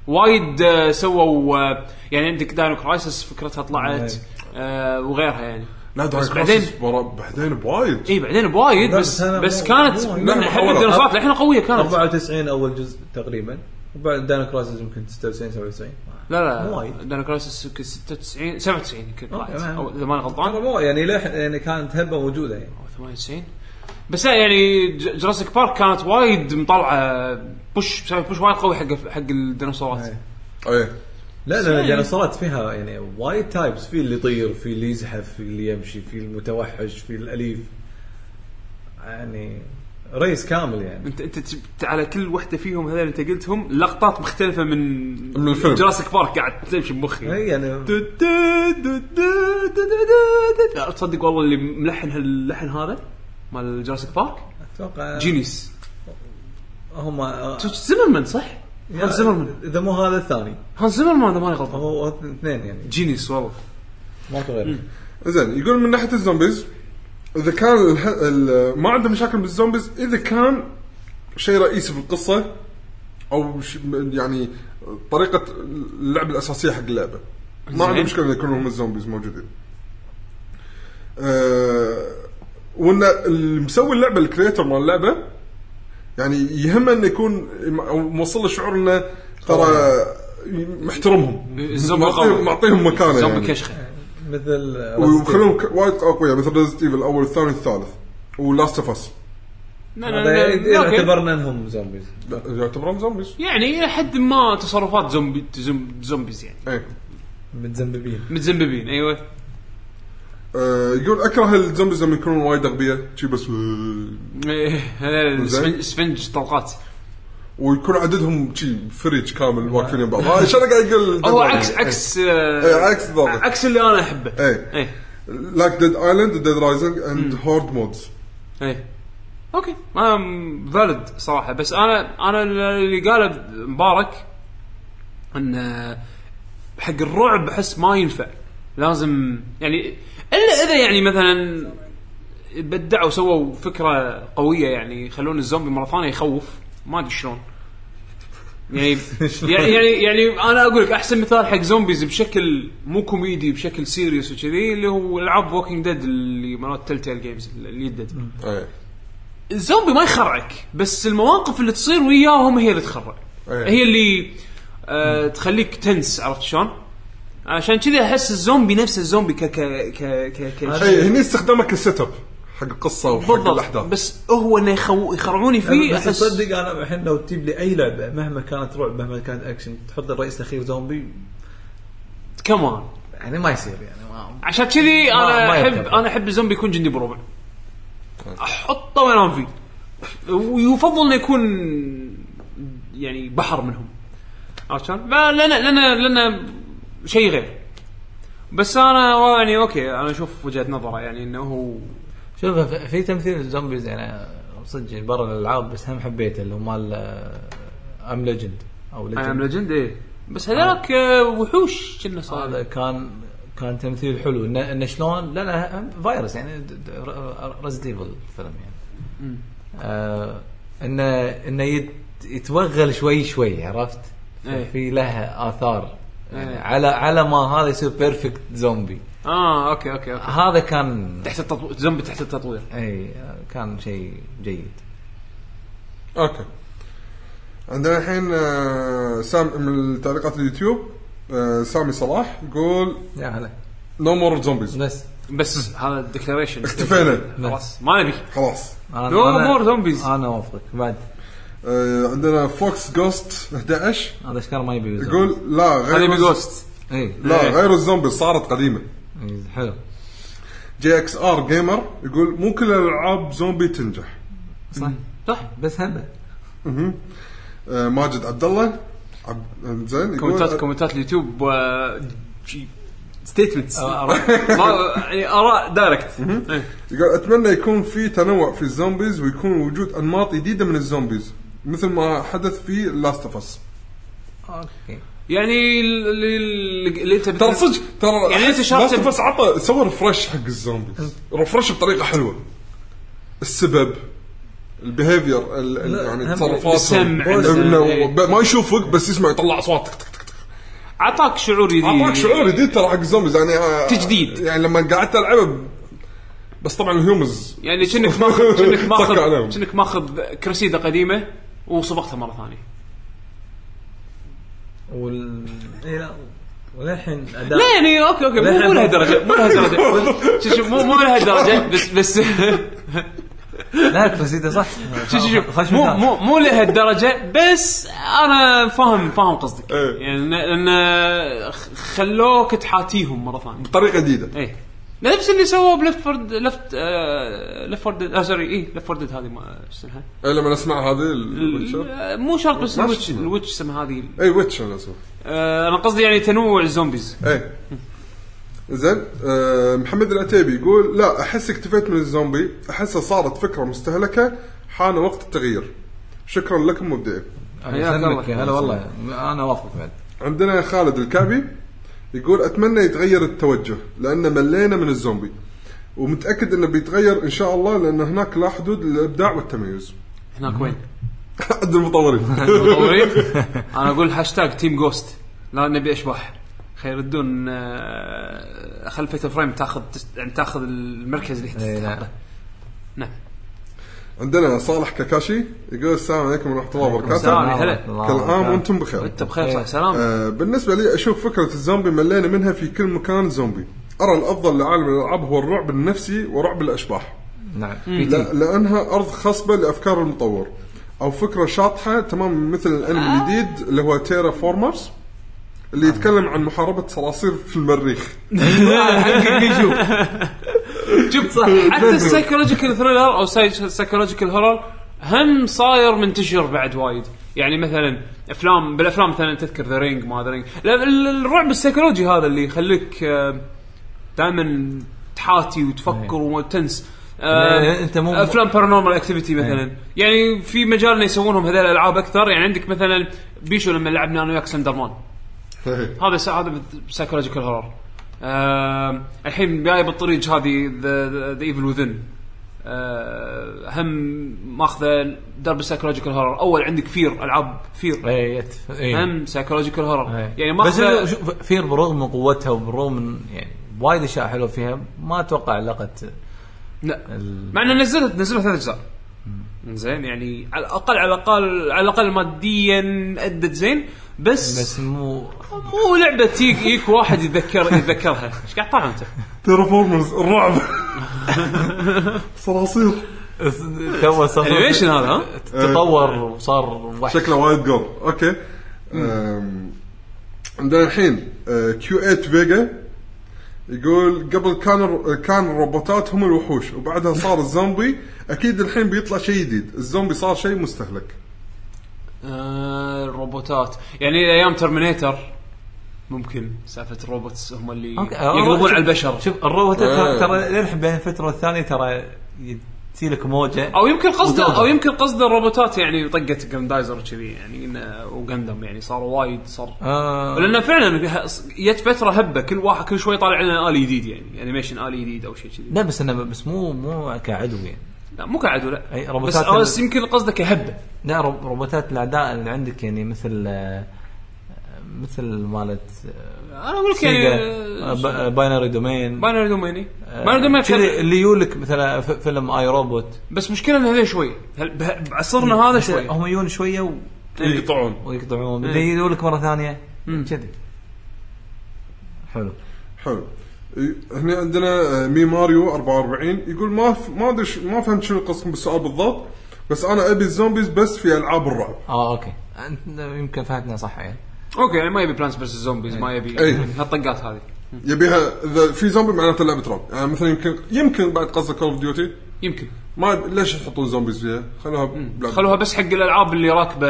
S2: وايد آه، سووا آه، يعني عندك داينو كرايسس فكرتها طلعت آه، وغيرها يعني
S3: لا
S2: بس
S3: دراجون
S2: بعدين-
S3: بعدين بعدين بوايد
S2: اي بعدين بوايد
S1: لا،
S2: بس
S1: بس أنا
S2: بس
S1: مو-
S2: كانت
S1: مو-
S2: من
S3: لا،
S2: هبه
S3: محاولة.
S2: الديناصورات للحين قويه كانت
S1: 94 اول جزء تقريبا وبعد داينو كرايسز يمكن 96 97
S2: لا
S1: مو
S2: لا
S1: وايد.
S2: دانو كرايسس يمكن 96 97 يمكن
S1: أوكي،
S2: طلعت.
S1: ما-
S2: او اذا ماني
S1: انا
S2: غلطان
S1: مو يعني للحين يعني كانت هبه موجوده يعني
S2: او 98 بس لا، يعني ج- جراسيك بارك كانت وايد مطلعه بوش مسوي بوش وايد قوي حق حق الديناصورات
S1: إيه.
S3: ايه
S1: لا
S2: يعني-
S1: لا الديناصورات فيها يعني وايد تايبس في اللي يطير في اللي يزحف في اللي يمشي في المتوحش في الاليف يعني ريس كامل يعني
S2: انت انت جبت على كل وحده فيهم هذول اللي انت قلتهم لقطات مختلفه من
S3: من الفيلم.
S2: جراسيك بارك قاعد تمشي بمخي
S1: اي يعني
S2: دو- دو- دو- دو- دو- دو- دو- دو. تصدق والله اللي ملحن هاللحن هذا مال جراسيك بارك
S1: إيه. اتوقع
S2: جينيس
S1: هم
S2: زمرمان صح؟ هانز زمرمان
S1: اذا مو هذا الثاني
S2: هانز زمرمان اذا ماني غلطان
S1: هو اثنين يعني
S2: جينيس والله
S1: ماكو غيره
S3: زين يقول من ناحيه الزومبيز اذا كان الح... ال... ما عنده مشاكل بالزومبيز اذا كان شيء رئيسي بالقصه او ش... يعني طريقه اللعب الاساسيه حق اللعبه ما عندي
S2: زين.
S3: مشكله ان يكونوا هم الزومبيز موجودين أه... وان اللي مسوي اللعبه الكريتور مال اللعبه يعني يهمه انه يكون او موصل له شعور انه ترى محترمهم
S2: الزومبي قوي.
S3: معطيهم معطيهم مكانه
S2: زومبي
S3: يعني.
S2: كشخه
S1: مثل
S3: ويخلوهم ك- وايد اقوياء مثل ريزنت ايفل الاول الثاني الثالث ولاست اوف اس
S2: لا لا
S1: هذا إيه،
S2: لا،
S1: اذا
S2: لا، أوكي.
S1: اعتبرنا انهم زومبيز
S3: يعتبرون زومبيز
S2: يعني الى حد ما تصرفات زومبي زوم- زومبيز يعني
S3: ايه
S1: متزنببين
S2: متزنببين ايوه
S3: آه، يقول اكره الزومبيز لما يكونون وايد اغبياء شي بس
S2: إيه، هذا
S3: زين.
S2: السفنج- سفنج طلقات
S3: ويكون عددهم شي فريج كامل واقفين بعض هاي شنو قاعد يقول
S2: هو عكس عكس
S3: يعني. إيه،
S2: آه،
S3: عكس ضابط
S2: عكس اللي انا احبه
S3: ايه
S2: ايه
S3: لايك ديد ايلاند ديد رايزنج اند هورد مودز
S2: ايه اوكي ما فالد صراحه بس انا انا اللي قاله مبارك ان آه، حق الرعب احس ما ينفع لازم يعني الا اذا يعني مثلا بدعوا سووا فكره قويه يعني يخلون الزومبي مره ثانيه يخوف ما ادري شلون يعني يعني يعني يعني انا اقول لك احسن مثال حق زومبيز بشكل مو كوميدي بشكل سيريس وكذي اللي هو العاب ووكينج ديد اللي مرات تيل تيل جيمز اللي ديد
S3: ايه
S2: الزومبي ما يخرعك بس المواقف اللي تصير وياهم هي اللي تخرع
S3: أيه.
S2: هي اللي آه تخليك تنس عرفت شلون؟ عشان كذي احس الزومبي نفس الزومبي ك ك ك ك ك
S3: ايه هني استخدامك السيت اب حق القصه وحق
S2: بالضبط
S3: الاحداث
S2: بس هو انه يخو يخرعوني فيه
S1: بس
S2: احس
S1: تصدق انا الحين لو تجيب لي اي لعبه مهما كانت رعب مهما كانت اكشن تحط الرئيس الاخير زومبي
S2: كمان
S1: يعني ما يصير يعني ما
S2: عشان كذي
S1: ما
S2: انا احب
S1: يركب.
S2: انا احب الزومبي يكون جندي بربع احطه وانام فيه ويفضل انه يكون يعني بحر منهم عرفت شلون؟ ما- لان لان لان شيء غير بس انا والله يعني اوكي انا اشوف وجهه نظره يعني انه هو
S1: شوف في- في تمثيل الزومبيز يعني صدق برا الالعاب بس هم حبيته اللي هو مال ام ليجند او
S2: اي ام
S1: Legend.
S2: ليجند ايه بس هذاك آه، وحوش كنا
S1: إيه. هذا
S2: صار
S1: كان كان تمثيل حلو انه إنه شلون لا لا هم فايروس يعني ريزد ايفل الفيلم يعني آه انه انه يت- يتوغل شوي شوي عرفت؟
S2: إيه.
S1: في لها اثار يعني
S2: إيه.
S1: على على ما هذا يصير بيرفكت زومبي
S2: اه اوكي اوكي اوكي
S1: هذا كان
S2: تحت التطوير زومبي تحت التطوير
S1: اي كان شيء جيد
S3: اوكي عندنا الحين آه، سام من تعليقات اليوتيوب آه، سامي صلاح يقول
S1: يا هلا
S3: نو مور زومبيز
S1: بس
S2: بس هذا الديكلاريشن
S1: [LAUGHS]
S3: اكتفينا
S2: خلاص ما نبي
S3: خلاص
S1: أنا-
S2: No
S1: أنا-
S2: more zombies.
S1: انا اوافقك بعد
S3: آه، عندنا فوكس جوست 11
S1: هذا اشكال ما يبي زومبي.
S3: يقول لا
S2: هذا
S3: غير
S2: يبي جوست
S1: اي
S3: لا غير الزومبي صارت قديمه
S1: إي، إيه، حلو
S3: جي اكس ار جيمر يقول مو كل الالعاب زومبي تنجح
S1: صح
S2: صح
S1: بس هبه
S3: مهم. آه، ماجد عبد الله عب- آه، زين
S2: كومنتات
S3: يقول
S2: كومنتات اليوتيب و ستيتمنتس [LAUGHS] يعني إيه. اراء دايركت
S3: يقول اتمنى يكون في تنوع في الزومبيز ويكون وجود انماط جديده من الزومبيز مثل ما حدث في لاست اوف اس
S1: اوكي
S2: يعني ال- ال- اللي انت
S3: ترى
S2: بت-
S3: صدق ترى
S2: يعني أنت شايف-
S3: لاست اوف اس عطى سوى ريفرش حق الزومبيز ريفرش بطريقه حلوه السبب البيهيفير ال- ال-
S1: لا،
S3: يعني
S1: هم-
S3: تصرفاتهم
S2: السمع.
S3: إنه
S2: إيه.
S3: ب- ما يشوفك بس يسمع يطلع اصوات تك تك تك تك.
S2: اعطاك شعور جديد
S3: اعطاك شعور جديد ترى حق الزومبيز يعني آه،
S2: تجديد.
S3: يعني لما قعدت العبه ب- بس طبعا الهيومز
S2: يعني كأنك ماخذ كأنك
S3: صك عليهم.
S2: ماخذ كأنك ماخذ كرسيده قديمه وصبغتها مره ثانيه
S1: وال اي لا وللحين اداء
S2: لا يعني اوكي اوكي مو مو لهالدرجه مو لهالدرجه شوف شوف مو مو لهالدرجه بس بس
S1: لا القصيده صح
S2: شوف شوف
S1: خش
S2: شوف مو
S1: مثال.
S2: مو مو لهالدرجه بس انا فاهم فاهم قصدك
S3: إيه.
S2: يعني لان لأن خلوك تحاتيهم مره ثانيه
S3: بطريقه جديده
S2: ايه نفس اللي سووه بلفت فورد لفت لفت فورد آه سوري ايه لفت فورد هذه ما شو اسمها
S3: إيه، لما اسمع هذه الويتشر
S2: ال- مو شرط بس
S3: ما
S2: الويتش
S3: شفنا.
S2: الويتش اسمها هذه
S3: اي ويتشر أنا اسمه
S2: آه انا قصدي يعني تنوع الزومبيز
S3: ايه زين آه، محمد العتيبي يقول لا احس اكتفيت من الزومبي احسها صارت فكره مستهلكه حان وقت التغيير شكرا لكم مبدئيا
S2: حياك الله.
S1: يسلمك، هلا والله انا وافق بعد
S3: عندنا خالد الكعبي يقول اتمنى يتغير التوجه لان ملينا من الزومبي ومتاكد انه بيتغير ان شاء الله لان هناك لا حدود للابداع والتميز [LAUGHS]
S2: هناك وين؟
S3: عند المطورين
S2: مطورين انا اقول هاشتاج تيم جوست لا نبي اشباح خير يردون آه، خلفيه فريم تاخذ يعني تاخذ المركز اللي
S1: إيه، نعم.
S2: تحطه. نعم
S3: عندنا صالح كاكاشي يقول السلام عليكم ورحمه الله
S2: السلام.
S3: وبركاته
S2: هلا.
S1: الله
S3: كل عام
S1: وبركاته.
S3: وانتم بخير
S2: وانت بخير صح سلام
S3: آه، بالنسبه لي اشوف فكره الزومبي ملينا منها في كل مكان زومبي ارى الافضل لعالم الالعاب هو الرعب النفسي ورعب الاشباح
S1: نعم
S3: لا لانها ارض خصبه لافكار المطور او فكره شاطحه تماما مثل الانمي الجديد اللي هو تيرا فورمرز اللي يتكلم عن محاربه صراصير في المريخ
S2: شوف
S1: [LAUGHS]
S2: حتى السايكولوجيكال ثريلر او السايكولوجيكال هورر هم صاير منتشر بعد وايد يعني مثلا افلام بالافلام مثلا تذكر ذا رينج ما ذا رينج الرعب السيكولوجي هذا اللي يخليك دائما تحاتي وتفكر وتنس آه،
S1: إيه. يعني أنت مو- إيه.
S2: افلام بارانورمال اكتيفيتي مثلا يعني في مجال انه يسوونهم هذول الالعاب اكثر يعني عندك مثلا بيشو لما لعبنا انا وياك سندر مان هذا س- هذا سايكولوجيكال هورر الحين جاي بالطريق هذه ذا ايفل وذن آه، هم ماخذه درب السايكولوجيكال هورر اول عندك فير العاب فير
S1: اي إيه، يت- اي.
S2: هم سايكولوجيكال هورر
S1: اي.
S2: يعني
S1: بس إنه
S2: ماخذه
S1: شوف فير برغم من قوتها وبرغم من يعني وايد اشياء حلوه فيها ما اتوقع لقت
S2: لا
S1: ال-
S2: مع انه نزلت نزلت ثلاث اجزاء زين يعني على الاقل على الاقل على الاقل ماديا ادت زين بس,
S1: بس مو
S2: مو لعبه تيك يجيك واحد يتذكر يتذكرها ايش قاعد
S1: [LAUGHS]
S2: طالع انت؟
S3: تيرا فورمرز الرعب صراصير
S1: تو صار-
S2: انيميشن هذا ها؟
S1: تطور وصار وحش
S3: شكله وايد جور اوكي أم، عندنا الحين آه، كيو 8 فيجا يقول قبل كان الر- كان الروبوتات هم الوحوش وبعدها صار الزومبي اكيد الحين بيطلع شيء جديد الزومبي صار شيء مستهلك
S2: آه، الروبوتات يعني ايام ترمينيتر ممكن سالفه الروبوتس هم اللي
S1: أوكي.
S2: يقلبون
S1: شوف-
S2: على البشر
S1: شوف الروبوتات
S3: إيه.
S1: ترى- ترى للحين بين فتره والثانيه ترى يجيلك موجه
S2: او يمكن قصده
S1: وتوجه.
S2: او يمكن قصده الروبوتات يعني طقت جراندايزر كذي يعني إنه- وغندم يعني صاروا وايد صار
S1: آه.
S2: لانه فعلا جت فتره هبه كل واحد كل شوي طالع لنا الي جديد يعني انيميشن الي جديد او شيء كذي
S1: لا بس انا بس مو مو كعدو يعني
S2: لا مو كعدو لا
S1: أي
S2: بس
S1: روبوتات
S2: بس يمكن قصده كهبه
S1: لا رو- روبوتات الاعداء اللي عندك يعني مثل آه، مثل مالت إيه، آه،
S2: انا اقول لك يعني
S1: سيجا باينري دومين
S2: باينري دوميني باينري دوميني
S1: آه. كذي اللي يولك مثلا ف- فيلم اي روبوت
S2: بس مشكله انه هذا شوي هل- ب- بعصرنا هذا إيه. شوي
S1: هم يجون شويه و...
S3: يقطعون
S1: ويقطعون بعدين يجولك مره ثانيه كذي حلو
S3: حلو هنا عندنا آه، مي ماريو 44 يقول ما ف... ما ادري ش- ما فهمت شنو قصدكم بالسؤال بالضبط بس انا ابي الزومبيز بس في العاب الرعب
S1: اه اوكي انت يمكن فهمتنا صح يعني
S2: اوكي يعني ما يبي بلانس فيرس زومبيز ما يبي
S3: أي.
S2: هالطقات هذه
S3: يبيها اذا في زومبي معناته لعبه رعب يعني مثلا يمكن يمكن بعد قصد كول اوف ديوتي
S2: يمكن
S3: ما ليش يحطون زومبيز فيها خلوها بلعبة.
S2: خلوها بس حق الالعاب اللي راكبه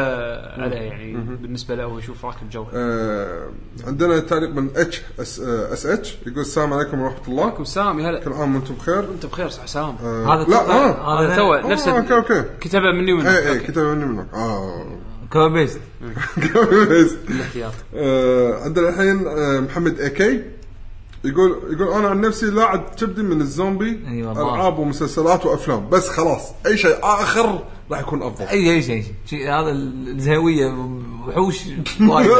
S2: عليها يعني بالنسبه له هو يشوف راكب جو
S3: آه عندنا تعليق من اتش اس اس اتش آه، يقول السلام عليكم ورحمه الله
S2: عليكم سلام يا
S3: كل
S2: هلا
S3: عام وانتم بخير
S2: انت بخير صح سلام
S3: آه
S1: هذا
S3: لا
S1: توقع-
S3: اه
S2: هذا تو نفس
S3: آه، اوكي اوكي
S2: كتبه مني ومنك
S3: اي اي
S2: أوكي.
S3: إيه، كتاب مني منك اه
S1: كوبيست
S3: [LAUGHS]
S2: احتياط.
S3: آه، عندنا الحين آه، محمد اي كي يقول يقول انا عن نفسي لاعب كبدي من الزومبي
S1: أي
S2: أيوة،
S1: والله.
S3: العاب ومسلسلات وافلام بس خلاص اي شيء اخر راح يكون افضل
S1: اي اي شيء شيء. شيء هذا الزهويه
S3: [LAUGHS]
S1: وحوش وايد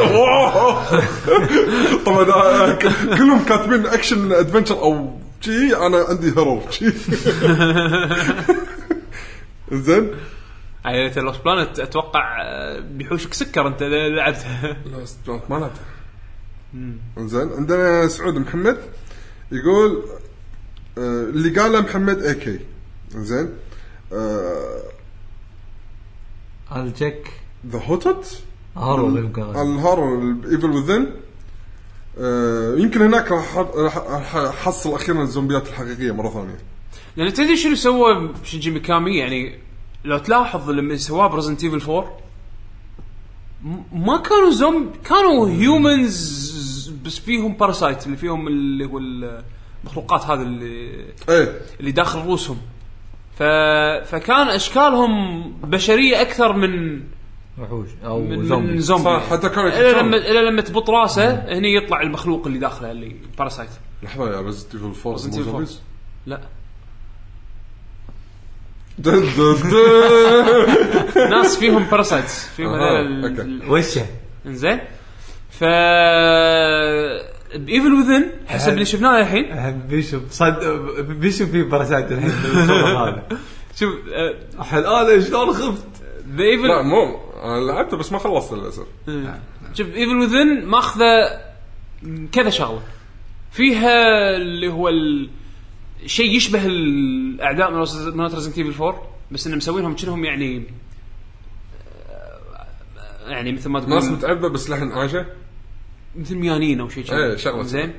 S3: طبعا آه، ك- كلهم كاتبين اكشن ادفنشر او شي انا عندي هيرو شي. [LAUGHS] زين
S2: يعني انت لوست بلانت اتوقع آه، بيحوشك سكر انت إذا لعبتها
S3: لاست بلانت ما لعبته زين عندنا سعود محمد يقول آه، اللي قاله محمد اي كي زين آه،
S1: الجك
S3: ذا هوتت
S1: هارو يمكن
S3: الهارور ايفل وذن آه، يمكن هناك راح راح- راح احصل اخيرا الزومبيات الحقيقيه مره ثانيه
S2: لان يعني تدري شنو سوى شنجي ميكامي يعني لو تلاحظ لما سواه برزنت ايفل 4 م- ما كانوا زومب كانوا هيومنز بس فيهم باراسايت اللي فيهم اللي هو المخلوقات هذه اللي
S3: ايه
S2: اللي داخل رؤوسهم ف... فكان اشكالهم بشريه اكثر من
S1: وحوش او
S2: من
S1: زومبي
S2: من زومبي
S3: صح آه، حتى كان
S2: الى إيه. لما الى لما تبط راسه هني يطلع المخلوق اللي داخله اللي باراسايت
S3: لحظه يا ريزنت ايفل 4
S2: Resident
S3: مو
S2: Evil 4.
S3: zombies؟
S2: لا
S3: [LAUGHS] دن دن
S2: [LAUGHS]
S3: دن.
S2: ناس فيهم باراسايتس فيهم
S3: أها، أوكي.
S2: هذول
S1: وشه
S2: انزين ف بايفل وذن حسب اللي شفناه الحين
S1: بيشوف صدق بيشوف في باراسايت الحين بالخبر هذا
S2: شوف آه،
S1: الحين انا شلون خفت
S2: بايفل
S3: لا مو انا لعبته بس ما خلصت للاسف
S2: شوف ايفل وذن ماخذه كذا شغله فيها اللي هو ال... شيء يشبه الاعداء من رز- من ريزنت ايفل 4 بس انه مسوينهم كأنهم يعني آه، يعني مثل ما
S3: ناس
S2: تقول
S3: متعبه بس لحن عاشه
S2: مثل ميانين او شيء كذا
S3: إيه، شغلة.
S2: زين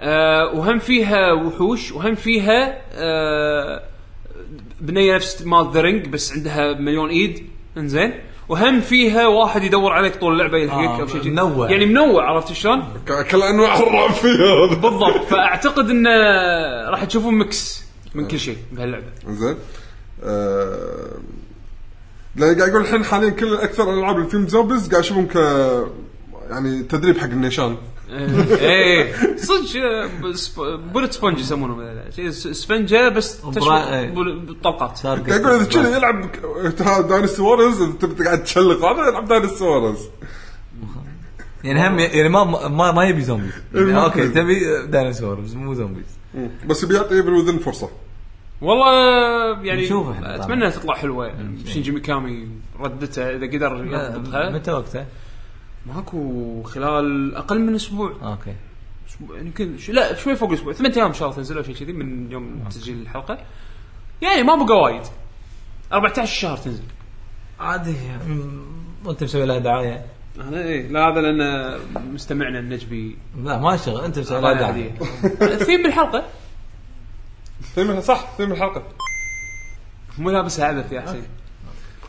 S2: آه وهم فيها وحوش وهم فيها آه بنيه نفس مال ذا رينج بس عندها مليون ايد انزين وهم فيها واحد يدور عليك طول اللعبه يلحقك
S1: آه،
S2: او شيء كذا.
S1: منوع.
S2: يعني منوع عرفت شلون؟
S3: ك- كل انواع الرعب فيها [LAUGHS] هذا.
S2: بالضبط فاعتقد انه راح تشوفون ميكس من كل شيء بهاللعبه
S3: زين آه، لا قاعد يقول الحين حاليا كل اكثر الالعاب اللي فيهم زومبيز قاعد اشوفهم ك يعني تدريب حق النيشان
S2: ايه صدق بولت سبونج يسمونه شيء س- سفنجه بس
S1: برا- إيه.
S2: تشفط بول- بالطلقات
S1: صار
S3: قاعد يقول اذا كذي يلعب [LAUGHS] داينستي وورز اذا تبي قاعد تشلق هذا يلعب داينستي وورز
S1: يعني هم يعني ما ما, ما يبي زومبي يعني اوكي تبي ديناصور بس مو زومبي
S3: بس بيعطي ايفل وذن فرصه
S2: والله يعني
S1: نشوف إحنا طبعاً.
S2: اتمنى تطلع حلوه يعني شينجي ميكامي ردته اذا قدر يضبطها
S1: متى وقته؟
S2: ماكو خلال اقل من اسبوع
S1: اوكي
S2: اسبوع يعني يمكن ش- لا شوي فوق اسبوع ثمان ايام ان شاء الله تنزل او شيء كذي من يوم
S1: آه.
S2: تسجيل الحلقه يعني ما بقى وايد 14 شهر تنزل
S1: عادي مم، انت مسوي لها دعايه
S2: انا ايه لا هذا لان مستمعنا النجبي
S1: لا ما شغل انت مسوي لها
S2: الله
S1: دعايه
S2: يهديه [LAUGHS] الثيم بالحلقه
S3: ثيم صح ثيم الحلقه
S2: مو لابسها عبث يا
S1: آه.
S2: حسين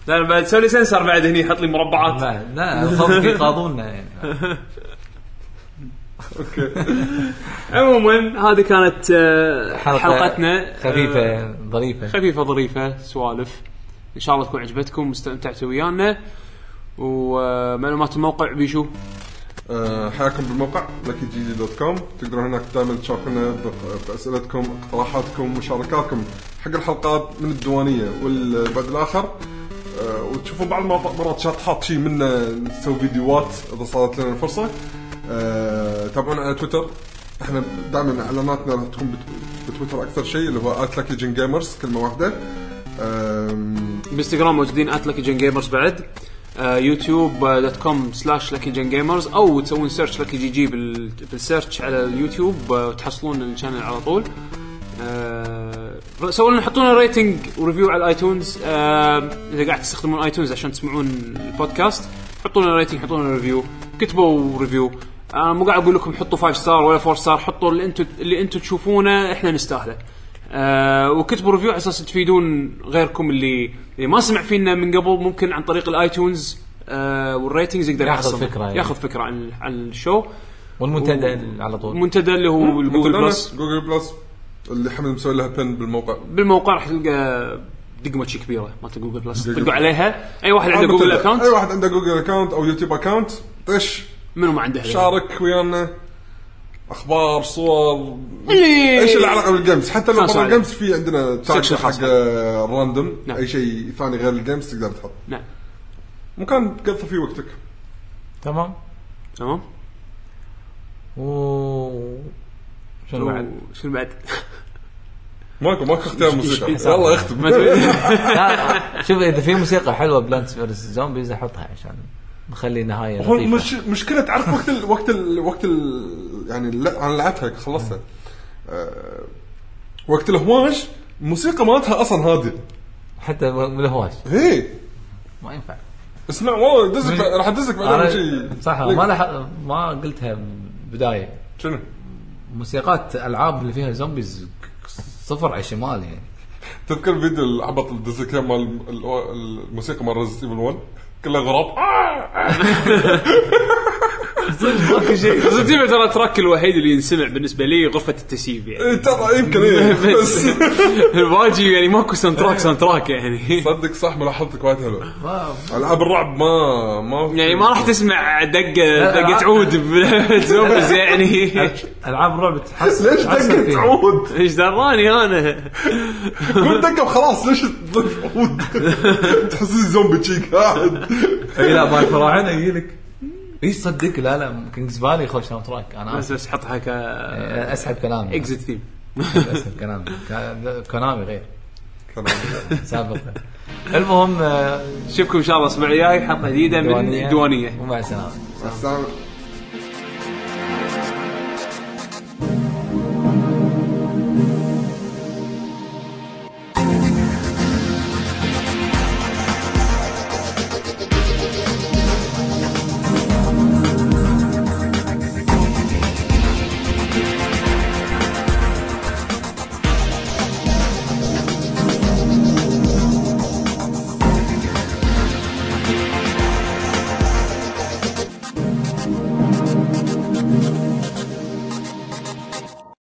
S2: لا أنا بعد سوي لي سنسر بعد هني حط لي مربعات
S1: لا لا صدق يقاضونا يعني
S2: عموما هذه كانت آه،
S1: حلقة
S2: حلقتنا آه،
S1: خفيفه ظريفه
S2: خفيفه ظريفه سوالف ان شاء الله تكون عجبتكم واستمتعتوا ويانا ومعلومات الموقع بيشو
S3: آه، حياكم بالموقع لكي دوت كوم تقدرون هناك دائما تشاركونا ب- باسئلتكم اقتراحاتكم مشاركاتكم حق الحلقات من الديوانيه والبعد الاخر آه، وتشوفون بعض المرات مرات شطحات شيء منا نسوي فيديوهات اذا صارت لنا الفرصه آه، تابعونا على تويتر احنا دائما اعلاناتنا راح تكون بت- بتويتر اكثر شيء اللي هو @lucky جيمرز كلمه واحده آم،
S2: بالانستغرام موجودين ات لكي جن جيمرز بعد آه، يوتيوب دوت كوم سلاش لكي جن جيمرز او تسوون سيرش لكي جي جي بال- بالسيرش على اليوتيوب آه، وتحصلون الشانل على طول آه، سووا لنا حطوا لنا ريتنج وريفيو على الايتونز آه، اذا قاعد تستخدمون ايتونز عشان تسمعون البودكاست حطوا لنا ريتنج حطوا لنا ريفيو كتبوا ريفيو انا مو قاعد اقول لكم حطوا 5 ستار ولا 4 ستار حطوا اللي انتم اللي انتم تشوفونه احنا نستاهله آه وكتبوا ريفيو على اساس تفيدون غيركم اللي اللي ما سمع فينا من قبل ممكن عن طريق الايتونز آه والريتنجز يقدر
S1: ياخذ
S2: يحصل-
S1: فكرة يعني.
S2: ياخذ فكره عن عن الشو
S1: والمنتدى على طول
S2: المنتدى اللي هو الجوجل
S3: منتدانا
S2: بلس
S3: جوجل بلس اللي حمد مسوي لها بن بالموقع
S2: بالموقع راح تلقى دقمه شي كبيره مالت جوجل بلس
S3: جوجل.
S2: تطلقوا عليها اي واحد عنده
S3: أو
S2: جوجل
S3: منتدى.
S2: اكونت
S3: اي واحد عنده جوجل اكونت او يوتيوب اكونت طش
S2: منو ما عنده
S3: شارك ويانا اخبار صور
S2: اللي-
S3: ايش اللي علاقه بالجيمز حتى لو
S2: إيه. خلاص
S3: برا
S2: عليك.
S3: الجيمز في عندنا تاج
S2: Section
S3: حق
S2: خاصة.
S3: الراندوم
S2: نعم.
S3: اي شيء ثاني غير الجيمز تقدر تحط
S2: نعم
S3: مكان تقضي فيه وقتك
S1: تمام
S2: تمام
S1: و شنو بعد؟
S2: شنو بعد؟
S3: ماكو ماكو اختيار موسيقى يلا اختم
S2: ما تبي- [LAUGHS]
S1: لا، شوف اذا في موسيقى حلوه بلانتس فيرس زومبيز احطها عشان نخلي نهايه
S3: [LAUGHS] هو
S1: لطيفه
S3: مش مشكله تعرف وقت ال وقت ال وقت ال يعني لا انا لعبتها خلصتها آه، وقت الهواش الموسيقى مالتها إيه. اصلا هاديه
S1: حتى من الهواش
S3: هي
S1: ما ينفع
S3: اسمع والله دزك راح ادزك بعدين شيء
S1: أنا صح ما لح... ما قلتها بدايه
S3: شنو؟
S1: موسيقات العاب اللي فيها زومبيز صفر على الشمال يعني
S3: تذكر فيديو العبط اللي دزك إياه مال ال- الموسيقى مال ريزنت ايفل 1 كلها غراب
S1: ماكو شيء
S2: بس تبي ترى التراك الوحيد اللي ينسمع بالنسبه لي غرفه التسييف يعني
S3: إيه، ترى يمكن
S1: [LAUGHS]
S3: ايه
S2: [LAUGHS]
S3: بس
S2: الواجي يعني ماكو ساوند تراك ساوند تراك
S3: [LAUGHS]
S2: يعني
S3: صدق صح ملاحظتك وايد حلوه العاب الرعب ما ما
S2: يعني ما راح تسمع دقه
S1: لا،
S2: دقه
S1: لا.
S2: عود [LAUGHS] بزومبيز يعني
S1: العاب الرعب تحس
S3: ليش
S1: تحسن
S3: دقه
S1: فيها. [LAUGHS]
S3: عود؟
S2: ايش دراني انا
S3: قول دقه وخلاص ليش تضيف
S1: [LAUGHS]
S3: عود؟ تحس الزومبي شي قاعد
S1: اي لا مال الفراعنه يجي لك اي صدق لا لا كينجز فالي خوش ساوند تراك انا
S2: [LAUGHS] بس
S1: آسف.
S2: بس حطها
S1: [LAUGHS]
S2: ك
S1: أه، اسحب كلامي
S2: اكزت ثيم
S1: اسحب كلامي كا- كونامي غير سابقا المهم آه،
S2: نشوفكم ان شاء الله الاسبوع الجاي حلقه جديده من
S1: [LAUGHS] دوانية.
S2: دوانيه
S1: ومع السلامه
S3: السلام